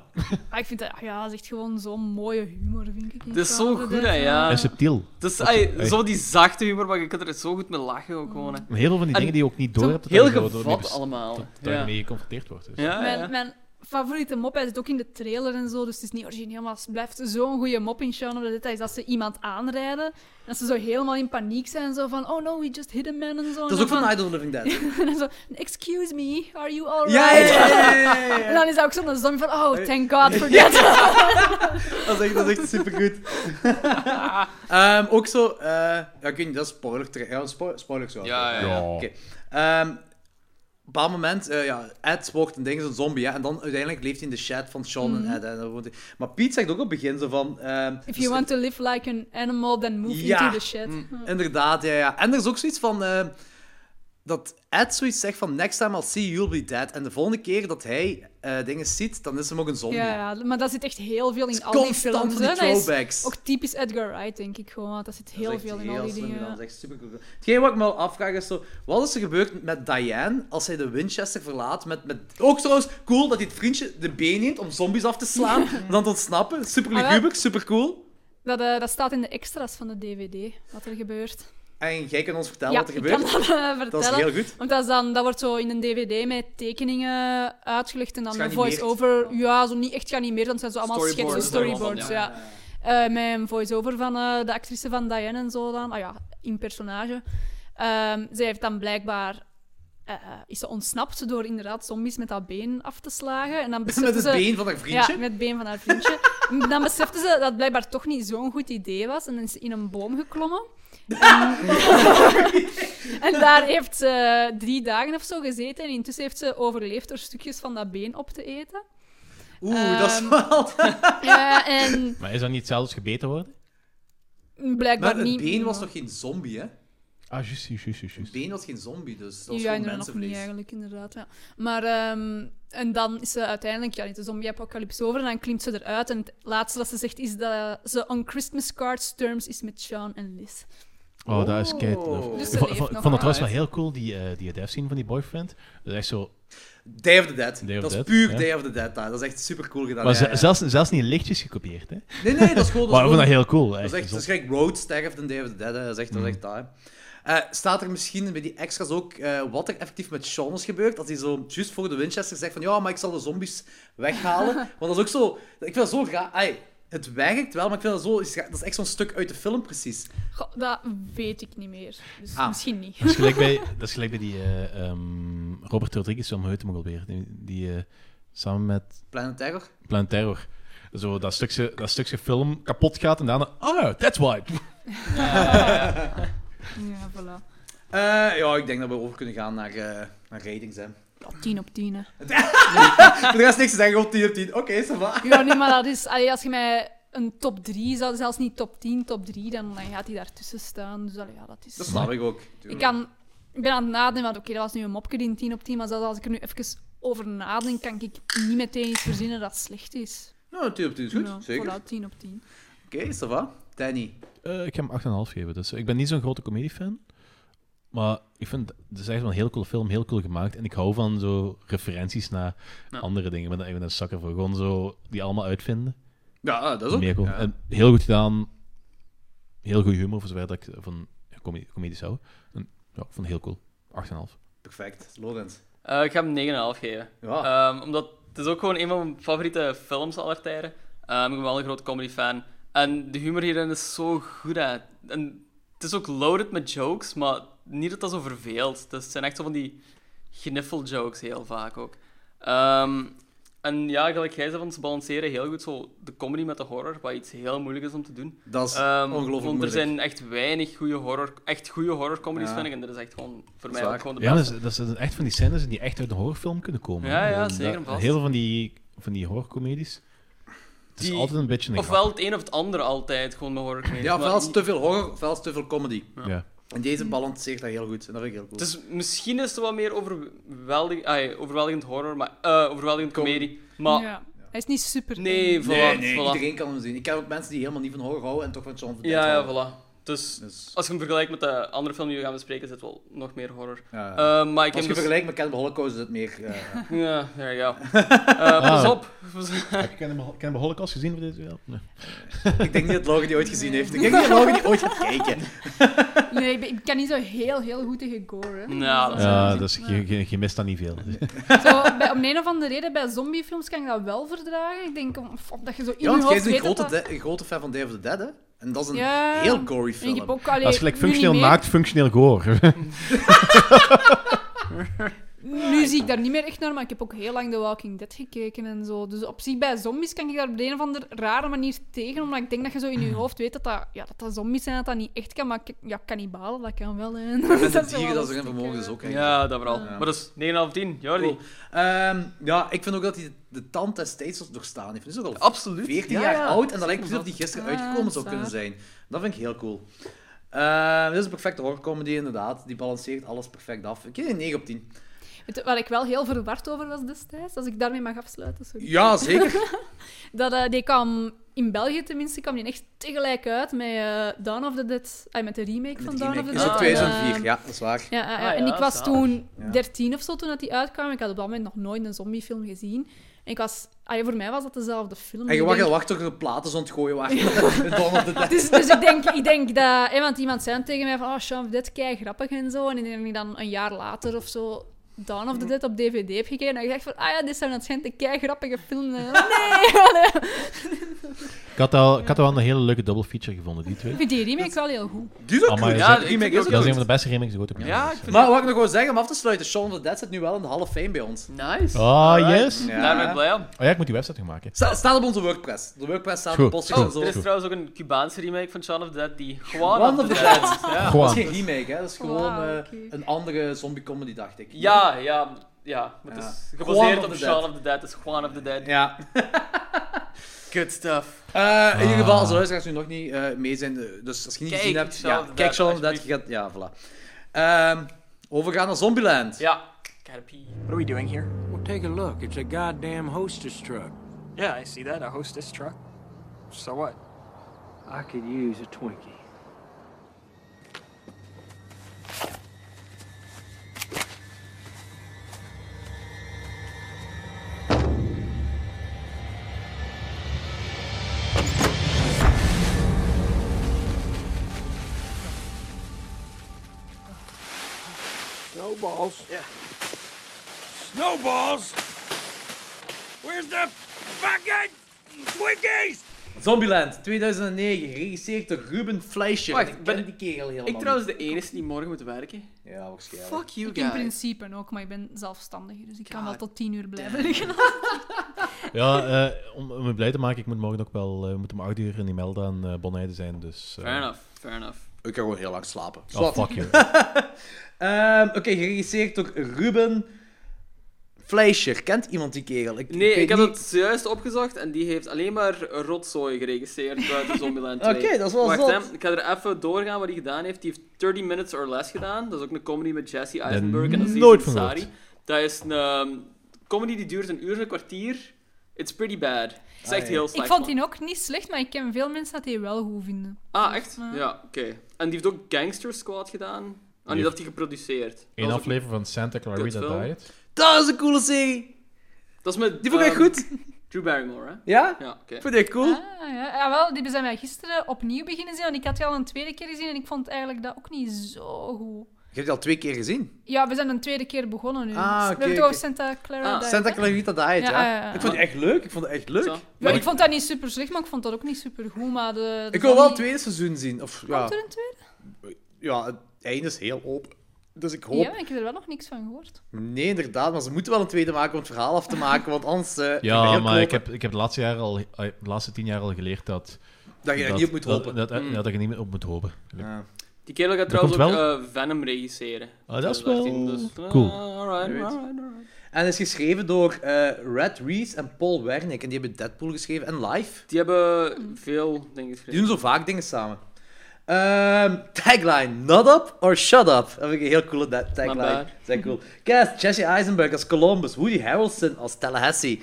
S3: ik vind dat, ja, dat is echt gewoon zo'n mooie humor, vind ik.
S4: Het is zo goed, hè,
S2: En
S4: ja.
S2: subtiel.
S4: Dus,
S2: Wat-
S4: ai,
S2: ai.
S4: zo die zachte humor, maar je kunt er zo goed mee lachen ook gewoon. hè.
S2: Maar heel veel van die
S4: En
S2: dingen die je ook niet door hebt.
S4: Heel gevat allemaal.
S2: Dat je
S4: Ja.
S2: mee geconfronteerd wordt. Dus.
S1: Ah,
S4: Ja,
S3: Mijn,
S4: ja.
S3: mijn favoriete mop, hij zit ook in de trailer en zo, dus het is niet origineel, maar het blijft zo'n goede mop in Shaun of the Dead. Dat is dat ze iemand aanrijden en dat ze zo helemaal in paniek zijn, zo van, oh no, we just hit a man en zo.
S1: Dat is
S3: En
S1: ook van
S3: dan
S1: Night of the Living Dead.
S3: en zo, excuse me, are you alright?
S1: Ja, ja, ja, ja, ja, ja,
S3: En
S1: ja.
S3: dan is dat ook zo'n zombie van, oh, thank god for that.
S1: Dat is echt, dat is echt supergoed. Ehm, ook zo... eh, ja, ik weet niet, dat is spoiler. ter- Ja, spo spoilers wel.
S4: Ja, ja, ja.
S2: Ja.
S1: Oké. Ehm, op een bepaald moment, eh, ja, Ed wordt een ding, is een zombie, hè, en dan uiteindelijk leeft hij in de shed van Sean en Ed. hè, En dan woont hij- Maar Piet zegt ook op het begin zo van... ehm,
S3: If you want to live like an animal, then move
S1: Ja. Mm.
S3: into the shit.
S1: Inderdaad, ja, ja. En er is ook zoiets van... eh, dat Ed zoiets zegt van, next time I'll see you, you'll be dead. En de volgende keer dat hij eh, dingen ziet, dan is hem ook een zombie.
S3: Ja, ja, maar dat zit echt heel veel in
S1: Het is
S3: al die
S1: constant
S3: films.
S1: van die
S3: hè. Dat is
S1: throwbacks.
S3: ook typisch Edgar Wright, denk ik gewoon. want Dat zit heel
S1: Dat is echt
S3: veel in al die
S1: slim
S3: dingen.
S1: gedaan, dat is echt supercool gedaan. Hetgeen wat ik me al afvraag is zo, wat is er gebeurd met Diane als hij de Winchester verlaat met, met... Ook trouwens, cool dat hij het vriendje de been neemt om zombies af te slaan en dan te ontsnappen. Super
S3: Ah, wel.
S1: luguber, super cool.
S3: Dat, eh, dat staat in de extra's van de DVD, wat er gebeurt.
S1: En jij kan ons vertellen
S3: ja,
S1: wat er
S3: ik
S1: gebeurt.
S3: kan dat eh, vertellen.
S1: Dat is heel goed.
S3: Want dat, is dan, dat wordt zo in een DVD met tekeningen uitgelegd en dan een
S1: Geanimeerd.
S3: voice-over. Ja, zo niet echt geanimeerd, want het zijn zo allemaal
S4: Storyboards,
S3: sketches, storyboards.
S4: ja.
S3: Ja. Eh, met een voice-over van eh, de actrice van Diane en zo dan. Ah ja, in personage. Ehm, zij heeft dan blijkbaar... eh, is ze ontsnapt door inderdaad zombies met dat been af te slagen. En dan
S1: Met
S3: besefte
S1: het
S3: ze...
S1: been van haar vriendje.
S3: eh, Ja, met het been van haar vriendje. dan besefte ze dat het blijkbaar toch niet zo'n goed idee was. En is ze in een boom geklommen. En, en daar heeft ze drie dagen of zo gezeten. En intussen heeft ze overleefd door stukjes van dat been op te eten.
S1: Oeh, dat is
S3: Ehm,
S1: wel...
S3: Ja, en
S2: Maar is dat niet zelfs gebeten worden?
S3: blijkbaar
S1: Maar het
S3: niet...
S1: been was nog geen zombie, hè?
S2: Ah, juist, juist, juist, juist,
S1: Het
S2: juist.
S1: been was geen zombie, dus dat was
S3: Ja,
S1: gewoon
S3: inderdaad, nog niet
S1: mensenvlees.
S3: eigenlijk, inderdaad. Ja. Maar, ehm, en dan is ze uiteindelijk, ja, niet de zombie-apocalypse over en dan klimt ze eruit. En het laatste dat ze zegt is dat ze on Christmas cards terms is met Sean en Liz.
S2: Oh, dat is kei...
S1: Oh.
S3: Dus
S2: Ik
S3: ze
S2: vond-
S3: leeft
S2: vond-
S3: nog.
S2: vond dat
S4: Ah,
S2: was wel heel cool, die, eh die dev scene van die boyfriend. Dat is echt
S1: Oh,
S2: zo...
S1: Day of the Dead.
S2: Day of
S1: dat
S2: Dead,
S1: is puur
S2: ja.
S1: Day of the Dead. daar. Dat is echt super cool gedaan.
S2: maar
S1: Ja,
S2: ze-
S1: ja.
S2: Zelfs, zelfs niet lichtjes gekopieerd, hè.
S1: Nee, nee, dat is gewoon... Dat
S2: Maar
S1: is
S2: ik vond dat
S1: gewoon-
S2: heel cool.
S1: dat is echt, dat is gelijk Road sterft in Day of the Dead. hè. Dat is echt, dat is
S2: Mm.
S1: echt dat, hè. Eh, staat er misschien bij die extra's ook eh, wat er effectief met Sean is gebeurd? Als hij zo juist voor de Winchester zegt van ja, maar ik zal de zombies weghalen. Want dat is ook zo... Ik vind dat zo raar. ai, Het werkt wel, maar ik vind dat zo... Dat is echt zo'n stuk uit de film precies.
S3: Goh, dat weet ik niet meer. Dus
S1: Ah.
S3: misschien niet.
S2: Dat is gelijk bij, dat is gelijk bij die eh, ehm, Robert Rodriguez film, hoe heet hem ook alweer? Die, die eh, samen met
S1: Planet Terror.
S2: Plan Terror. Zo dat stukje, dat stukje film kapot gaat en daarna... Oh, ja, that's why.
S3: Ja, voilà.
S1: Eh, ja, ik denk dat we over kunnen gaan naar, eh, naar ratings. Hè.
S3: 10 op 10, hè.
S1: Voor de rest niks te zeggen, gewoon 10 op 10. Oké, ça va.
S3: Ja, nee, maar dat is... allee, als je mij een top 3 zou... Zelfs niet top 10, top 3, dan, dan gaat hij daartussen staan. Dus allee, ja, dat is...
S1: Dat snap ik ook.
S3: Ik,
S1: tuurlijk.
S3: kan, ik ben aan het nadenken, want oké, dat was nu een mopje die een 10 op 10, maar zelfs als ik er nu even over nadenk, kan ik niet meteen iets verzinnen dat slecht is.
S1: Nou, 10 op 10 is goed,
S3: Ja,
S1: zeker.
S3: Voilà, 10 op 10.
S1: Oké, ça va. Danny.
S2: Eh, ik ga hem 8,5 geven. Dus ik ben niet zo'n grote comediefan. Maar ik vind het is echt wel een heel coole film, heel cool gemaakt. En ik hou van zo referenties naar
S4: Ja.
S2: andere dingen. Ik ben, daar- ik ben een zakker voor. Gewoon zo die allemaal uitvinden.
S1: Ja, dat is ook.
S2: Meer cool.
S1: ja.
S2: En heel goed gedaan. Heel goed humor, voor zover dat ik van ja, comedie, comedies hou. En, ja, ik vond het heel cool. 8,5.
S1: Perfect. Lorenz.
S4: Eh, ik ga hem 9,5 geven.
S1: Ja.
S4: Ehm, omdat het is ook gewoon een van mijn favoriete films aller tijden. Ehm, ik ben wel een groot comedy fan. En de humor hierin is zo goed. Hè. En het is ook loaded met jokes, maar niet dat dat zo verveelt. Dus het zijn echt zo van die gniffel jokes heel vaak ook. Ehm, en ja, gelijk jij zei, van ze balanceren heel goed zo de comedy met de horror, wat iets heel moeilijk is om te doen.
S1: Dat is
S4: Ehm,
S1: ongelooflijk
S4: want er
S1: moeilijk.
S4: zijn echt weinig goede horror, echt goede horror comedies,
S1: Ja.
S4: vind ik. En dat is echt gewoon voor mij
S1: waar.
S4: ook gewoon de
S2: Ja,
S4: beste.
S2: dat, is, dat zijn echt van die scènes die echt uit een horrorfilm kunnen komen.
S4: Ja,
S2: hè.
S4: ja,
S2: En
S4: zeker
S2: dat-
S4: vast.
S2: Heel veel van die, van die horrorcomedies. Het is
S4: Die-
S2: altijd een beetje een
S4: Ofwel het een of het ander altijd, gewoon met horror comedies.
S1: Ja,
S4: maar
S1: ofwel is het te veel horror, ofwel is het te veel comedy.
S2: grap. Ja.
S1: En
S3: Mm.
S1: deze balanceert dat heel goed. En dat vind ik heel cool.
S4: het is, misschien is het wat meer overweldig, ai, overweldigend horror, maar eh, overweldigend
S1: Kom.
S4: comedie. Maar
S3: ja. Hij is niet super
S4: nee,
S3: eng.
S4: voilà,
S1: nee, nee,
S4: voilà.
S1: iedereen kan hem zien. Ik ken ook mensen die helemaal niet van horror houden en toch van John van
S4: Ja, ja, voilà. Dus
S1: Dus,
S4: als je hem vergelijkt met de andere film die we gaan bespreken, zit wel nog meer horror.
S1: ja.
S4: Eh, maar ik
S1: als
S4: heb
S1: je
S4: dus-
S1: vergelijkt met Cannibal Holocaust is het meer... eh,
S4: Ja, there you go. Eh, pas
S2: Ah.
S4: op.
S2: Heb je Cannibal Holocaust gezien voor deze wereld? Nee.
S1: ik denk niet dat Logan die ooit gezien heeft. Ik denk niet dat Logan die ooit gaat kijken.
S3: Nee, ik, ben- ik kan niet zo heel, heel goed tegen gore. hè.
S4: Ja, dat is-
S2: Ja, dus je, je, je mist dat niet veel.
S3: Zo, bij, om een of andere reden, bij zombiefilms kan ik dat wel verdragen. Ik denk, om- omdat je zo in
S1: Ja,
S3: je
S1: want jij
S3: hoofd
S1: is een
S3: weet dat
S1: grote,
S3: dat-
S1: de- een grote fan van Day of the Dead, hè? En dat is een
S3: Ja.
S1: heel gory
S3: En ik heb
S1: film.
S3: ook, allee,
S2: Als je gelijk
S3: nu niet
S2: functioneel
S3: meer-
S2: maakt, functioneel gore.
S3: Nu zie ik daar niet meer echt naar, maar ik heb ook heel lang The Walking Dead gekeken en zo. Dus op zich, bij zombies kan ik daar op de een of andere rare manier tegen. Omdat ik denk dat je zo in
S1: Mm.
S3: je hoofd weet dat dat, ja, dat, dat zombies zijn en dat dat niet echt kan. Maar k- ja, kannibalen, dat kan wel. Hè.
S1: Met de
S3: is
S1: dieren
S3: wel
S1: dat ze geen
S3: een
S1: vermogen
S3: stuk,
S1: is ook. hè.
S4: Ja, dat vooral.
S1: Ja.
S4: Maar dus 9,5 10, Jordi.
S1: eh, Cool. Ehm, ja, ik vind ook dat hij de, de tand des tijds doorstaan heeft. Hij is ook al
S4: Absoluut.
S1: 14
S4: Ja,
S1: jaar
S4: ja.
S1: oud en dat lijkt precies of die gisteren
S3: Ah,
S1: uitgekomen zou
S3: dat is
S1: kunnen
S3: waar.
S1: zijn. Dat vind ik heel cool. Eh, dit is een perfecte horrorcomedy, inderdaad. Die balanceert alles perfect af. Ik geef die 9 op 10.
S3: eh. Weet je Waar ik wel heel verward over was destijds, als ik daarmee mag afsluiten, sorry.
S1: Ja, zeker.
S3: Dat, eh, die kwam, in België tenminste, kwam die echt tegelijk uit met eh Dawn of the Dead. Ah, met de remake
S1: Met
S3: van
S1: die
S3: Dawn
S1: remake.
S3: of the
S1: is ook
S3: Dead. En,
S1: 2004,
S3: eh,
S1: Ah, ja, dat is waar.
S3: Ja, ja, ja.
S4: Ah,
S3: en
S4: ja,
S3: ik was
S4: zalig.
S3: toen
S1: Ja.
S3: 13 of zo toen dat die uitkwam. Ik had op dat moment nog nooit een zombiefilm gezien. En ik was, allee, voor mij was dat dezelfde film.
S1: En je
S3: Ik
S1: wacht,
S3: denk-
S1: wacht toch de platen zo aan het gooien waren. Dawn of the Dead.
S3: dus, dus ik denk, ik denk dat... Hè, want iemand zei tegen mij van... Oh, Sean, dit kei grappig en zo. En ik denk dat ik dan een jaar later of zo... Dawn of the Dead op DVD heb gekeken. En ik dacht van... Ah ja, dit zijn waarschijnlijk kei grappige films. En, nee!
S2: Ik had, al, ik had al een hele leuke double feature gevonden, die twee.
S3: Ik vind die remake wel heel goed.
S1: Die is ook
S2: Amai,
S1: goed.
S2: ja,
S1: de
S4: ik
S1: remake
S4: vind
S1: is
S2: Dat is
S1: ook
S2: een
S1: goed.
S2: van de beste remakes die ik ooit heb
S4: Ja, ik
S2: gezien.
S4: vind
S1: Maar wat ik nog wil zeggen om af te sluiten, Shaun of the Dead zit nu wel in de halve fame bij ons.
S4: Nice.
S2: Ah,
S4: Alright.
S2: yes.
S1: Ja.
S4: Daar ben ik blij om.
S2: Oh ja, ik moet die website nog maken.
S1: Sta- staat op onze WordPress. De WordPress staat op
S2: Goed.
S1: postjes en
S4: Oh,
S1: zo.
S4: er is
S2: Goed.
S4: trouwens ook een Cubaanse remake van Shaun of the Dead die Juan
S1: Juan
S4: of the Dead. Ja.
S1: Dat is
S2: Gewoon.
S1: geen remake, hè? Dat is gewoon
S3: Wauw,
S1: eh,
S3: oké.
S1: een andere zombie comedy, dacht ik.
S4: ja, ja, ja. Maar het
S1: Ja.
S4: is
S1: Juan of
S4: gebaseerd op
S1: the
S4: Shaun
S1: Dead.
S4: of the Dead. Het is Juan of the Dead.
S1: Ja.
S4: Good stuff.
S1: Eh, in ieder geval, als de
S2: Ah.
S1: luisteraars nu nog niet eh, mee zijn, eh, dus als je niet
S4: Kijk,
S1: gezien hebt,
S4: Shaun of
S1: ja,
S4: the
S1: kijk
S4: Dead,
S1: Shaun of the Dead, je gaat... Ja, voilà. Ehm, overgaan naar Zombieland.
S4: Ja. Gotta pee.
S8: What are we doing here?
S9: Well, take a look. It's a goddamn hostess truck.
S8: Yeah, I see that. A hostess truck. So what?
S9: I could use a Twinkie. Snowballs?
S5: Yeah.
S9: Snowballs? Where's the fucking Twinkies?
S1: Zombieland 2009, geregisseerd door Ruben Fleischer.
S4: Wacht,
S1: ik
S4: ben-
S1: ken die kerel helemaal
S4: Ik trouwens
S1: niet.
S4: de enige die morgen moet werken.
S1: Ja, waarschijnlijk.
S4: Fuck you
S3: Ik in
S4: guys.
S3: principe ook, maar ik ben zelfstandig, dus ik kan
S1: Ah,
S4: God
S3: wel tot tien uur blijven liggen.
S2: Ja, eh, om, om me blij te maken, ik moet morgen ook wel... eh, We moeten om acht uur in Imelda en eh Bonheide zijn, dus... eh,
S4: Fair enough, fair enough.
S1: Ik kan gewoon heel lang slapen.
S2: Oh,
S1: Zwart.
S2: fuck you.
S1: Ehm, Oké, geregisseerd door Ruben Fleischer. Kent iemand die kerel? Ik,
S4: Nee,
S1: weet
S4: ik heb
S1: niet-
S4: het juist opgezocht en die heeft alleen maar rotzooi geregisseerd buiten Zombieland 2.
S1: Oké, dat is wel
S4: Wacht,
S1: zot.
S4: hè, ik ga er even doorgaan wat hij gedaan heeft. Die heeft 30 Minutes or Less gedaan. Dat is ook een comedy met Jesse Eisenberg en Aziz
S2: nooit van
S4: Ansari.
S2: gehoord.
S4: Dat is een ehm, comedy die duurt een uur en een kwartier. It's pretty bad. Het is
S1: Ah,
S4: echt
S1: ja.
S4: heel
S3: ik
S4: slecht.
S3: vond
S4: man.
S3: die ook niet slecht, maar ik ken veel mensen dat die wel goed vinden.
S4: Ah, echt?
S3: Ja.
S4: Ja, oké. En die heeft ook Gangster Squad gedaan. Ah,
S2: Die
S4: die dat hij geproduceerd. Dat
S2: Eén
S4: was ook-
S2: aflevering van Santa Clarita
S4: Kutfilm.
S2: Diet.
S1: Dat is een coole serie.
S4: Dat is met...
S1: Die vond ik
S4: ehm,
S1: goed.
S4: Drew Barrymore, hè?
S1: Ja?
S4: Ja, oké.
S1: Vond ik cool.
S3: Ah, ja. ja, wel, die zijn wij gisteren opnieuw beginnen zien, want ik had die al een tweede keer gezien en ik vond eigenlijk dat ook niet zo goed.
S1: Je hebt die al twee keer gezien.
S3: Ja, we zijn een tweede keer begonnen nu.
S1: Ah,
S3: Dus we
S1: oké,
S3: hebben toch
S1: oké.
S3: Santa Clara
S4: Ah,
S3: Diet,
S1: Santa
S3: hè?
S1: Clarita Diet, ja.
S3: Ja, ja, ja.
S1: Ik vond die echt leuk. Ik vond die echt leuk.
S4: Zo.
S3: Ja, ik vond dat niet super slecht, maar ik vond dat ook niet super goed. Maar de, de
S1: Ik wil wel het
S3: zombie-
S1: tweede seizoen zien. Of, ja.
S3: Komt er een tweede?
S1: ja, het einde is heel open. Dus ik hoop...
S3: Ja, maar ik heb er wel nog niks van gehoord.
S1: Nee, inderdaad. Maar ze moeten wel een tweede maken om het verhaal af te maken. Want anders... eh, vind het
S2: Ja,
S1: heel
S2: maar ik
S1: kloten
S2: heb, ik heb de laatste, jaren al, eh, de laatste tien jaar al geleerd dat...
S1: Dat je er
S2: dat-
S1: niet op moet
S2: dat-
S1: hopen.
S2: Dat, dat,
S4: Mm.
S2: ja, dat je niet meer op moet hopen.
S1: Ja.
S4: Die kerel gaat
S2: Er
S4: trouwens ook
S2: komt wel-
S4: eh, Venom regisseren.
S2: Ah, dat is
S4: 2018,
S2: wel
S4: dus, eh,
S2: cool.
S1: Je weet.
S4: alright, alright, alright.
S1: En is geschreven door eh Red Reese en Paul Wernick. En die hebben Deadpool geschreven en live.
S4: Die hebben veel dingen
S1: Die
S4: geschreven.
S1: doen zo vaak dingen samen. Ehm, tagline: Not up or shut up. Dat vind ik een heel coole da- tagline.
S4: bad.
S1: Zijn cool. Cast: Jesse Eisenberg als Columbus, Woody Harrelson als Tallahassee,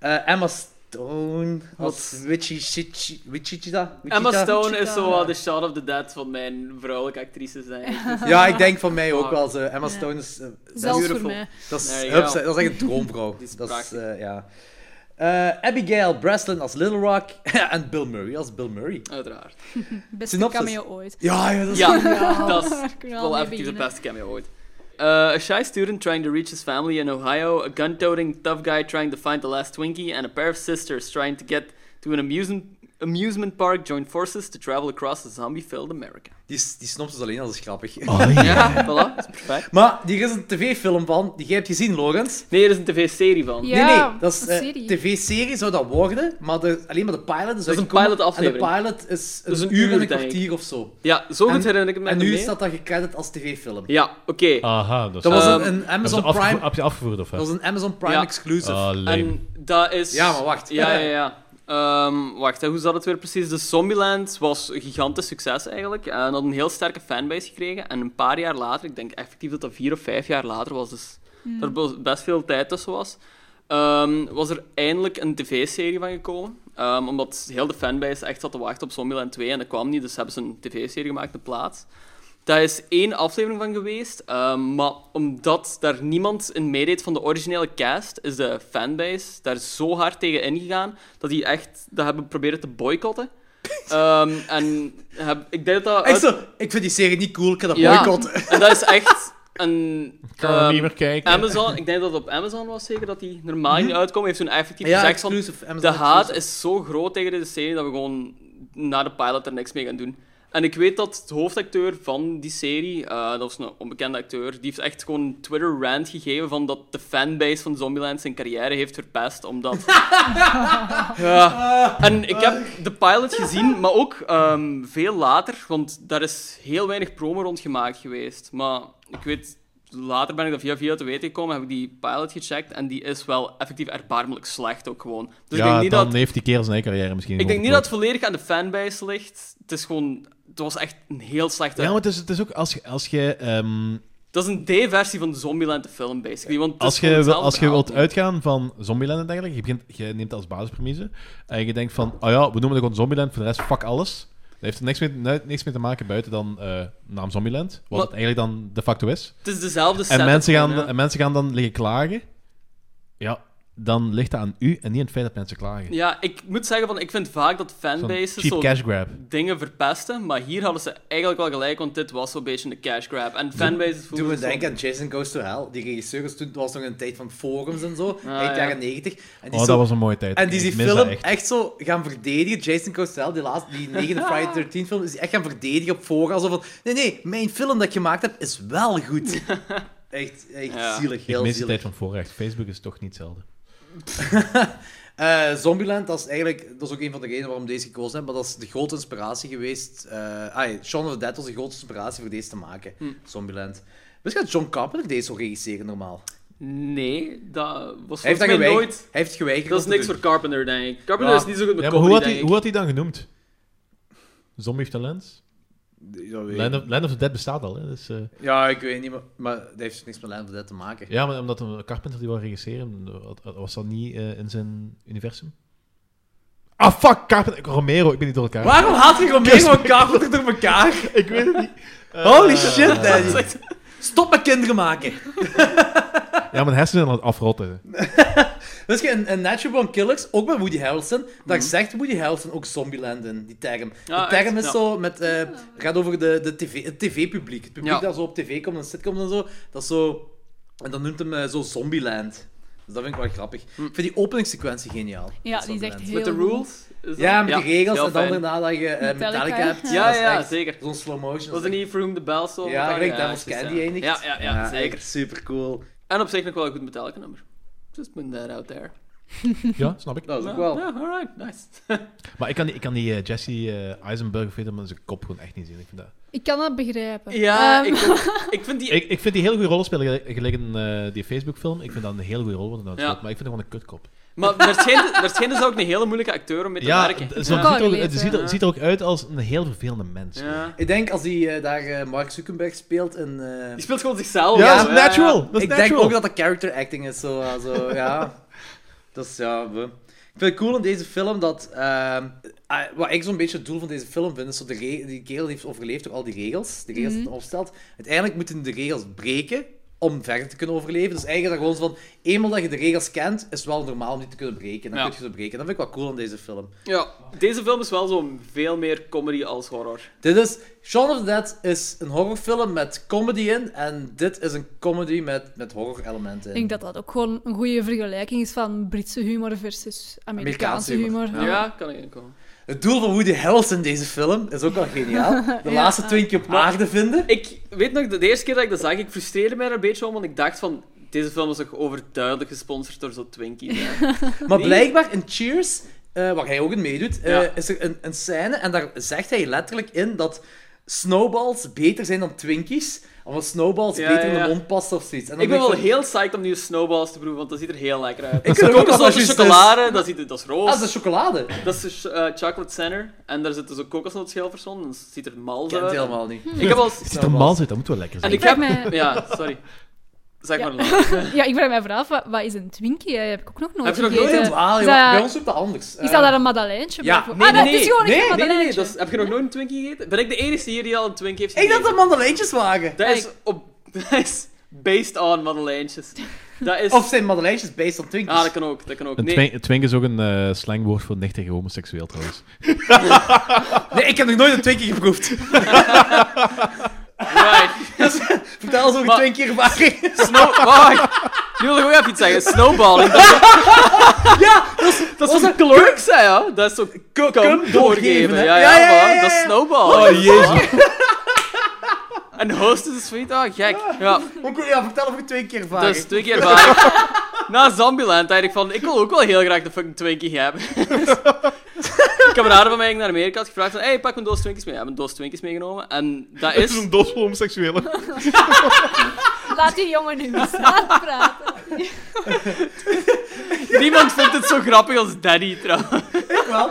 S1: eh, Emma Stone als Wichita. Wichita.
S4: Emma Stone is zo
S1: Ja.
S4: eh, de shot of the dead van mijn vrouwelijke actrices zijn.
S1: Ja, ik denk van mij ook
S4: Ah.
S1: wel. Ze, Emma
S3: Ja.
S1: Stone is. eh,
S3: Zelfs
S4: beautiful.
S3: voor mij.
S1: dat, is,
S4: There you
S1: hups,
S4: go.
S1: dat is echt een droomvrouw.
S4: Die is
S1: dat is,
S4: prachtig.
S1: eh, ja. Eh, Abigail Breslin als Little Rock en Bill Murray als Bill Murray.
S4: Uiteraard.
S3: Beste
S1: Synopsis.
S3: cameo ooit. Oh,
S1: Ja, ja, dat is
S4: Ja, dat is
S3: Daar kunnen we al
S4: wel
S3: mee
S4: effectief de
S3: beginnen.
S4: beste cameo ooit. Uh, a shy student trying to reach his family in Ohio, a gun-toting tough guy trying to find the last Twinkie, and a pair of sisters trying to get to an amusement, amusement park join forces to travel across a zombie-filled America.
S1: Die, s- die snapt dus alleen als is grappig.
S4: Ja, voilà, is perfect.
S1: Maar hier is een tv-film van, die jij hebt gezien, Lorenz.
S4: Nee, er is een tv-serie van.
S3: Ja,
S1: nee, nee, dat is
S3: een
S1: eh,
S3: serie.
S1: tv-serie zou dat worden, maar de, alleen maar de pilot is
S4: Dat is een
S1: uitgekomen.
S4: pilotaflevering.
S1: En de pilot is een,
S4: Dus een
S1: uur en
S4: uur,
S1: een
S4: denk ik.
S1: kwartier of zo.
S4: Ja, zo goed
S1: En-
S4: herinner ik me
S1: En
S4: mee.
S1: nu staat dat Oh. gecredit als tv-film.
S4: Ja, oké.
S2: Aha, dat is...
S1: Dat was
S4: Ehm,
S1: een, een
S2: Hebben ze
S1: Amazon
S2: afgevoerd-
S1: Prime,
S2: Heb je afgevoerd of hè?
S1: dat was een Amazon Prime
S4: Ja.
S1: exclusive.
S2: Ah, lame.
S4: En dat is...
S1: Ja, maar wacht.
S4: Ja, ja, ja. Ehm, wacht, hè, hoe zat het weer precies? De Zombieland was een gigantisch succes eigenlijk. Eh, En had een heel sterke fanbase gekregen. En een paar jaar later, ik denk effectief dat dat vier of vijf jaar later was, dus er be- best veel tijd tussen was, ehm, was er eindelijk een tv-serie van gekomen. Ehm, omdat heel de fanbase echt zat te wachten op Zombieland 2 en dat kwam niet, dus hebben ze een tv-serie gemaakt in plaats. Daar is één aflevering van geweest, ehm, maar omdat daar niemand in meedeed van de originele cast, is de fanbase daar zo hard tegen ingegaan dat die echt dat hebben proberen te boycotten. Ehm, en heb, ik denk dat dat...
S1: Echt
S4: uit-
S1: zo, ik vind die serie niet cool, ik ga dat
S4: Ja.
S1: boycotten.
S4: en dat is echt een...
S2: kan er
S4: ehm,
S2: niet meer kijken.
S4: Amazon, ik denk dat het op Amazon was zeker dat die normaal niet uitkwam. Heeft toen effectief
S1: Mhm. Ja,
S4: gezegd van,
S1: exclusive, Amazon
S4: de haat
S1: exclusive.
S4: is zo groot tegen deze serie dat we gewoon na de pilot er niks mee gaan doen. En ik weet dat de hoofdacteur van die serie, eh, dat was een onbekende acteur, die heeft echt gewoon een Twitter-rant gegeven van dat de fanbase van Zombieland zijn carrière heeft verpest, omdat... ja. En ik heb de pilot gezien, maar ook ehm, veel later, want daar is heel weinig promo rond gemaakt geweest. Maar ik weet, later ben ik dat via via te weten gekomen, heb ik die pilot gecheckt en die is wel effectief erbarmelijk slecht ook gewoon. Dus ik
S2: ja,
S4: denk niet
S2: dan
S4: dat
S2: heeft die kerel zijn eigen carrière misschien
S4: ik denk
S2: gewoon
S4: niet dat het volledig aan de fanbase ligt. Het is gewoon... Het was echt een heel slechte...
S2: Ja, maar het is, het is ook als, je- als je, ehm,
S4: Dat is een D-versie van Zombieland, de film, basically. Want het is
S2: als
S4: gewoon
S2: je, wil-
S4: hetzelfde
S2: als je
S4: verhaal.
S2: wilt uitgaan van Zombieland en dergelijke, je, begint, je neemt dat als basispremise en je denkt van, oh ja, we noemen het gewoon Zombieland, voor de rest fuck alles. Dat heeft er niks mee, ni- niks mee te maken buiten dan eh, naam Zombieland, wat
S4: Wat-
S2: het eigenlijk dan de facto is.
S4: Het is dezelfde
S2: En
S4: setup
S2: mensen, gaan,
S4: gewoon, ja.
S2: en mensen gaan dan liggen klagen. Ja, dan ligt dat aan u en niet aan het feit dat mensen klagen.
S4: Ja, ik moet zeggen, van, ik vind vaak dat
S2: Zo'n
S4: fanbases
S2: cheap
S4: zo
S2: cash grab.
S4: dingen verpesten, maar hier hadden ze eigenlijk wel gelijk, want dit was zo'n beetje een cash grab. En fanbases voelen
S1: Toen we
S4: zich zo-
S1: denken aan Jason Goes to Hell, die regisseur was toen was nog een tijd van forums en zo, eind
S4: Ah, ja.
S1: jaren 90. En die
S2: Oh,
S1: zo-
S2: dat was een mooie tijd.
S1: En die
S2: Ik
S1: is die
S2: mis dat
S1: film echt.
S2: echt.
S1: zo gaan verdedigen. Jason Costell, die laatste, die negende Friday 13 film, is die echt gaan verdedigen op voorhand. Alsof van, nee, nee, mijn film dat ik gemaakt heb, is wel goed. Echt, echt
S4: Ja.
S1: zielig,
S2: Ik
S1: heel
S2: mis de
S1: zielig.
S2: tijd van voorrecht. Facebook is toch niet hetzelfde.
S1: Eh, Zombieland, dat is eigenlijk, dat is ook een van de redenen waarom we deze gekozen hebben, maar dat is de grote inspiratie geweest. eh ah, Shaun of the Dead was de grootste inspiratie voor deze te maken,
S4: Hm.
S1: Zombieland. Misschien gaat John Carpenter deze zo regisseren normaal.
S4: Nee, dat was
S1: Hij heeft,
S4: volgens
S1: dat
S4: mij
S1: geweigerd,
S4: nooit...
S1: hij heeft geweigerd.
S4: Dat is
S1: om te
S4: niks
S1: doen.
S4: voor Carpenter, denk ik. Carpenter
S1: Ja.
S4: is niet zo goed met
S2: Ja, maar
S4: comedy,
S2: hoe had,
S4: denk
S2: hij,
S4: ik.
S2: hoe had hij dan genoemd? Zombie of the Lens?
S1: Ja, weet ik
S2: Land of, Land of the Dead bestaat al. Hè? Dus, eh,
S1: niet. Ja, ik weet niet, maar, maar dat heeft niks met Land of the Dead te maken.
S2: ja, maar omdat een Carpenter die wil regisseren, had- had- was dat niet eh, in zijn universum? Ah, fuck, Carpenter. Romero, ik ben niet door elkaar.
S1: Waarom haat je Romero en Carpenter door elkaar?
S2: Ik weet het niet. Eh,
S1: Holy shit, Daddy. Stop met kinderen maken.
S2: Ja, mijn hersenen zijn aan het afrotten.
S1: Dus je een, een Natural Born Killers, ook met Woody Harrelson,
S2: Mhm.
S1: daar zegt Woody Harrelson ook Zombieland in, die term.
S4: Ja,
S1: de term
S4: echt,
S1: is
S4: ja.
S1: zo, met, eh, gaat over de, de TV, het tv-publiek. Het publiek
S4: Ja.
S1: dat zo op tv komt, en sitcoms en zo, dat is zo... En dan noemt hem eh, zo Zombieland. Dus dat vind ik wel grappig.
S4: Hm.
S1: Ik vind die openingssequentie geniaal.
S3: Ja, die is echt
S1: Zombieland.
S3: heel
S4: Met de
S3: goed.
S4: rules? Is dat-
S1: Ja, met die regels
S4: heel
S1: en dan
S4: fijn.
S1: daarna dat je eh, Metallica,
S3: Metallica,
S1: hebt.
S3: ja.
S1: Dat
S4: Ja,
S1: is
S4: ja,
S1: echt
S4: zeker.
S1: Zo'n slow motion.
S4: Was
S1: dat
S4: er
S1: is
S4: niet Vroom the Bell Soul?
S1: Ja, ik denk
S4: dat
S1: Devil's
S4: was
S1: Candy eindigt.
S4: Ja, ja, ja, zeker.
S1: Super cool.
S4: En op zich nog wel een goed Metallica nummer. Just putting that out there.
S2: Ja, snap ik.
S1: Dat is ook
S4: Ja,
S1: wel.
S4: ja, alright, nice.
S2: Maar ik kan die, ik kan die eh, Jesse eh, Eisenberg of weet je, maar zijn kop gewoon echt niet zien. Ik vind, dat...
S3: Ik kan dat begrijpen.
S4: ja,
S3: Ehm,
S4: ik, ook- ik vind die...
S2: ik, ik vind die heel goede rollen spelen, gelijk- gelijk in eh, die Facebook-film. Ik vind dat een heel goede rol, want dat
S4: Ja.
S2: speelt, maar ik vind het gewoon een kutkop.
S4: Maar daar schijnt- daar schijnt dus ook een hele moeilijke acteur om mee te
S2: Ja,
S4: werken.
S2: d- zo
S3: Ja.
S2: ziet er ook-
S3: Correlated,
S2: het ziet, er,
S4: ja.
S2: ziet er ook uit als een heel vervelende mens.
S4: Ja.
S1: Ik denk als hij eh, daar eh, Mark Zuckerberg speelt in... eh,
S4: Die speelt gewoon zichzelf.
S2: Ja,
S4: hè.
S2: dat is natural. Dat is
S1: ik denk
S2: natural.
S1: ook dat dat character acting is. Zo, eh, zo, ja. Dus ja, we- ik vind het cool in deze film dat... ehm, ah, wat ik zo'n beetje het doel van deze film vind, is dat de re- die kerel heeft overleefd door al die regels. De
S4: Mhm.
S1: regels die hij opstelt. Uiteindelijk moeten de regels breken om verder te kunnen overleven. Dus eigenlijk dat gewoon zo van... Eenmaal dat je de regels kent, is het wel normaal om die te kunnen breken. Dan
S4: Ja.
S1: kun je ze breken. Dat vind ik wel cool aan deze film.
S4: Ja, deze film is wel zo veel meer comedy als horror.
S1: Dit is... Shaun of the Dead is een horrorfilm met comedy in. En dit is een comedy met, met horror-elementen in.
S3: Ik denk dat dat ook gewoon een goede vergelijking is van Britse humor versus
S1: Amerikaanse
S3: Amerikaanse,
S1: humor,
S3: humor.
S4: Ja, kan ik inkomen.
S1: Het doel van Woody Harrelson in deze film is ook wel geniaal. De
S3: Ja.
S1: laatste twintig op aarde vinden.
S4: Ik weet nog, de, de eerste keer dat ik dat zag, ik frustreerde mij er een beetje om, want ik dacht van... Deze film is ook overduidelijk gesponsord door zo'n Twinkie. Ja.
S1: Maar
S4: Nee.
S1: blijkbaar in Cheers, eh, waar hij ook in meedoet, eh,
S4: Ja.
S1: is er een, een scène en daar zegt hij letterlijk in dat snowballs beter zijn dan Twinkies. Omdat snowballs
S4: Ja,
S1: beter
S4: ja,
S1: in
S4: ja.
S1: de mond passen of zoiets. En dan
S4: ik ben
S1: denk
S4: wel
S1: van,
S4: heel psyched om nieuwe snowballs te proeven, want dat ziet er heel lekker uit.
S1: Ik
S4: Ze
S1: ook
S4: koken
S1: al
S4: zoals
S1: dat juist
S4: chocolade, dat, ziet, dat is roos.
S1: Ah, dat is chocolade. Ik
S4: Dat is dus, eh, chocolate center. En daar zitten zo kokosnootschil voor zo'n. Dat ziet er mals
S1: ken het
S4: uit.
S1: helemaal niet.
S4: Ik heb al...
S2: Het ziet er mals uit, dat moet wel lekker
S4: En
S2: zijn.
S4: ik
S3: vraag
S4: heb...
S3: mij-
S4: Ja, sorry. Zeg
S3: Ja.
S4: maar later.
S3: Ja, ik vraag mij vooraf, wat, wat is een Twinkie? Dat heb ik ook nog nooit
S4: Heb je nog nooit
S3: gegeten.
S1: Helemaal, joh.
S3: Is dat-
S1: Bij ons is dat anders.
S3: Is
S1: Eh,
S3: dat daar een madeleintje?
S1: ja.
S3: bijvoorbeeld?
S4: Nee,
S3: ah, dat
S4: nee, nee.
S3: is gewoon
S1: Nee,
S3: echt een
S1: nee, nee, nee,
S3: madeleintje.
S4: Dat is- heb je nog nooit een Twinkie gegeten? Ben ik de enige hier die al een Twinkie heeft
S1: Ik
S4: gegeten?
S1: dacht dat mandelijntjes waren.
S4: Dat is op... Dat is based on madeleintjes. Dat is...
S1: Of zijn madelijntjes based on Twinkies?
S4: Ah, dat kan ook. Dat kan ook.
S2: Een
S4: Nee.
S2: twink, twink is ook een eh, slangwoord voor nichtig homoseksueel trouwens.
S1: Nee, ik heb nog nooit een Twinkie geproefd.
S4: Right.
S1: Vertel eens over
S4: Maar-
S1: Twinkie ervaring.
S4: Snow... Wacht. Nu wil ik ook even iets zeggen. Snowballing. Dat...
S1: ja, dat is-
S4: Dat is zo'n klurk, zei hè? Dat is zo
S1: Cum
S4: cum
S1: doorgeven,
S4: doorgeven.
S1: hè?
S4: Ja,
S1: Ja,
S4: ja,
S1: ja, ja,
S4: man.
S1: ja,
S4: Dat is
S1: ja.
S4: snowball.
S2: Oh, jezus.
S4: En host is een sweet. Ah, gek. Ja,
S1: Oké, ja, vertel over Twinkie ervaring.
S4: dus twee keer vaak. Na Zombieland dacht ik van, ik wil ook wel heel graag de fucking Twinkie hebben. Een kameraden van mij ging naar Amerika had gevraagd van, hey, pak een doos Twinkies mee. Ik heb een doos Twinkies meegenomen. En dat
S2: Het is
S4: is...
S2: een dos voor homoseksuelen.
S3: Laat die jongen nu eens laat praten.
S4: Niemand vindt het zo grappig als Daddy, trouwens.
S1: Wel,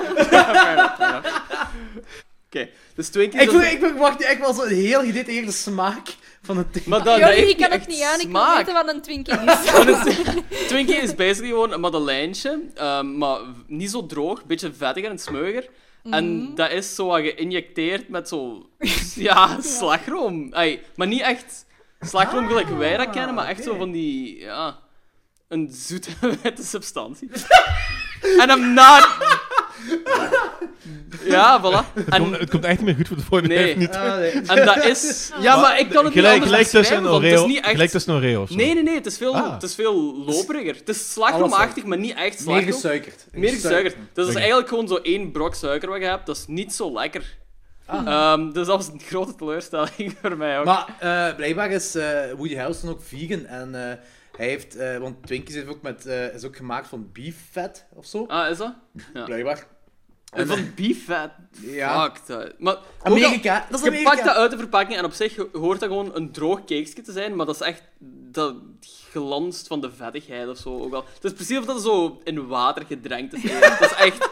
S4: Oké, dus Twinkies...
S1: Ik,
S4: dat
S1: wil,
S4: is-
S1: ik verwacht echt wel zo'n heel gedetailleerde smaak van het ding.
S4: Maar dat, dat
S3: Jordi,
S4: heeft
S3: ik kan
S4: niet
S3: het
S4: echt
S3: niet aan. Ik wil
S4: smaak.
S3: weten wat een Twinkie is. Ah,
S4: Maar het- Twinkie is basically gewoon een madeleintje, ehm, maar niet zo droog, een beetje vettiger en smeuiger. En dat is zo wat geïnjecteerd met zo... Ja, Ah, slagroom. Ai, maar niet echt slagroom gelijk wij dat kennen, maar echt zo van die... Ja, een zoete witte substantie. En I'm not... Ja, voilà. En,
S2: Het komt echt niet meer goed voor de volgende
S4: Nee.
S2: keer, niet.
S1: Ah,
S4: en dat is... Ja, maar ik kan het
S2: gelijk,
S4: niet anders
S2: gelijk tussen een
S4: beschrijven, want het
S2: Oreo.
S4: is niet echt...
S2: Gelijk tussen een Oreo of zo.
S4: Nee, nee, nee. Het is veel,
S2: Ah.
S4: het is veel loperiger. Het is slagroomachtig, maar niet echt
S1: Meer
S4: slagroom.
S1: gesuikerd.
S4: Meer gesuikerd. Dus dat is
S2: Oké.
S4: eigenlijk gewoon zo één brok suiker wat je hebt. Dat is niet zo lekker. Ehm, dus dat was een grote teleurstelling voor mij ook.
S1: Ah. Maar eh, blijkbaar is eh, Woody Harrelson ook vegan. En eh, hij heeft, eh, want Twinkies heeft ook met, eh, is ook gemaakt van beef fat of zo.
S4: Ah, is dat? Ja.
S1: Blijkbaar.
S4: En van beef fat.
S1: Ja.
S4: Fuck dat. Maar ook al-
S1: Amerika, dat is
S4: je pakt dat
S1: Amerika.
S4: uit de verpakking en op zich hoort dat gewoon een droog cakeje te zijn, maar dat is echt dat glanst van de vettigheid of zo ook al. Het is precies of dat zo in water gedrenkt is. eigenlijk. Dat is echt...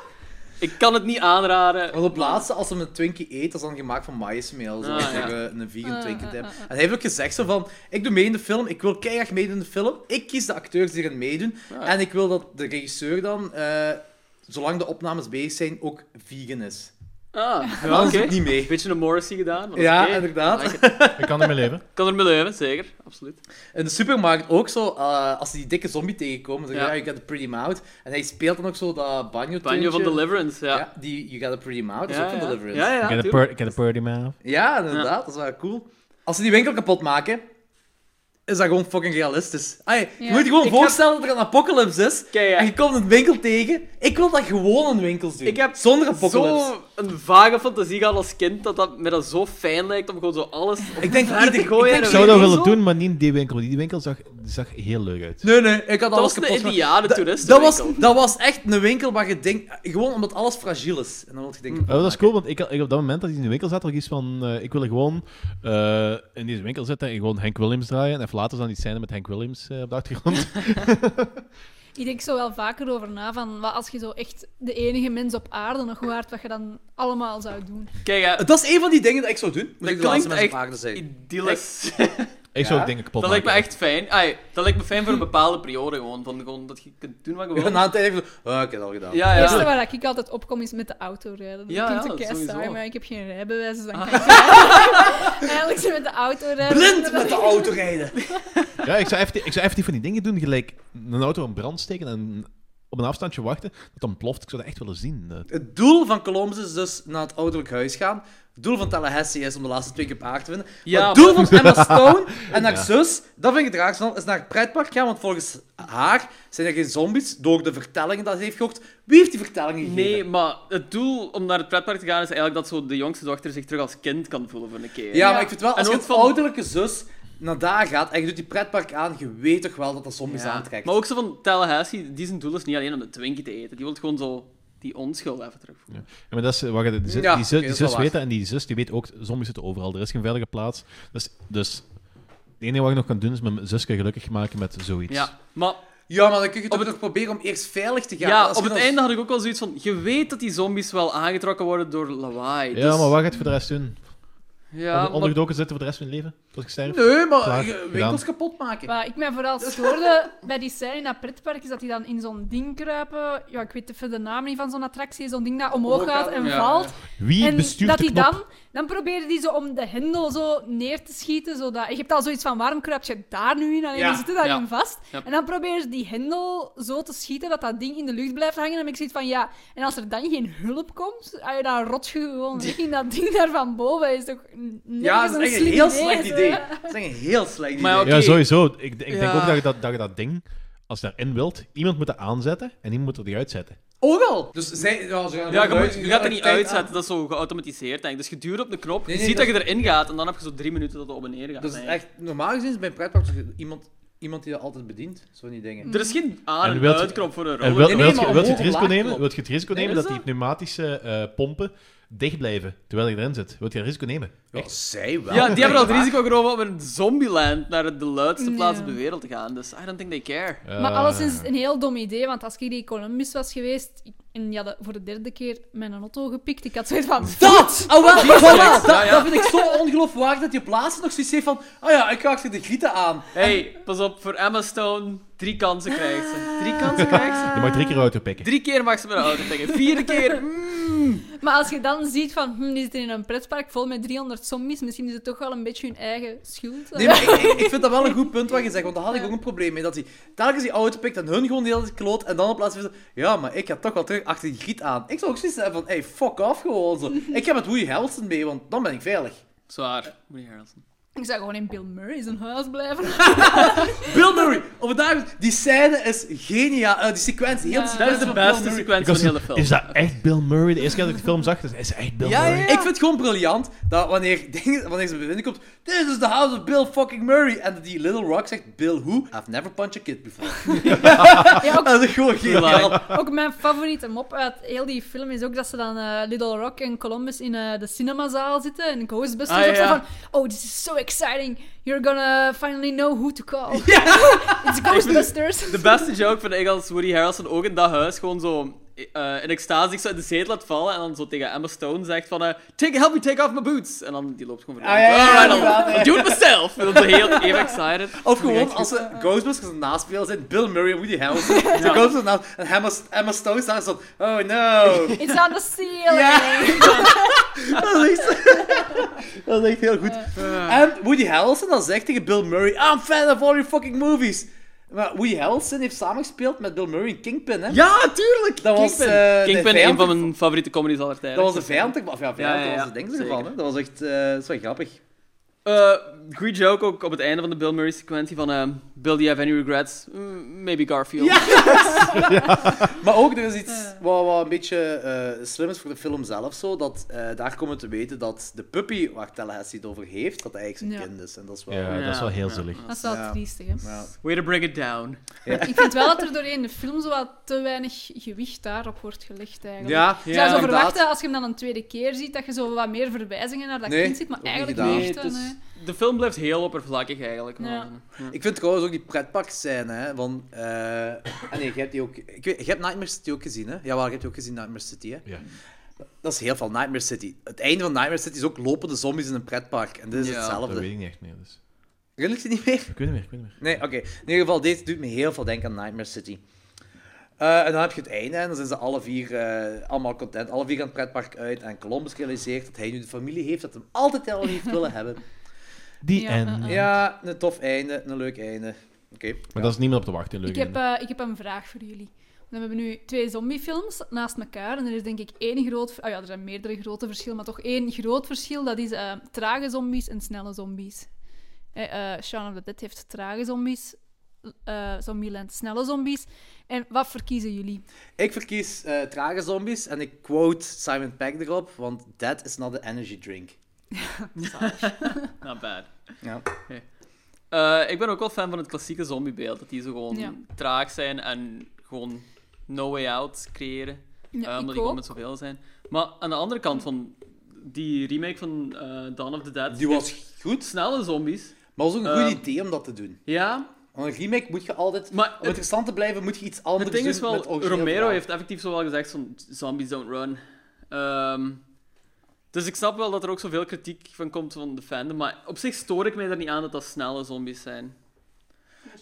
S4: Ik kan het niet aanraden.
S1: Want op het laatste, als hij een Twinkie eet, dat is dan gemaakt van maïsmeel. Zo,
S4: Ah,
S1: dat is
S4: ja.
S1: ook, eh, een vegan
S3: Ah,
S1: Twinkie
S3: ah,
S1: tip.
S3: ah, ah.
S1: En hij heeft ook gezegd zo van, ik doe mee in de film, ik wil keihard meedoen in de film. Ik kies de acteurs die erin meedoen.
S4: Ah.
S1: En ik wil dat de regisseur dan, eh, zolang de opnames bezig zijn, ook vegan is.
S4: Ah,
S1: En anders
S4: oké.
S1: doe ik niet mee.
S4: Een beetje een Morrissey gedaan. maar
S1: Ja,
S4: oké.
S1: inderdaad.
S4: Ik like it.
S2: Ik kan ermee leven.
S4: Ik kan er mee leven, zeker. Absoluut.
S1: In de supermarkt ook zo, eh, als ze die dikke zombie tegenkomen, dan
S4: Ja.
S1: ja, you got a pretty mouth. En hij speelt dan ook zo dat banjo
S4: Banjo van Deliverance, ja.
S1: Ja. die you got a pretty mouth, dat is ook van Deliverance.
S4: Ja,
S1: Ja,
S4: ja,
S2: Ik heb de
S4: tuurlijk.
S2: pur- ik heb de purdy mouth.
S1: inderdaad, dat is wel cool. Als ze die winkel kapot maken, is dat gewoon fucking realistisch. Ai, je
S3: Ja.
S1: moet je gewoon
S4: Ik
S1: voorstellen dat er een apocalypse is,
S4: Kei, ja.
S1: en je komt een winkel tegen. Ik wil dat gewoon in winkels doen,
S4: Ik heb
S1: zonder apocalypse.
S4: Zo een vage fantasie gehad als kind dat dat me dat zo fijn lijkt om gewoon zo alles
S1: Ik denk
S4: ver te
S1: ieder-
S4: gooien.
S1: ik
S4: en
S1: denk-
S2: Ik zou dat
S4: weer
S2: willen
S4: zo.
S2: doen, maar niet in die winkel. want Die winkel zag, zag heel leuk uit.
S1: Nee, nee, ik had
S4: Dat
S1: alles
S4: was de
S1: kapot gemaakt.
S4: ideale
S1: Dat was,
S4: toeristenwinkel.
S1: dat was echt een winkel waar je denkt... Gewoon omdat alles fragiel is. En dan wil je denken...
S2: Oh, dat is cool, want ik, had- ik op dat moment dat hij in de winkel zat, had ik iets van, eh, ik wil er gewoon eh, in deze winkel zitten en gewoon Hank Williams draaien. En even later dan die scène met Hank Williams eh, op de achtergrond.
S3: Ik denk zo wel vaker over na van wat als je zo echt de enige mens op aarde nog waart, wat je dan allemaal zou doen.
S4: Kijk, hè,
S1: Dat is een van die dingen dat ik zou doen. Moet
S4: dat
S1: ik de laatste
S4: klinkt
S1: mensen
S4: echt
S1: op aarde zijn.
S4: idyllisch.
S2: ik zou ook dingen kapot
S4: Dat lijkt me
S2: maken.
S4: echt fijn. Ai, dat lijkt me fijn voor een bepaalde periode gewoon. Van gewoon dat je kunt doen wat je
S1: Ja, na
S4: wil.
S1: een tijd even zo, "Ah, ik heb het al gedaan.
S4: Ja,
S3: Het eerste
S4: ja.
S3: waar ik altijd opkom is met de auto rijden.
S4: Ja,
S3: Ja,
S4: ja,
S3: dat
S4: dat
S3: klinkt zo
S4: sowieso. Ah.
S3: saai, maar ik heb geen rijbewijs, dus dan kan ik eigenlijk- eigenlijk zo met de auto rijden.
S1: Blind met de auto rijden.
S2: Ja, ik zou, even, ik zou even die van die dingen doen, gelijk een auto in brand steken en op een afstandje wachten, dat dan ploft. Ik zou dat echt willen zien. eh.
S1: Het doel van Columbus is dus naar het ouderlijk huis gaan. Het doel van Tallahassee is om de laatste twee keer op aarde te winnen.
S4: Ja,
S1: maar het doel van Emma Stone en haar zus, dat vind ik het raarste van, is naar het pretpark gaan. Want volgens haar zijn er geen zombies door de vertellingen dat ze heeft gehoord. Wie heeft die vertellingen gegeven?
S4: Nee, maar het doel om naar het pretpark te gaan is eigenlijk dat zo de jongste dochter zich terug als kind kan voelen voor een keer.
S1: Ja, maar
S3: Ja.
S1: ik vind wel,
S4: En
S1: als je
S4: ook
S1: als
S4: van-
S1: ouderlijke zus naar daar gaat en je doet die pretpark aan, je weet toch wel dat dat zombies
S4: Ja.
S1: aantrekt.
S4: Maar ook zo van Tallahassee, die zijn doel is niet alleen om de Twinkie te eten. Die wil gewoon zo die onschuld even terugvoelen.
S2: Ja, maar dat is, eh, wacht, die, zus-
S1: Ja,
S2: die, zus- die
S1: oké, dat is wel
S2: zus
S1: waar.
S2: weet dat en die zus die weet ook, zombies zitten overal, er is geen veilige plaats. Dus, dus het enige wat ik nog kan doen is mijn zusje gelukkig maken met zoiets.
S4: Ja, maar
S1: Ja, maar dan kun je toch nog proberen om eerst veilig te gaan.
S4: Ja,
S1: Als
S4: op
S1: je
S4: het
S1: dan-
S4: einde had ik ook wel zoiets van... Je weet dat die zombies wel aangetrokken worden door lawaai.
S2: Ja,
S4: dus-
S2: maar wat gaat het voor de rest doen?
S4: Ja,
S2: Onder-
S4: maar-
S2: ondergedoken zitten voor de rest van je leven? Tot ik sterf?
S1: Nee, maar
S2: Klaar,
S1: je-
S2: gedaan.
S1: winkels kapot maken.
S3: Wat ik mij vooral stoorde bij die scène in dat pretpark is dat die dan in zo'n ding kruipen. Ja, ik weet even de naam niet van zo'n attractie. Zo'n ding dat omhoog
S1: Omhoog
S3: gaat
S1: gaat,
S3: en
S4: Oh, ja,
S3: valt.
S2: Wie
S3: En
S2: bestuurt
S3: dat
S2: de
S3: die
S2: knop?
S3: dan, dan probeerde die zo om de hendel zo neer te schieten. Zodat, je hebt al zoiets van waarom kruip je daar nu in? Alleen
S1: Ja,
S3: die zitten daarin
S4: ja.
S3: vast.
S4: Ja.
S3: En dan probeerde ze die hendel zo te schieten dat dat ding in de lucht blijft hangen. En dan heb ik zoiets van ja, en als er dan geen hulp komt, ah, ja, dan rot je gewoon weg in dat ding daar van boven. Is toch n- nergens
S1: Ja, dat is echt een
S3: slim
S1: heel slecht
S3: zo.
S1: idee. Dat is echt een heel slecht
S4: Maar ja,
S1: idee.
S4: oké.
S2: Ja, sowieso. Ik, ik denk
S4: Ja.
S2: ook dat je dat, dat je dat ding, als je daarin wilt, iemand moet dat aanzetten en iemand moet er die uitzetten.
S1: Ook al. Dus zij... Ja, ze gaan
S4: Ja, je,
S1: eruit-
S4: moet- je gaat er niet
S1: tijd
S4: uitzetten,
S1: aan.
S4: dat is zo geautomatiseerd. Denk. ik. Dus je duwt op de knop,
S1: Nee,
S4: je
S1: nee,
S4: ziet dat je erin gaat en dan heb je zo drie minuten dat het op en neer gaat.
S1: Dat is
S4: eigenlijk.
S1: echt... Normaal gezien is bij een pretpark toch iemand, iemand die dat altijd bedient. Zo'n die dingen.
S4: Er is geen aan-
S2: En
S4: en
S2: wilt je-
S4: uitknop voor een
S2: En
S4: roller.
S2: wil,
S1: nee,
S2: wilt
S1: maar
S2: je, wilt je het
S1: omhoog,
S2: risico
S1: laag
S2: nemen,
S1: knop.
S2: wilt je het risico
S1: Nee,
S2: nemen
S1: is
S2: dat die pneumatische eh, pompen dicht blijven terwijl je erin zit? Wilt je dat risico nemen?
S1: Ja, zij wel.
S4: Ja, die hebben al het
S1: Maar-
S4: risico genomen om in Zombieland naar de luidste plaats
S3: Ja.
S4: op de wereld te gaan. Dus I don't think they care.
S3: Maar
S2: Eh,
S3: alleszins is het een heel dom idee, want als ik hier in Columbus was geweest ik- en die hadden voor de derde keer mijn auto gepikt, ik had zoiets van...
S1: Dat! Oh, wel, voilà, dat,
S4: Ja, ja.
S1: dat vind ik zo ongeloofwaardig dat je plaatsen nog zoiets heeft van... Ah ja, ik ga achter de gieten aan.
S4: Hey, pas op, voor Emma Stone Drie kansen krijgt ze. Drie kansen krijgt ze.
S2: Je mag drie keer auto pikken.
S4: Drie keer mag ze met een auto tikken. Vierde keer. mm,
S3: Maar als je dan ziet van, hm, die zitten in een pretpark vol met 300 zombies, misschien is het toch wel een beetje hun eigen schuld.
S1: Nee, maar ik, ik- ik vind dat wel een goed punt wat je zegt, want daar had ik ook een probleem mee. Dat hij telkens die auto pikt en hun gewoon de hele tijd kloot. En dan in plaats van, zo, ja, maar ik ga toch wel terug achter die giet aan. Ik zou ook zoiets hebben van, hey, fuck off gewoon zo. Ik heb met Woody Harrelson mee, want dan ben ik veilig.
S4: Zwaar. Woody Harrelson.
S3: Ik zou gewoon in Bill Murray zijn huis blijven.
S1: Bill Murray, over daar, die scène is geniaal. eh, die sequentie, heel die
S3: Ja.
S4: Dat
S1: sequentie
S4: is de
S1: van Bill
S4: beste
S1: Murray.
S4: sequentie
S2: Ik was
S4: van de hele
S2: zo,
S4: film.
S2: Is dat echt Bill Murray? De eerste keer dat ik de film zag, dus is echt Bill
S1: Ja, ja,
S2: Murray.
S1: ja. Ik vind het gewoon briljant dat wanneer, dingen, wanneer ze binnenkomt, this is the house of Bill fucking Murray. En die Little Rock zegt, Bill who? I've never punched a kid before.
S3: Ja, ook,
S1: Dat is gewoon geniaal.
S3: ook mijn favoriete mop uit heel die film is ook dat ze dan eh, Little Rock en Columbus in eh, de cinemazaal zitten en Ghostbusters
S4: Ah,
S3: ook zo
S4: ja.
S3: van Oh, this is so exciting. You're gonna finally know who to call. It's Ghostbusters.
S4: De beste joke van ik als Woody Harrelson ook in dat huis gewoon zo eh, in extase zich zo in de zetel laat vallen en dan zo tegen Emma Stone zegt van eh, take, help me take off my boots. En dan die loopt gewoon van
S1: Ah, ja, ja, ja,
S4: alright,
S1: inderdaad,
S4: I'll-
S1: ja.
S4: I'll do it myself. En dan zo heel even excited.
S1: Of gewoon als ze Ghostbusters een naspeel zijn, Bill Murray en Woody Harrelson. Zo Ghostbusters naast en Emma, Emma Stone staat zo. Oh no.
S3: It's on the ceiling.
S1: Ja. dat, is echt, dat is echt heel goed. En Woody Harrelson dan zegt tegen Bill Murray: I'm fan of all your fucking movies. Maar Woody Harrelson heeft samengespeeld met Bill Murray in Kingpin, hè?
S4: Ja, tuurlijk!
S1: Dat was,
S4: Kingpin,
S1: eh, de
S4: Kingpin een
S1: vijand-
S4: van mijn favoriete comedies aller tijden.
S1: Dat was een vijand, of ja, vijand,
S4: Ja, ja,
S1: dat
S4: ja,
S1: was het ding
S4: zeker.
S1: ervan, hè? Dat was echt, eh, dat is wel grappig.
S4: Eh, goede joke ook op het einde van de Bill Murray sequentie van eh, Bill, do you have any regrets? Mm, maybe Garfield.
S1: Maar ook, er is iets wat, wat een beetje eh, slim is voor de film zelf. Zo, dat, eh, daar komen we te weten dat de puppy waar Tallahassee het over heeft, dat hij eigenlijk zijn
S3: Ja.
S1: kind is. En dat is wel...
S2: Ja, dat is wel heel
S4: Ja.
S2: zielig.
S3: Dat is wel
S1: Ja.
S3: triestig, hè.
S1: Ja.
S4: Way to break it down.
S3: Ik vind wel dat er doorheen de film zo wat te weinig gewicht daarop wordt gelegd, eigenlijk.
S1: Ja,
S3: Je zou zo
S1: inderdaad.
S3: verwachten, als je hem dan een tweede keer ziet, dat je zo wat meer verwijzingen naar dat
S1: Nee,
S3: kind ziet, maar
S1: ook niet
S3: eigenlijk
S1: gedaan.
S3: niet
S4: Nee,
S3: echt.
S4: het
S3: hè,
S4: is-
S3: nee.
S4: de film blijft heel oppervlakkig eigenlijk. maar-
S3: Ja.
S1: Ik vind trouwens ook die pretpark scène, hè, van... eh, ah nee, je hebt die ook... Ik weet, je hebt Nightmare City ook gezien, hè? Jawel, je hebt die ook gezien, Nightmare City, hè?
S2: Ja.
S1: Dat is heel veel Nightmare City. Het einde van Nightmare City is ook lopende zombies in een pretpark. En dit is
S4: Ja,
S2: Dat weet
S1: hetzelfde.
S2: ik niet echt meer. Dus.
S1: Herinner je die niet meer?
S2: Ik weet het meer, ik weet het meer.
S1: Nee, oké. In ieder geval, deze doet me heel veel denken aan Nightmare City. Eh, en dan heb je het einde en dan zijn ze alle vier eh, allemaal content. Alle vier gaan het pretpark uit en Columbus realiseert dat hij nu de familie heeft dat hem altijd al heeft willen hebben.
S4: Oh.
S2: Die
S3: Ja,
S2: en...
S3: eh, eh.
S1: Ja, een tof einde, een leuk einde. Oké.
S2: Maar dat is niemand op te wachten, leuk.
S3: Ik heb, eh, ik heb een vraag voor jullie. Want We hebben nu twee zombiefilms naast elkaar. En er is denk ik één groot... Oh ja, er zijn meerdere grote verschillen, maar toch één groot verschil. Dat is eh, trage zombies en snelle zombies. Eh, eh, Shaun of the Dead heeft trage zombies. eh Zombieland snelle zombies. En wat verkiezen jullie?
S1: Ik verkies eh, trage zombies en ik quote Simon Pegg erop, want that is not an energy drink.
S4: Not bad.
S1: Ja.
S4: Eh, ik ben ook wel fan van het klassieke zombiebeeld. Dat die zo gewoon
S3: Ja.
S4: traag zijn en gewoon no way out creëren.
S3: Ja,
S1: Ah,
S4: eh,
S3: ik
S4: omdat die gewoon
S3: ook.
S4: met zoveel zijn. Maar aan de andere kant van die remake van eh Dawn of the Dead.
S1: Die was
S4: heeft
S1: goed,
S4: snelle zombies.
S1: maar was ook een goed
S4: Ehm.
S1: idee om dat te doen.
S4: Ja,
S1: Want een remake moet je altijd...
S4: maar
S1: Om
S4: het-
S1: interessant te blijven moet je iets anders
S4: Het ding
S1: doen
S4: is
S1: met
S4: wel,
S1: origineel
S4: Romero
S1: verhaal.
S4: heeft effectief zo wel gezegd van zombies don't run. Ehm, dus ik snap wel dat er ook zoveel kritiek van komt van de fandom, maar op zich stoor ik mij er niet aan dat dat snelle zombies zijn.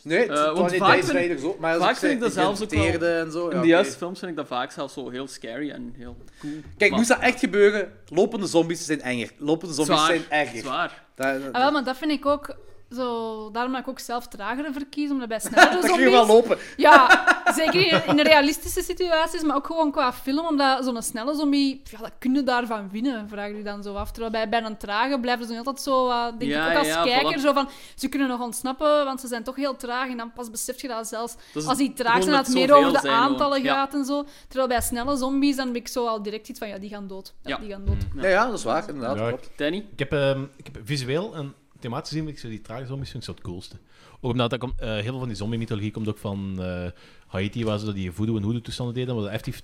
S1: Nee, het
S4: Eh, want
S1: want
S4: vaak
S1: vaak
S4: vind-
S1: vind, zo, maar als
S4: vaak
S1: ik zei,
S4: vind ik dat zelfs ook wel-
S1: geïnfecteerde en zo. ja,
S4: In de
S1: oké.
S4: juiste films vind ik dat vaak zelfs zo heel scary en heel cool.
S1: Kijk,
S4: Maar-
S1: moest dat echt gebeuren, lopende zombies zijn enger. Lopende zombies
S4: Zwaar,
S1: zijn erger.
S4: Zwaar.
S1: Daar- daar-
S3: Ah, wel, maar dat vind ik ook zo... Daarom dat ik ook zelf tragere verkies, omdat bij snellere
S1: dat kun je wel
S3: zombies...
S1: lopen.
S3: Ja, zeker in, in de realistische situaties, maar ook gewoon qua film. Omdat zo'n snelle zombie, ja, dat kunnen daarvan winnen, vraag je je dan zo af. Terwijl bij, bij een trage blijven ze altijd zo, eh, denk
S4: Ja,
S3: ik ook als
S4: ja,
S3: kijker,
S4: voilà.
S3: zo van, ze kunnen nog ontsnappen, want ze zijn toch heel traag. En dan pas besef je dat zelfs
S4: Dat is
S3: als die traag
S4: gewoon
S3: zijn, dat het
S4: dat
S3: meer
S4: zoveel
S3: over de
S4: zijn gewoon.
S3: aantallen
S4: Ja.
S3: gaat en zo. Terwijl bij snelle zombies, dan heb ik zo al direct iets van, ja, die gaan dood. Ja,
S4: Ja.
S3: die gaan dood.
S1: Ja, ja, dat is waar, inderdaad.
S2: Ja,
S1: klopt.
S4: Danny?
S2: Ik heb, ehm, ik heb visueel en thematisch gezien, ik zo die trage zombies vind ik zo het coolste. Ook omdat dat komt, eh, heel veel van die zombie-mythologie komt ook van eh, Haiti, waar ze die voodoo en hoodoo toestanden deden, waar ze effectief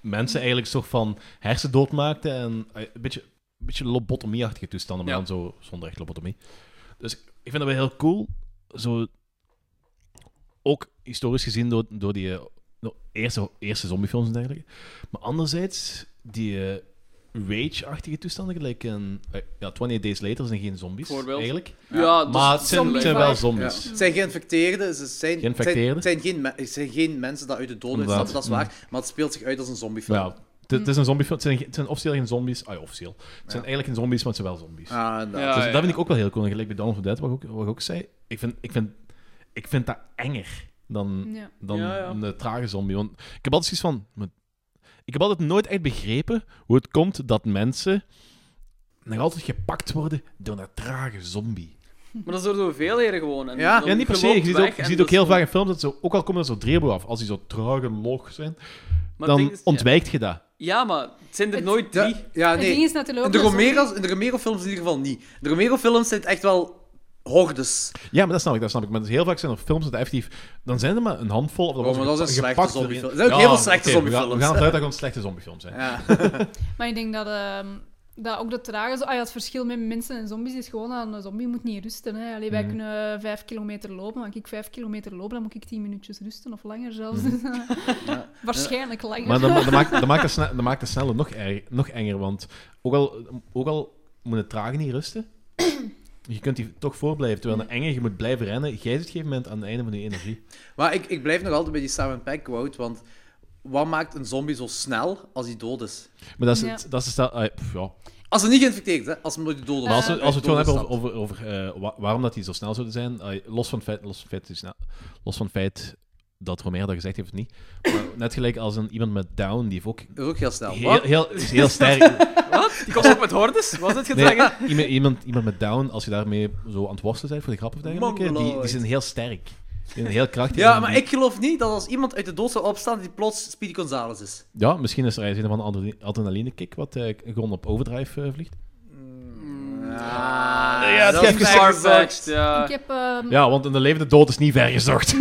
S2: mensen eigenlijk soort van hersendood maakten en eh, een beetje, een beetje lobotomie-achtige toestanden, maar
S4: Ja.
S2: dan zo zonder echt lobotomie. Dus ik vind dat wel heel cool. Zo, ook historisch gezien door, door die eh, nou, eerste, eerste zombiefilms en dergelijke. Maar anderzijds, die eh, rage-achtige toestanden, gelijk in... eh, Ja, 28 Days Later zijn geen zombies,
S4: Voorbeeld.
S2: eigenlijk.
S4: Ja, ja
S2: Maar het zijn, het zijn wel
S1: Ja.
S2: zombies.
S1: Het zijn geïnfecteerden. Ze zijn,
S2: Geïnfecteerden?
S1: Het zijn, het zijn geen, me- het zijn geen mensen die uit de dood
S2: Inderdaad. Mm.
S1: ontsnappen, dat is waar. Maar het speelt zich uit als een zombiefilm.
S2: Ja, het, het is een zombiefilm. Het zijn, geen- het zijn officieel geen zombies. Ah ja, officieel. Het zijn eigenlijk geen zombies, maar het zijn wel zombies.
S1: Ah, inderdaad.
S4: Ja,
S2: dus
S4: ja,
S2: dat vind
S4: ja.
S2: ik ook wel heel cool. En Gelijk bij Dawn of the Dead, wat ik ook, wat ik ook zei. Ik vind, ik, vind, ik vind dat enger dan,
S3: Ja.
S2: dan
S4: Ja, ja.
S2: een eh, trage zombie. Want ik heb altijd zoiets van... maar- Ik heb altijd nooit echt begrepen hoe het komt dat mensen nog altijd gepakt worden door een trage zombie.
S4: Maar dat is door de hoeveelheden gewoon. En
S1: Ja.
S4: dan
S2: Ja, niet per se. Je
S4: loopt
S2: ziet
S4: weg
S2: ook, je
S4: en
S2: ziet
S4: dat
S2: ook heel
S4: is-
S2: vaak in films dat ze... Ook al komen er zo dreeuwen af, als die zo traag en log zijn,
S4: maar het
S2: dan
S4: ding is-
S2: ontwijkt je dat.
S4: Ja, maar het zijn er
S3: Het-
S4: nooit
S1: Ja,
S4: drie.
S1: ja,
S3: Het ding
S1: Ah, nee.
S3: is natuurlijk
S1: In
S3: ook...
S1: de,
S3: dat zombie-
S1: Romero's, in de Romero-films in ieder geval niet. In de Romero-films zijn het echt wel hordes.
S2: Ja, maar dat snap ik, dat snap ik. Maar dus heel vaak zijn er films dat effectief... Dan zijn er maar een handvol... Of dan
S1: Oh, maar
S2: wordt
S1: dat zijn
S2: gepakt- gepakt
S1: slechte zombiefilms.
S2: door-
S1: Er zijn ook heel veel slechte
S2: oké, we gaan-
S1: zombiefilms.
S2: We gaan het uit dat gewoon slechte zombiefilms zijn.
S1: Ja.
S3: Maar ik denk dat, ehm, dat ook de trage... zo- Ah, ja, het verschil met mensen en zombies is gewoon dat een zombie moet niet rusten. Hè. Allee, wij kunnen vijf kilometer lopen, maar als ik vijf kilometer loop, dan moet ik tien minuutjes rusten of langer zelfs. Waarschijnlijk langer.
S2: Maar dan, dan maakt, dan, maakt de sne- dan maakt de snelle nog, erg- nog enger, want ook al, ook al moet het traag niet rusten, je kunt die toch voorblijven. Terwijl een enger, je moet blijven rennen. Jij zit op een gegeven moment aan het einde van je energie.
S1: Maar ik, ik blijf nog altijd bij die Simon Peck quote, want wat maakt een zombie zo snel als hij dood is?
S2: Maar dat is
S3: Ja.
S2: het... Dat is het ah, pff, ja.
S1: Als ze niet geïnfecteerd, hè? Als ze nooit dood
S2: Maar als we, als we het gewoon hebben over, over, over, eh, wa- waarom dat die zo snel zouden zijn, ah, los, van het feit, los, van het feit, dat die snel- los van het feit dat Romero dat gezegd heeft of niet, maar net gelijk als een, iemand met Down, die heeft ook
S1: Dat is ook heel snel.
S2: heel,
S1: Wat?
S2: heel, is heel sterk...
S4: Wat? Die komt ook met hordes? Was het
S2: Nee,
S4: gedrag?
S2: iemand, iemand, iemand met down, als je daarmee zo aan het worstelen bent voor de grap of dergelijke, die, die
S1: Mongoloid.
S2: zijn heel sterk. Die zijn heel krachtig.
S1: Ja,
S2: En
S1: maar
S2: die-
S1: ik geloof niet dat als iemand uit de dood zou opstaan, dat hij plots Speedy Gonzales is.
S2: Ja, misschien is er een van een adrenaline kick wat eh, gewoon op overdrive eh, vliegt.
S4: Ah,
S1: ja,
S2: dat is
S1: ver gezocht.
S4: Far-fetched, ja.
S3: Ik heb... ehm,
S2: Ja, want een levende dood is niet vergezocht.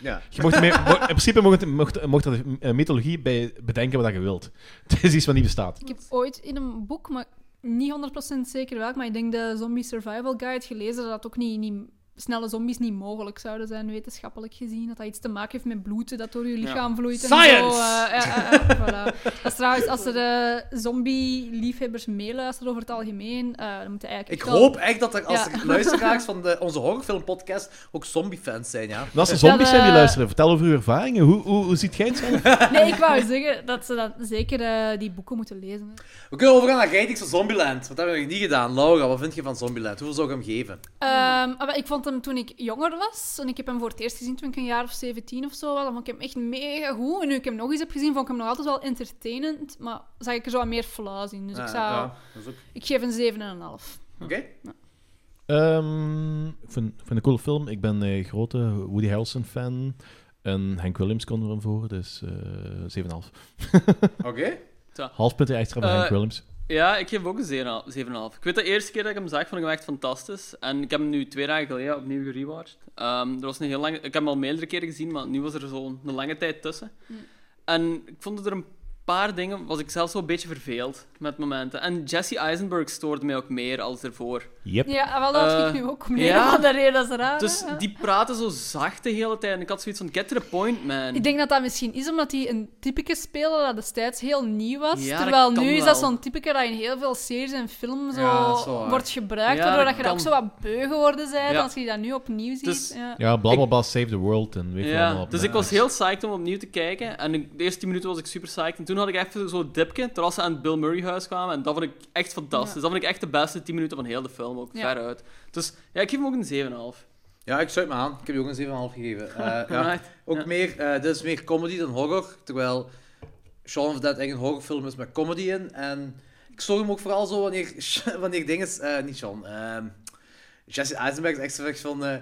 S1: Ja.
S2: je mocht ermee, mo- in principe mocht, mocht, mocht er eh, mythologie bij bedenken wat je wilt. Het is iets wat niet bestaat.
S3: Ik heb ooit in een boek, maar niet 100% zeker welk, maar ik denk de Zombie Survival Guide gelezen dat ook niet, niet, snelle zombies niet mogelijk zouden zijn, wetenschappelijk gezien. Dat dat iets te maken heeft met bloed dat door je lichaam vloeit. en
S1: Science!
S3: Zo, eh, eh, eh, eh, voilà. Dat is trouwens, als er eh, zombie-liefhebbers meeluisteren over het algemeen, eh, dan moeten eigenlijk...
S1: Ik
S3: echt wel-
S1: hoop echt dat er, als
S3: Ja.
S1: er luisteraars van de, onze horrorfilmpodcast ook zombiefans zijn, ja.
S2: En als er zombies
S3: Dat,
S2: zijn die
S3: eh,
S2: luisteren, vertel over uw ervaringen. Hoe, hoe, hoe ziet jij het zelf?
S3: Nee, ik wou zeggen dat ze dan zeker eh, die boeken moeten lezen. hè.
S1: We kunnen overgaan naar ratings van Zombieland. Wat hebben we nog niet gedaan? Laura, wat vind je van Zombieland? Hoeveel zou ik hem geven?
S3: Ehm, ah, wel, ik vond hem toen ik jonger was. En ik heb hem voor het eerst gezien toen ik een jaar of 17 of zo was. Dan vond ik hem echt mega goed. En nu ik hem nog eens heb gezien, vond ik hem nog altijd wel entertainend. Maar zag ik er zo wat meer flaws in. Dus ik,
S1: Ah,
S3: zou,
S1: ja, dat is ook-
S3: ik geef een 7,5.
S1: Oké.
S2: Ehm, ik vind ik vind het een coole film. Ik ben een grote Woody Harrelson-fan. En Henk Williams kon er hem voor, dus eh 7,5.
S1: Oké.
S2: Half puntje extra voor
S4: Eh,
S2: Henk Williams.
S4: Ja, ik geef ook een 7,5. 7,5. Ik weet de eerste keer dat ik hem zag, vond ik hem echt fantastisch. En ik heb hem nu twee dagen geleden opnieuw gerewatcht. Ehm, er was een heel lange... Ik heb hem al meerdere keren gezien, maar nu was er zo'n een lange tijd tussen. En ik vond dat er een paar dingen... Was ik zelf zo'n beetje verveeld met momenten. En Jesse Eisenberg stoorde mij ook meer als ervoor.
S2: Yep.
S3: Ja, ah, wel, dat had ik
S4: Eh,
S3: nu ook om
S4: ja.
S3: ja. van de reden, dat is raar.
S4: Dus
S3: hè? Ja.
S4: die praten zo zacht de hele tijd. En ik had zoiets van, get to the point, man.
S3: Ik denk dat dat misschien is omdat hij een typeke speler dat destijds heel nieuw was.
S4: Ja, dat
S3: terwijl
S4: kan
S3: nu is dat
S4: wel.
S3: zo'n typeke dat in heel veel series en films zo
S1: Ja, dat is wel waar.
S3: wordt gebruikt.
S4: Ja,
S3: waardoor
S4: dat
S3: dat je er ook
S4: kan.
S3: zo wat beu geworden bent
S4: Ja.
S3: als je dat nu opnieuw ziet.
S4: Dus-
S3: ja.
S2: Ja, blablabla, bla, save the world en weet je
S4: Ja,
S2: allemaal. op
S4: dus ik was
S2: Netflix.
S4: heel psyched om opnieuw te kijken. En ik- de eerste 10 minuten was ik super psyched. En toen had ik even zo'n dipje, terwijl ze aan het Bill Murray huis kwamen. En dat vond ik echt fantastisch.
S3: Ja.
S4: Dat vond ik echt de beste 10 minuten van heel de film, ook
S3: Ja.
S4: veruit. Dus ja, ik geef hem ook een 7,5.
S1: Ja, ik sluit me aan. Ik heb je ook een 7,5 gegeven. Eh, ja.
S4: Alright.
S1: Ook
S4: Ja.
S1: meer, eh, dit is meer comedy dan horror. Terwijl Shaun of the Dead eigenlijk een horrorfilm is met comedy in. En ik zorg hem ook vooral zo wanneer, wanneer dingen. eh niet Sean, ehm, Jesse Eisenberg is echt zo echt van. eh,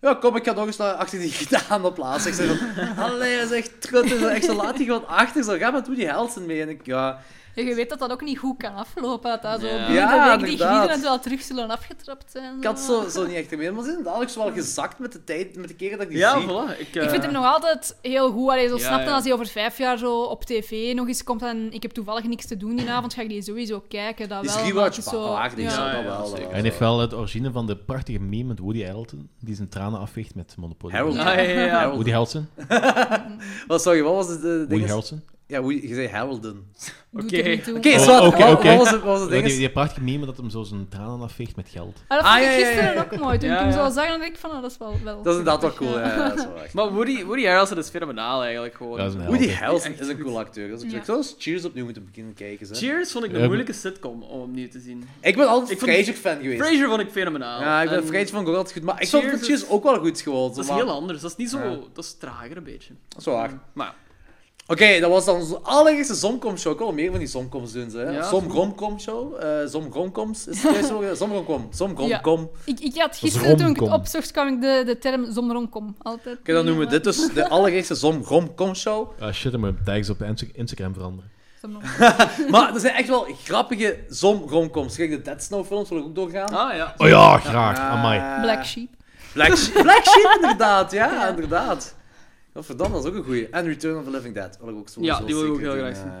S1: ja, kom, ik ga nog eens naar achter die gedaan op plaats. Ik zeg van, allee, dat is echt trut. Dat is echt zo, laat die gewoon achter. Zo, ga met Woody Helsen mee. En ik, ja,
S3: Ja, je weet dat dat ook niet goed kan aflopen. Dat dat zo
S4: Ja.
S3: binnen
S1: Ja,
S3: de week die
S1: inderdaad.
S3: gieren wel terug zullen afgetrapt zijn.
S1: ik had zo, zo niet echt ermee. Maar ze zijn dadelijk zo wel gezakt met de tijd, met de keren dat ik die
S4: Ja,
S1: zie.
S4: voilà. Ik, eh,
S3: Ik vind hem nog altijd heel goed. Allee, zo
S4: Ja,
S3: snap dan
S4: ja.
S3: als hij over vijf jaar zo op tv nog eens komt en ik heb toevallig niks te doen die avond, ga ik die sowieso kijken. Dat
S1: Die is
S3: wel, maar
S1: rewatch
S3: het is zo-
S1: waardig,
S3: ja.
S1: zo,
S4: Ja,
S1: dat
S4: ja,
S1: wel. dat
S4: zeker.
S1: wel.
S2: Hij heeft wel het origine van de prachtige meme met Woody Harrelson, die zijn tranen afveegt met Monopoly.
S1: Harold.
S4: Ah, Ja, ja, ja, ja.
S1: Harold.
S2: Woody Harrelson?
S1: Wat, sorry, wat was het? eh, ding
S2: Woody
S1: is-
S2: Harrelson?
S1: Ja, hoe, je zei Haroldon.
S4: Oké.
S3: Oké,
S1: Oké,
S2: Oh,
S1: zwart.
S2: oké,
S1: Wat-
S2: oké.
S1: Wat was het, wat was het
S2: Die,
S1: ding?
S2: die, prachtige meme dat hem zo zijn tranen afveegt met geld.
S3: Ah, dat
S1: Ah,
S3: vond ik
S1: ja, ja, ja,
S3: gisteren
S1: ja.
S3: ook mooi. Toen
S4: Ja,
S3: ik hem
S4: ja.
S3: zo zag, dan denk ik van, ah, dat is wel... wel
S1: Dat is inderdaad wel
S3: grappig,
S1: cool, ja,
S3: ja.
S1: ja, dat is wel echt.
S4: Maar Woody, Woody Harrelson is fenomenaal eigenlijk gewoon.
S2: Ja, dat is een held.
S1: Woody
S2: hè.
S1: Harrelson
S4: echt
S1: is een
S4: goed.
S1: cool acteur. Dus ik
S3: Ja.
S1: zou zelfs Cheers opnieuw moeten beginnen kijken. Zeg.
S4: Cheers vond ik
S2: Ja,
S4: een moeilijke sitcom om opnieuw te zien.
S1: Ik ben altijd
S4: Ik vond-
S1: Frasier-fan geweest.
S4: Frasier vond ik fenomenaal.
S1: Ja, ik ben
S4: En
S1: Frasier vond ik ook altijd goed. Maar ik vond
S4: Cheers
S1: van Cheers
S4: is-
S1: ook wel goed gewoon.
S4: Dat is
S1: maar-
S4: heel anders. Dat is niet zo...
S1: Ja.
S4: Dat is trager een beetje.
S3: Oh.
S1: Dat is wel waar.
S4: Maar
S1: Oké, dat was dan onze allereerste Zomcom-show. Ik wil meer van die Zomcoms doen. Hè?
S4: Ja.
S1: Zomromcom-show. Eh Zomromcoms is het juist zo? Zomromcom. Zomromcom.
S3: Ik, ik had gisteren, toen ik het
S2: romcom.
S3: opzocht, kwam ik de, de term zomromcom altijd.
S1: Oké, dan noemen we
S3: tegen,
S1: dit dus de allereerste Zomromcom-show.
S2: Ah shit, dan moet ik tags op Insta- Instagram veranderen.
S3: eh, zomromcom.
S1: Maar er zijn echt wel grappige Zomromcoms. Kijk, de Dead Snow films wil ik ook doorgaan.
S4: Ah ja.
S2: Oh ja, graag. Amai.
S1: Eh,
S3: Black sheep.
S1: Black, She- Black Sheep, inderdaad. Ja, inderdaad. Godverdamme, dat is ook een goeie. En Return of the Living Dead wil ik ook zo
S4: Ja, die wil ik ook heel graag zien.
S1: eh,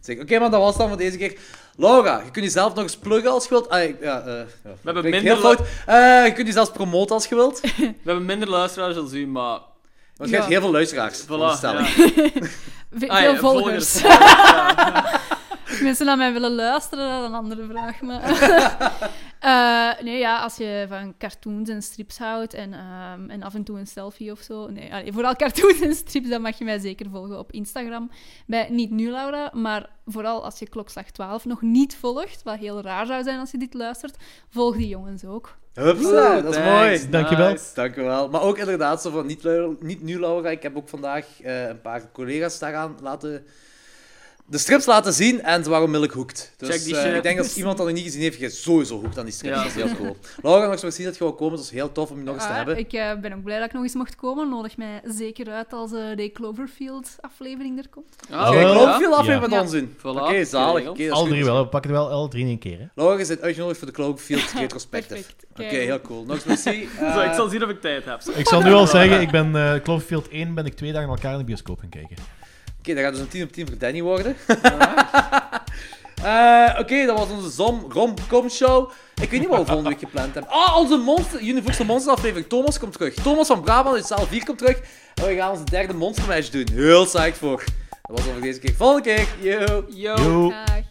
S1: Zeker. Oké, maar dat was dan voor deze keer. Laura, je kunt jezelf nog eens pluggen als je wilt. Ah, ik- ja, eh, ja, dat
S4: hebben
S1: klinkt
S4: minder
S1: heel fout. Eh, je kunt jezelf promoten als je wilt.
S4: We hebben minder luisteraars dan u, maar...
S1: Want je hebt heel veel luisteraars.
S4: Voilà.
S1: veronderstel ik.
S4: ja.
S3: Ve-
S4: Ah, ja,
S3: veel
S4: volgers.
S3: volgers. Als mensen naar mij willen luisteren, dat is een andere vraag. Maar... Eh, nee, ja, als je van cartoons en strips houdt en, ehm, en af en toe een selfie of zo. Nee, allee, vooral cartoons en strips, dan mag je mij zeker volgen op Instagram. Bij niet nu, Laura, maar vooral als je klokslag 12 nog niet volgt, wat heel raar zou zijn als je dit luistert, volg die jongens ook.
S1: Hupsa, dat is mooi.
S4: Thanks,
S2: Dankjewel.
S4: nice.
S1: Dankjewel. Maar ook inderdaad, zo van niet, lu- niet nu Laura. Ik heb ook vandaag eh, een paar collega's daaraan laten... De strips laten zien en waarom Milk hoekt. Dus
S4: Check die
S1: eh,
S4: shit.
S1: ik denk als iemand dat nog niet gezien heeft, je bent sowieso hoekt aan die strips.
S4: Ja.
S1: Dat is heel cool. Laura, nog eens zien dat je wel komen. Dat is heel tof om je nog eens te
S3: Ah,
S1: hebben.
S3: ik eh, ben ook blij dat ik nog eens mocht komen. Nodig mij zeker uit als eh, de Cloverfield-aflevering er komt.
S4: Ah,
S1: Oké,
S2: Wel.
S1: ik
S4: ja.
S1: hoop veel aflevering
S3: Ja.
S1: met ons doen.
S4: Voilà.
S1: Oké, zalig. Oké, dat is
S2: Al
S1: goed.
S2: drie wel, we pakken er wel al drie in één keer. Hè?
S1: Laura, je bent uitgenodigd voor de Cloverfield Retrospective.
S3: Perfect.
S1: Oké,
S3: Kijk.
S1: heel cool. Nog eens merci.
S4: Zo, ik
S1: Eh,
S4: zal zien of ik tijd heb.
S2: Ik zal nu al zeggen, ik ben eh Cloverfield 1 ben ik twee dagen in elkaar in de bioscoop gaan kijken.
S1: Oké, dat gaat dus een 10 op 10 voor Danny worden. Eh, Oké, dat was onze Zom Romcom Show. Ik weet niet wat we volgende week gepland hebben. Ah, onze monster, Universal Monster aflevering. Thomas komt terug. Thomas van Brabant uit zaal 4 komt terug. En we gaan onze derde Monster Mash doen. Heel psyched voor. Dat was dan voor deze keer. Volgende keer. Yo.
S4: Yo.
S2: Yo.
S3: Dag.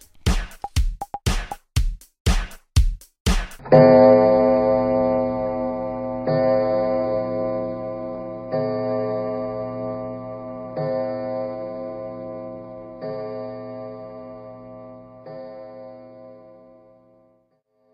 S5: Thank